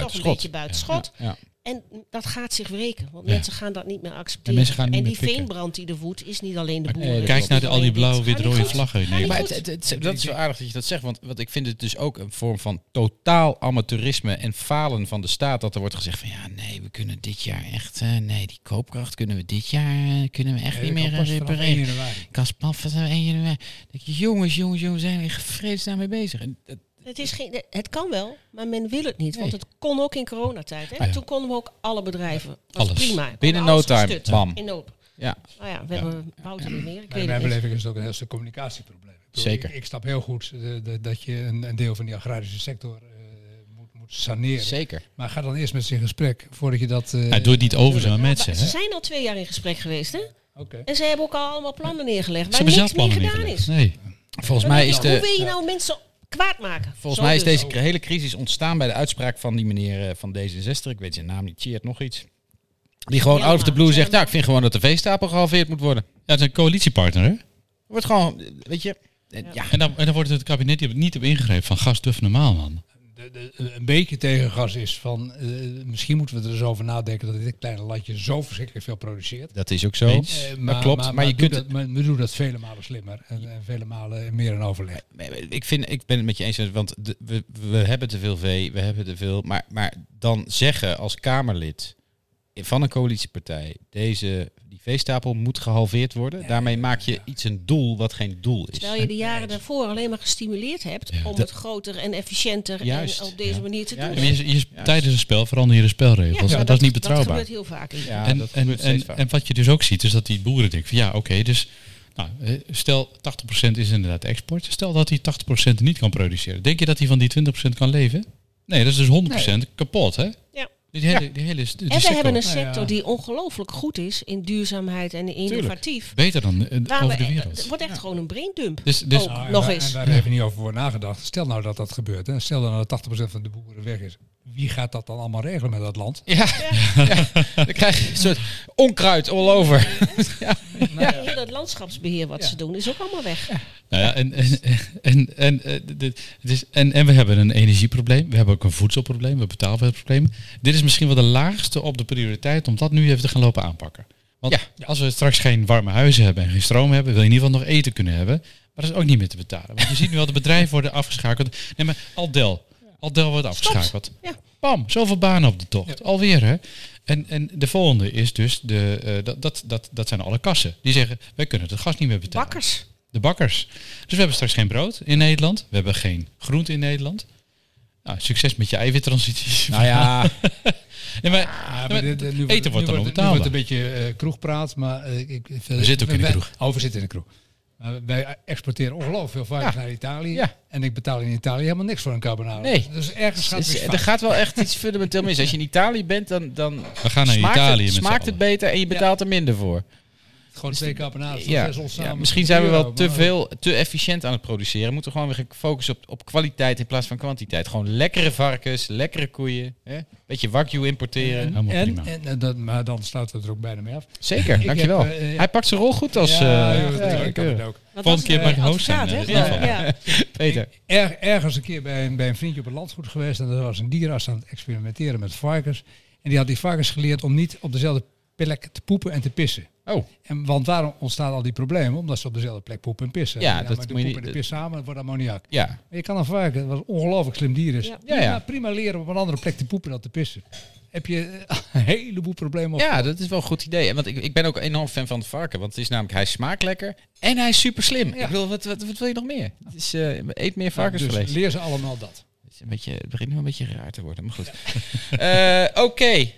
Speaker 5: toch een beetje buiten schot.
Speaker 2: Ja.
Speaker 5: En dat gaat zich wreken, want
Speaker 6: Ja.
Speaker 5: mensen gaan dat niet meer accepteren.
Speaker 6: En mensen gaan niet meer
Speaker 5: die
Speaker 6: pikken.
Speaker 5: veenbrand die er woedt, is niet alleen de
Speaker 6: Maar eh,
Speaker 5: boeren.
Speaker 2: nee,
Speaker 5: het
Speaker 6: Kijk
Speaker 5: is
Speaker 6: naar
Speaker 5: niet
Speaker 6: de, al die
Speaker 5: alleen
Speaker 6: blauwe,
Speaker 5: dit.
Speaker 6: wit
Speaker 5: Gaat niet
Speaker 6: rode
Speaker 5: goed.
Speaker 6: vlaggen in
Speaker 5: Gaat niet
Speaker 6: Nederland.
Speaker 2: Maar
Speaker 5: goed.
Speaker 2: het, het, het- dat is wel aardig dat je dat zegt, want, want ik vind het dus ook een vorm van totaal amateurisme en falen van de staat. Dat er wordt gezegd van ja, nee, we kunnen dit jaar echt, eh, nee, die koopkracht kunnen we dit jaar, eh, kunnen we echt
Speaker 1: Ik
Speaker 2: niet meer
Speaker 1: kan
Speaker 2: gaan
Speaker 1: pas vanaf 1
Speaker 2: repareren.
Speaker 1: januari.
Speaker 2: Kan pas vanaf 1 januari. Denk je, Jongens, jongens, jongens, zijn we gevreesd daarmee bezig. En dat-
Speaker 5: Het, is geen, het kan wel, maar men wil het niet. Want
Speaker 2: Nee.
Speaker 5: het kon ook in coronatijd. Hè?
Speaker 6: Ah, Ja.
Speaker 5: Toen konden we ook alle bedrijven. Was
Speaker 6: Alles.
Speaker 5: Prima. Kon
Speaker 2: Binnen
Speaker 5: alles
Speaker 2: no time.
Speaker 5: gestut.
Speaker 2: Bam.
Speaker 5: In no
Speaker 2: ja,
Speaker 5: Nou ja, we hebben Wouter niet meer.
Speaker 1: Maar
Speaker 5: Ik
Speaker 1: in
Speaker 5: weet
Speaker 1: mijn
Speaker 5: het niet.
Speaker 1: beleving is het dus ook een heel stuk communicatieprobleem. Ik bedoel,
Speaker 2: Zeker.
Speaker 1: Ik, ik snap heel goed eh, dat- dat je een, een deel van die agrarische sector eh, moet, moet saneren.
Speaker 2: zeker.
Speaker 1: Maar ga dan eerst met ze in gesprek voordat je dat. eh,
Speaker 6: Hij doet het niet over zijn mensen.
Speaker 5: Ze
Speaker 6: Hè?
Speaker 5: zijn al twee jaar in gesprek geweest, hè?
Speaker 1: Oké.
Speaker 5: En ze hebben ook al allemaal plannen neergelegd.
Speaker 6: Ze
Speaker 5: Waar
Speaker 6: hebben
Speaker 5: niks
Speaker 6: zelf
Speaker 5: mee
Speaker 6: plannen
Speaker 5: gedaan
Speaker 6: neergelegd.
Speaker 5: is.
Speaker 6: Nee.
Speaker 2: Volgens mij is
Speaker 5: Hoe
Speaker 2: de,
Speaker 5: wil je nou mensen kwaad maken?
Speaker 2: Volgens
Speaker 5: Zo
Speaker 2: mij is
Speaker 5: dus
Speaker 2: deze
Speaker 5: ook.
Speaker 2: hele crisis ontstaan bij de uitspraak van die meneer eh, van D66. Ik weet zijn naam niet, Cheert nog iets. Die gewoon
Speaker 5: Ja,
Speaker 2: out of the
Speaker 5: maar-
Speaker 2: blue zegt, ja, ik vind gewoon dat de veestapel gehalveerd moet worden.
Speaker 6: Ja, het is een coalitiepartner, hè?
Speaker 2: Wordt gewoon, eh, weet je, eh, ja.
Speaker 6: En dan, en dan wordt het kabinet die niet op ingegrepen van gast duf normaal, man.
Speaker 1: De- de- eh, Een beetje tegengas is van, eh, misschien moeten we er eens over nadenken dat dit kleine landje zo verschrikkelijk veel produceert.
Speaker 2: dat is ook zo.
Speaker 6: Eens.
Speaker 1: Eh,
Speaker 2: dat klopt, maar, je
Speaker 1: doe
Speaker 2: kunt...
Speaker 1: dat, maar we doen dat vele malen slimmer en, en vele malen meer in overleg.
Speaker 2: het- Ik, vind, ik ben het met je eens, want de- we, we hebben te veel vee, we hebben te veel... Maar, maar dan zeggen als Kamerlid van een coalitiepartij, deze, die veestapel moet gehalveerd worden. Daarmee maak je iets een doel wat geen doel is.
Speaker 5: Terwijl je de jaren daarvoor alleen maar gestimuleerd hebt om het groter en efficiënter
Speaker 2: Juist,
Speaker 5: en op deze
Speaker 2: ja.
Speaker 5: manier te
Speaker 2: Ja,
Speaker 5: doen.
Speaker 6: Ja, maar je- je- tijdens een spel verander je de
Speaker 5: Ja,
Speaker 6: spelregels.
Speaker 5: maar
Speaker 6: en dat is niet betrouwbaar.
Speaker 5: Dat gebeurt heel vaak.
Speaker 2: Ja,
Speaker 6: en,
Speaker 2: dat
Speaker 6: en,
Speaker 2: gebeurt steeds
Speaker 6: en,
Speaker 2: vaker.
Speaker 6: en wat je dus ook ziet, is dat die boeren denken van ja, oké, dus nou, eh, stel 80% is inderdaad export. Stel dat hij 80% niet kan produceren. Denk je dat hij van die 20% kan leven? Nee, dat is dus 100% kapot, hè?
Speaker 5: Ja.
Speaker 6: Die hele, die hele die
Speaker 5: En we
Speaker 6: sector.
Speaker 5: hebben een
Speaker 1: Nou ja.
Speaker 5: sector die ongelooflijk goed is in duurzaamheid en innovatief.
Speaker 6: Beter dan eh,
Speaker 5: Waar
Speaker 6: over
Speaker 5: we-
Speaker 6: de
Speaker 5: Het
Speaker 6: wereld.
Speaker 5: wordt echt gewoon een braindump.
Speaker 6: Dus, dus,
Speaker 5: Ook.
Speaker 1: Nou, en
Speaker 5: nog
Speaker 1: waar-
Speaker 5: eens.
Speaker 1: En waar even niet over wordt nagedacht. Stel nou dat dat gebeurt. Hè. Stel nou dat 80% van de boeren weg is. Wie gaat dat dan allemaal regelen met dat land?
Speaker 2: Ja, dan krijg je een soort onkruid all over.
Speaker 5: Maar heel dat landschapsbeheer wat ze doen is ook allemaal weg.
Speaker 6: nou ja, en, en, en, en, eh, dit- het is- en, en we hebben een energieprobleem. We hebben ook een voedselprobleem. We hebben betaalbaarheidsprobleem. Dit is misschien wel de laagste op de prioriteit om dat nu even te gaan lopen aanpakken. Want als we straks geen warme huizen hebben en geen stroom hebben, wil je in ieder geval nog eten kunnen hebben. Maar dat is ook niet meer te betalen. Want je ziet nu al de bedrijven worden afgeschakeld. Nee, maar Aldel. Aldel wordt afgeschakeld.
Speaker 5: Ja.
Speaker 6: Bam, zoveel banen op de tocht. Alweer hè. En, en de volgende is dus, de, eh, dat, dat, dat, dat zijn alle kassen. Die zeggen, wij kunnen het gas niet meer betalen.
Speaker 5: Bakkers.
Speaker 6: De bakkers. Dus we hebben straks geen brood in Nederland. We hebben geen groente in Nederland. Nou, succes met je eiwittransitie.
Speaker 2: Nou ja,
Speaker 6: Nee, maar,
Speaker 1: Ja,
Speaker 6: nee,
Speaker 1: Ah, maar
Speaker 6: maar
Speaker 1: dit- eh, nu
Speaker 6: eten wordt dan
Speaker 1: nu
Speaker 6: ook
Speaker 1: Nu wordt
Speaker 6: betaalbaar.
Speaker 1: een beetje eh, kroegpraat, maar eh, ik, ik vind-
Speaker 6: We zitten ook in de
Speaker 1: wij-
Speaker 6: kroeg.
Speaker 1: Oh, we zitten in de kroeg. Maar wij exporteren ongelooflijk veel varkens
Speaker 2: Ja.
Speaker 1: naar Italië.
Speaker 2: Ja.
Speaker 1: En ik betaal in Italië helemaal niks voor een carbonade.
Speaker 2: Nee.
Speaker 1: Dus ergens gaat het
Speaker 2: dus,
Speaker 1: iets
Speaker 2: eh,
Speaker 1: fout.
Speaker 2: er gaat wel echt iets fundamenteel mis. Als je in Italië bent, dan, dan
Speaker 6: We gaan naar
Speaker 2: smaakt,
Speaker 6: Italië
Speaker 2: het,
Speaker 6: met
Speaker 2: smaakt
Speaker 6: z'n
Speaker 2: het
Speaker 6: allen.
Speaker 2: beter en je betaalt er minder voor.
Speaker 1: Gewoon twee carbonades.
Speaker 2: Ja,
Speaker 1: zes ons
Speaker 2: ja,
Speaker 1: samen.
Speaker 2: misschien zijn we wel
Speaker 1: Euro,
Speaker 2: te
Speaker 1: maar-
Speaker 2: veel, te efficiënt aan het produceren. Moeten we gewoon weer gaan focussen op, op kwaliteit in plaats van kwantiteit. Gewoon lekkere varkens, lekkere koeien. Hè? Beetje wagyu importeren.
Speaker 6: Helemaal
Speaker 1: En,
Speaker 6: prima.
Speaker 1: en, en dat, maar dan sluiten we het er ook bijna mee af.
Speaker 2: Zeker,
Speaker 1: Ik
Speaker 2: dankjewel.
Speaker 1: heb, eh,
Speaker 2: Hij pakt zijn rol goed als
Speaker 1: ja,
Speaker 2: eh,
Speaker 1: joh, dat
Speaker 2: ja,
Speaker 1: kan het ook.
Speaker 5: Want
Speaker 6: Volgende
Speaker 5: dat is
Speaker 6: keer mag
Speaker 5: een eh,
Speaker 6: je host zijn,
Speaker 5: advocaat,
Speaker 2: eh,
Speaker 6: hè? Dat is
Speaker 5: hè? Ja. Ja.
Speaker 2: Peter.
Speaker 1: Er, ergens een keer bij een, bij een vriendje op het landgoed geweest. En dat was een dierenarts aan het experimenteren met varkens. En die had die varkens geleerd om niet op dezelfde plek te poepen en te pissen.
Speaker 2: Oh,
Speaker 1: En, want waarom ontstaan al die problemen? Omdat ze op dezelfde plek poepen en pissen.
Speaker 2: Ja,
Speaker 1: maar
Speaker 2: dat
Speaker 1: de
Speaker 2: moet je
Speaker 1: poep en
Speaker 2: niet-
Speaker 1: de pis samen, het wordt ammoniak.
Speaker 2: ja.
Speaker 1: Maar je kan een varken, wat een ongelooflijk slim dier is,
Speaker 5: Ja.
Speaker 1: Prima,
Speaker 2: Ja, ja.
Speaker 1: prima leren om op een andere plek te poepen dan te pissen. Heb je eh, een heleboel problemen op.
Speaker 2: Ja, dat is wel een goed idee. En Want ik, ik ben ook enorm fan van het varken. Want het is namelijk, hij smaakt lekker en hij is super slim. Ik bedoel, wat, wat, wat wil je nog meer? Het is, eh, eet meer varkensvlees.
Speaker 1: Dus leer ze allemaal dat.
Speaker 2: Het is een beetje, het begint nu een beetje raar te worden, maar goed. Eh, Oké.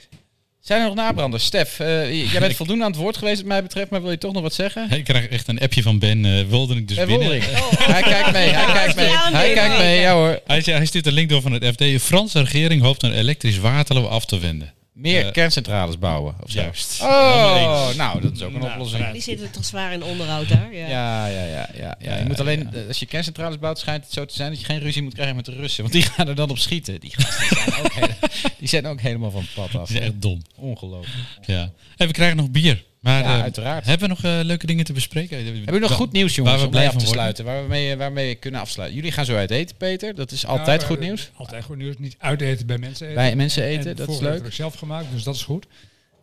Speaker 2: Zijn er nog nabranders? Stef, eh, jij bent voldoende aan het woord geweest wat mij betreft, maar wil je toch nog wat zeggen?
Speaker 6: Ik krijg echt een appje van Ben eh Wilderink dus
Speaker 2: Eh,
Speaker 6: binnen.
Speaker 2: Wolderink. Hij kijkt mee, hij kijkt mee.
Speaker 5: Ja,
Speaker 2: Hij
Speaker 5: nee,
Speaker 2: kijkt
Speaker 5: nee.
Speaker 2: mee, ja hoor.
Speaker 6: Hij, zei- hij stuurt een link door van het FD. De Franse regering hoopt een elektrisch waterloo af te wenden.
Speaker 2: Meer
Speaker 6: Eh,
Speaker 2: kerncentrales bouwen, of zo.
Speaker 6: Juist. Helemaal
Speaker 2: Oh,
Speaker 6: eens.
Speaker 2: nou, dat is ook een oplossing.
Speaker 5: Die zitten toch zwaar in onderhoud daar. Ja.
Speaker 2: Ja, ja, ja, ja, ja. Je moet alleen, eh, als je kerncentrales bouwt, schijnt het zo te zijn dat je geen ruzie moet krijgen met de Russen. Want die gaan er dan op schieten. Die, gasten zijn, ook hele- die zijn ook helemaal van het pad af.
Speaker 6: Dat is echt dom.
Speaker 2: Ongelooflijk.
Speaker 6: Ja. En we krijgen nog bier. Maar
Speaker 2: Ja,
Speaker 6: eh,
Speaker 2: uiteraard.
Speaker 6: hebben we nog eh, leuke dingen te bespreken?
Speaker 2: Heb je nog goed nieuws, jongens,
Speaker 6: Waar we
Speaker 2: om mee
Speaker 6: blij
Speaker 2: af
Speaker 6: van
Speaker 2: te
Speaker 6: worden?
Speaker 2: sluiten? Waar we, mee, waar we mee kunnen afsluiten. Jullie gaan zo uit eten, Peter. Dat is altijd
Speaker 1: Ja,
Speaker 2: goed
Speaker 1: eh,
Speaker 2: nieuws.
Speaker 1: Altijd goed nieuws. Niet uiteten bij mensen eten.
Speaker 2: Bij mensen
Speaker 1: En- en
Speaker 2: eten, dat is
Speaker 1: vorige keer
Speaker 2: leuk.
Speaker 1: heb ik zelf gemaakt, dus dat is goed.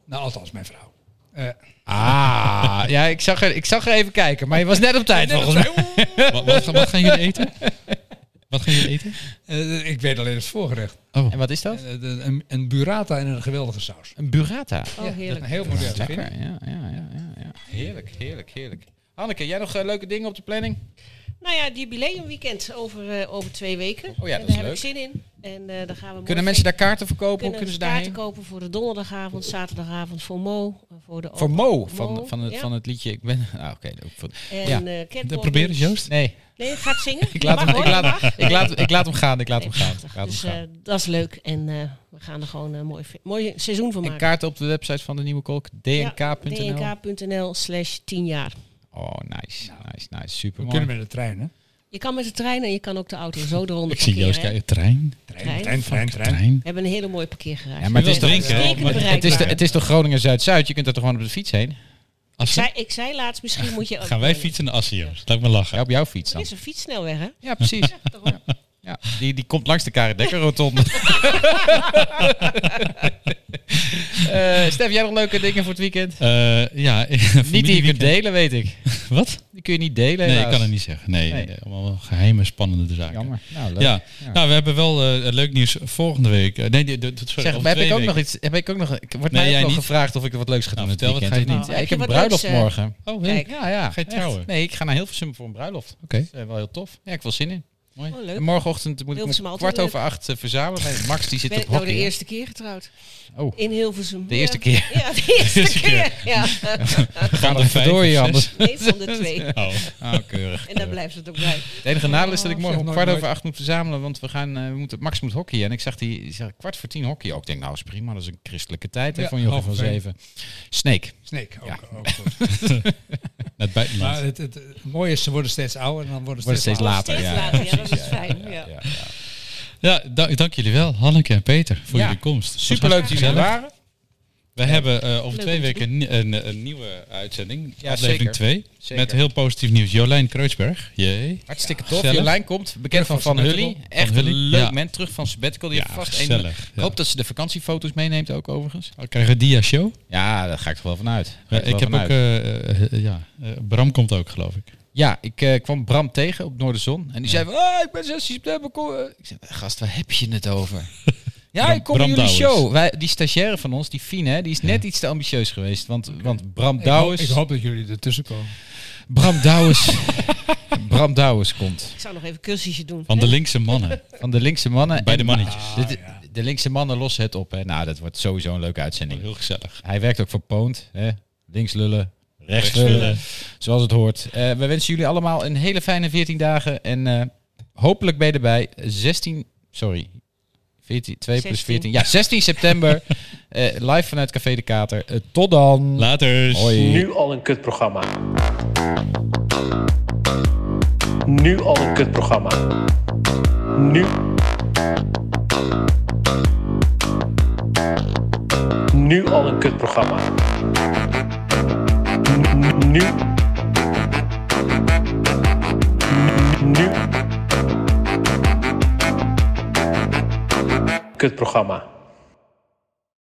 Speaker 1: Nou, althans, mijn vrouw. Eh,
Speaker 2: Ah, ja, ik zag, er, ik zag er even kijken, maar je was net op tijd volgens mij.
Speaker 6: Wat, wat, gaan- wat gaan jullie eten? Wat gaan jullie eten?
Speaker 1: eh, ik weet alleen het voorgerecht.
Speaker 2: En wat is dat?
Speaker 1: Eh, de- een, een burrata en een geweldige saus.
Speaker 2: Een burrata.
Speaker 5: Oh, heerlijk.
Speaker 1: Een heel modern. vind ik.
Speaker 2: Lekker, ja, ja, ja, ja, ja. Heerlijk, heerlijk, heerlijk. Hanneke, jij nog eh, leuke dingen op de planning?
Speaker 5: Nou ja, het jubileumweekend over, eh, over twee weken.
Speaker 2: Oh ja,
Speaker 5: en
Speaker 2: dat
Speaker 5: daar
Speaker 2: is
Speaker 5: heb ik
Speaker 2: leuk.
Speaker 5: zin in. En eh daar gaan we
Speaker 2: Kunnen
Speaker 5: mooi
Speaker 2: mensen
Speaker 5: feest-
Speaker 2: daar kaarten verkopen? Hoe
Speaker 5: kunnen
Speaker 2: kunnen ze
Speaker 5: kaarten
Speaker 2: daarheen?
Speaker 5: kopen voor de donderdagavond, zaterdagavond voor Mo. eh, Voor, de
Speaker 2: Voor Mo,
Speaker 5: Mo,
Speaker 2: van, van, het,
Speaker 5: ja.
Speaker 2: van het liedje. Ik ben. Ah, oké. ook voor-
Speaker 5: En,
Speaker 2: ja.
Speaker 5: eh, catwalk
Speaker 6: Eh, Probeer eens,
Speaker 5: lunch.
Speaker 6: Joost.
Speaker 2: Nee,
Speaker 5: Nee, gaat zingen.
Speaker 2: ik laat,
Speaker 5: Mag,
Speaker 2: hem, ik,
Speaker 5: hoor, mag.
Speaker 2: laat, ik, laat, ik laat hem gaan. Ik laat
Speaker 5: Nee,
Speaker 2: hem gaan.
Speaker 5: prachtig.
Speaker 2: Ik laat hem
Speaker 5: Dus
Speaker 2: gaan.
Speaker 5: eh, dat is leuk. En eh, we gaan er gewoon een mooi, fe- mooi seizoen van
Speaker 2: En
Speaker 5: maken.
Speaker 2: kaarten op de website van de Nieuwe Kolk, dnk.nl.
Speaker 5: dnk.nl slash 10 jaar.
Speaker 2: Oh, nice,
Speaker 5: Nou.
Speaker 2: nice, nice.
Speaker 1: We
Speaker 2: Super
Speaker 1: kunnen met de trein, hè?
Speaker 5: Je kan met de trein en je kan ook de auto zo eronder
Speaker 6: Ik zie Joost
Speaker 5: parkeren, hè.
Speaker 6: kijken. Trein.
Speaker 5: Trein.
Speaker 1: Trein, trein, trein. trein.
Speaker 6: Trein.
Speaker 5: We hebben een hele mooie parkeergarage.
Speaker 2: Ja, maar het is
Speaker 5: We zijn
Speaker 6: drinken, hè?
Speaker 5: uitstekend
Speaker 6: Maar
Speaker 2: Het is,
Speaker 5: bereikbaar.
Speaker 2: de, het is toch Groningen Zuid-Zuid? Je kunt er toch gewoon op de fiets heen?
Speaker 5: Ik
Speaker 6: Assen.
Speaker 5: zei, ik zei laatst, misschien moet je...
Speaker 6: Gaan wij fietsen naar Assen, Joost? Laat me lachen.
Speaker 2: Ja, op jouw fiets
Speaker 5: Er
Speaker 2: dan.
Speaker 5: is een fietssnelweg, hè?
Speaker 2: Ja, precies.
Speaker 5: Daarom.
Speaker 2: Ja, die, die komt langs de Karedekker-rotonde. Eh Stef, jij nog leuke dingen voor het weekend?
Speaker 6: Eh, ja,
Speaker 2: Niet die je kunt
Speaker 6: familieweekend.
Speaker 2: delen, weet ik.
Speaker 6: Wat?
Speaker 2: Die kun je niet delen.
Speaker 6: Nee, ik
Speaker 2: helaas.
Speaker 6: kan het niet zeggen. Nee,
Speaker 2: Nee.
Speaker 6: nee, nee. allemaal geheime, spannende zaken.
Speaker 2: Jammer. Nou, leuk.
Speaker 6: Ja.
Speaker 2: Ja.
Speaker 6: nou, we hebben wel eh, leuk nieuws volgende week. Eh, nee, de, de, sorry,
Speaker 2: Zeg,
Speaker 6: over
Speaker 2: maar heb
Speaker 6: twee
Speaker 2: ik ook
Speaker 6: weken.
Speaker 2: nog iets? Heb ik ook nog? ik- Wordt
Speaker 6: Nee,
Speaker 2: mij ook
Speaker 6: jij
Speaker 2: nog
Speaker 6: niet.
Speaker 2: gevraagd of ik wat leuks ga doen.
Speaker 6: Nou,
Speaker 2: dit
Speaker 6: vertel, wat
Speaker 2: weekend,
Speaker 6: ga je
Speaker 2: of niet?
Speaker 6: doen?
Speaker 5: Nou,
Speaker 2: ik
Speaker 5: heb
Speaker 2: heb
Speaker 5: je
Speaker 2: een
Speaker 5: wat leuks,
Speaker 2: bruiloft
Speaker 5: eh,
Speaker 2: morgen.
Speaker 6: Oh,
Speaker 5: Kijk.
Speaker 6: leuk.
Speaker 2: Ja, ja.
Speaker 6: Ga je
Speaker 2: echt.
Speaker 6: trouwen?
Speaker 2: Nee, ik ga naar Hilversum voor een bruiloft. Oké.
Speaker 6: Oké.
Speaker 2: Dat is eh, wel heel tof. Ja, ik heb wel zin in.
Speaker 5: Oh, leuk.
Speaker 2: En morgenochtend moet ik
Speaker 5: Hilversum
Speaker 2: om
Speaker 5: altijd
Speaker 2: kwart
Speaker 5: leuk.
Speaker 2: over acht eh, verzamelen. Nee, Max die zit
Speaker 5: ben
Speaker 2: op
Speaker 5: ik nou
Speaker 2: hockey.
Speaker 5: de
Speaker 2: hè?
Speaker 5: eerste keer getrouwd.
Speaker 2: Oh.
Speaker 5: In Hilversum.
Speaker 2: De eerste
Speaker 5: Ja.
Speaker 2: keer.
Speaker 5: Ja, de eerste
Speaker 6: Eerste keer.
Speaker 5: keer. Ja.
Speaker 6: We gaan
Speaker 2: er even door, Jan.
Speaker 5: Eén van de twee.
Speaker 6: Oh,
Speaker 2: Ah, keurig.
Speaker 5: En daar blijft het ook bij.
Speaker 2: Het enige nadeel is dat ik morgen om
Speaker 1: nooit
Speaker 2: kwart
Speaker 1: nooit.
Speaker 2: over acht moet verzamelen, want we gaan, eh, we moeten, Max moet hockey. En ik zag die, die zag kwart voor tien hockey. Ook ik denk, nou is prima, dat is een christelijke tijd. hè,
Speaker 1: Ja,
Speaker 2: van joh
Speaker 1: half
Speaker 2: van
Speaker 1: twee.
Speaker 2: zeven. Snake.
Speaker 1: Snake, ook,
Speaker 2: Ja.
Speaker 1: ook goed.
Speaker 6: naar het buitenland.
Speaker 1: Maar het, het, het mooie is, ze worden steeds ouder en dan worden ze
Speaker 2: Wordt
Speaker 1: steeds,
Speaker 2: steeds later.
Speaker 5: Steeds
Speaker 2: Ja,
Speaker 5: later, ja, dat
Speaker 2: precies,
Speaker 5: is fijn. Ja.
Speaker 2: ja.
Speaker 6: Ja, da- dank jullie wel, Hanneke en Peter, voor
Speaker 2: Ja.
Speaker 6: jullie komst.
Speaker 2: Superleuk dat jullie er
Speaker 6: gezellig.
Speaker 2: waren.
Speaker 6: We hebben eh, over
Speaker 5: Leuk
Speaker 6: twee
Speaker 5: om te
Speaker 6: weken ni- een, een, nieuwe uitzending,
Speaker 2: Ja,
Speaker 6: aflevering
Speaker 2: zeker.
Speaker 6: 2,
Speaker 2: Zeker.
Speaker 6: met heel positief nieuws. Jolijn Kreutzberg, jee.
Speaker 2: Hartstikke tof.
Speaker 6: gezellig.
Speaker 2: Jolijn komt, bekend van Van
Speaker 6: sabbatical.
Speaker 2: Hully.
Speaker 6: Van
Speaker 2: Echt een
Speaker 6: Hully,
Speaker 2: leuk
Speaker 6: ja.
Speaker 2: mens. Terug van sabbatical. Die
Speaker 6: Ja,
Speaker 2: heeft vast
Speaker 6: gezellig,
Speaker 2: een... Ik
Speaker 6: ja.
Speaker 2: hoop dat ze de vakantiefoto's meeneemt ook overigens.
Speaker 6: We krijgen een dia-show.
Speaker 2: Ja, daar ga ik toch wel vanuit. Daar ga
Speaker 6: Ja,
Speaker 2: er wel
Speaker 6: ik heb
Speaker 2: van
Speaker 6: ook,
Speaker 2: uit.
Speaker 6: eh, eh, ja, eh, Bram komt ook, geloof ik.
Speaker 2: Ja, ik eh, kwam Bram tegen op Noorderzon. En die zei van, ah, ik ben 16 september. kom, eh." Ik zei, gast, waar heb je het over? ja,
Speaker 6: Bram-
Speaker 2: ik kom in
Speaker 6: Bram
Speaker 2: jullie
Speaker 6: Douwens.
Speaker 2: show. Wij, die stagiaire van ons, die Fien, hè, die is net iets te ambitieus geweest. Want, want Bram
Speaker 1: Ik hoop,
Speaker 2: Douwens...
Speaker 1: ik hoop dat jullie ertussen komen.
Speaker 2: Bram Douwens... Bram Douwens komt.
Speaker 5: Ik zou nog even een cursusje doen.
Speaker 6: Van de linkse mannen.
Speaker 2: Van de linkse mannen.
Speaker 6: Bij
Speaker 2: en-
Speaker 6: de mannetjes. Ah,
Speaker 2: De, de- de linkse mannen lossen het op. Hè. Nou, dat wordt sowieso een leuke uitzending.
Speaker 6: Heel gezellig.
Speaker 2: Hij werkt ook voor Poont. Hè. Links lullen, rechts
Speaker 6: Rechts
Speaker 2: lullen.
Speaker 6: lullen.
Speaker 2: Zoals het hoort. Eh, we wensen jullie allemaal een hele fijne 14 dagen. En eh, hopelijk ben je erbij. 16, sorry. 14, 2 plus
Speaker 5: 16.
Speaker 2: 14. Ja, 16 september. eh, live vanuit Café de Kater. Eh, tot dan.
Speaker 6: Later.
Speaker 2: Hoi.
Speaker 9: Nu al een kutprogramma. Nu al een kutprogramma. Nu. Nu al een kutprogramma. Nu. Nu. Nu. Kutprogramma.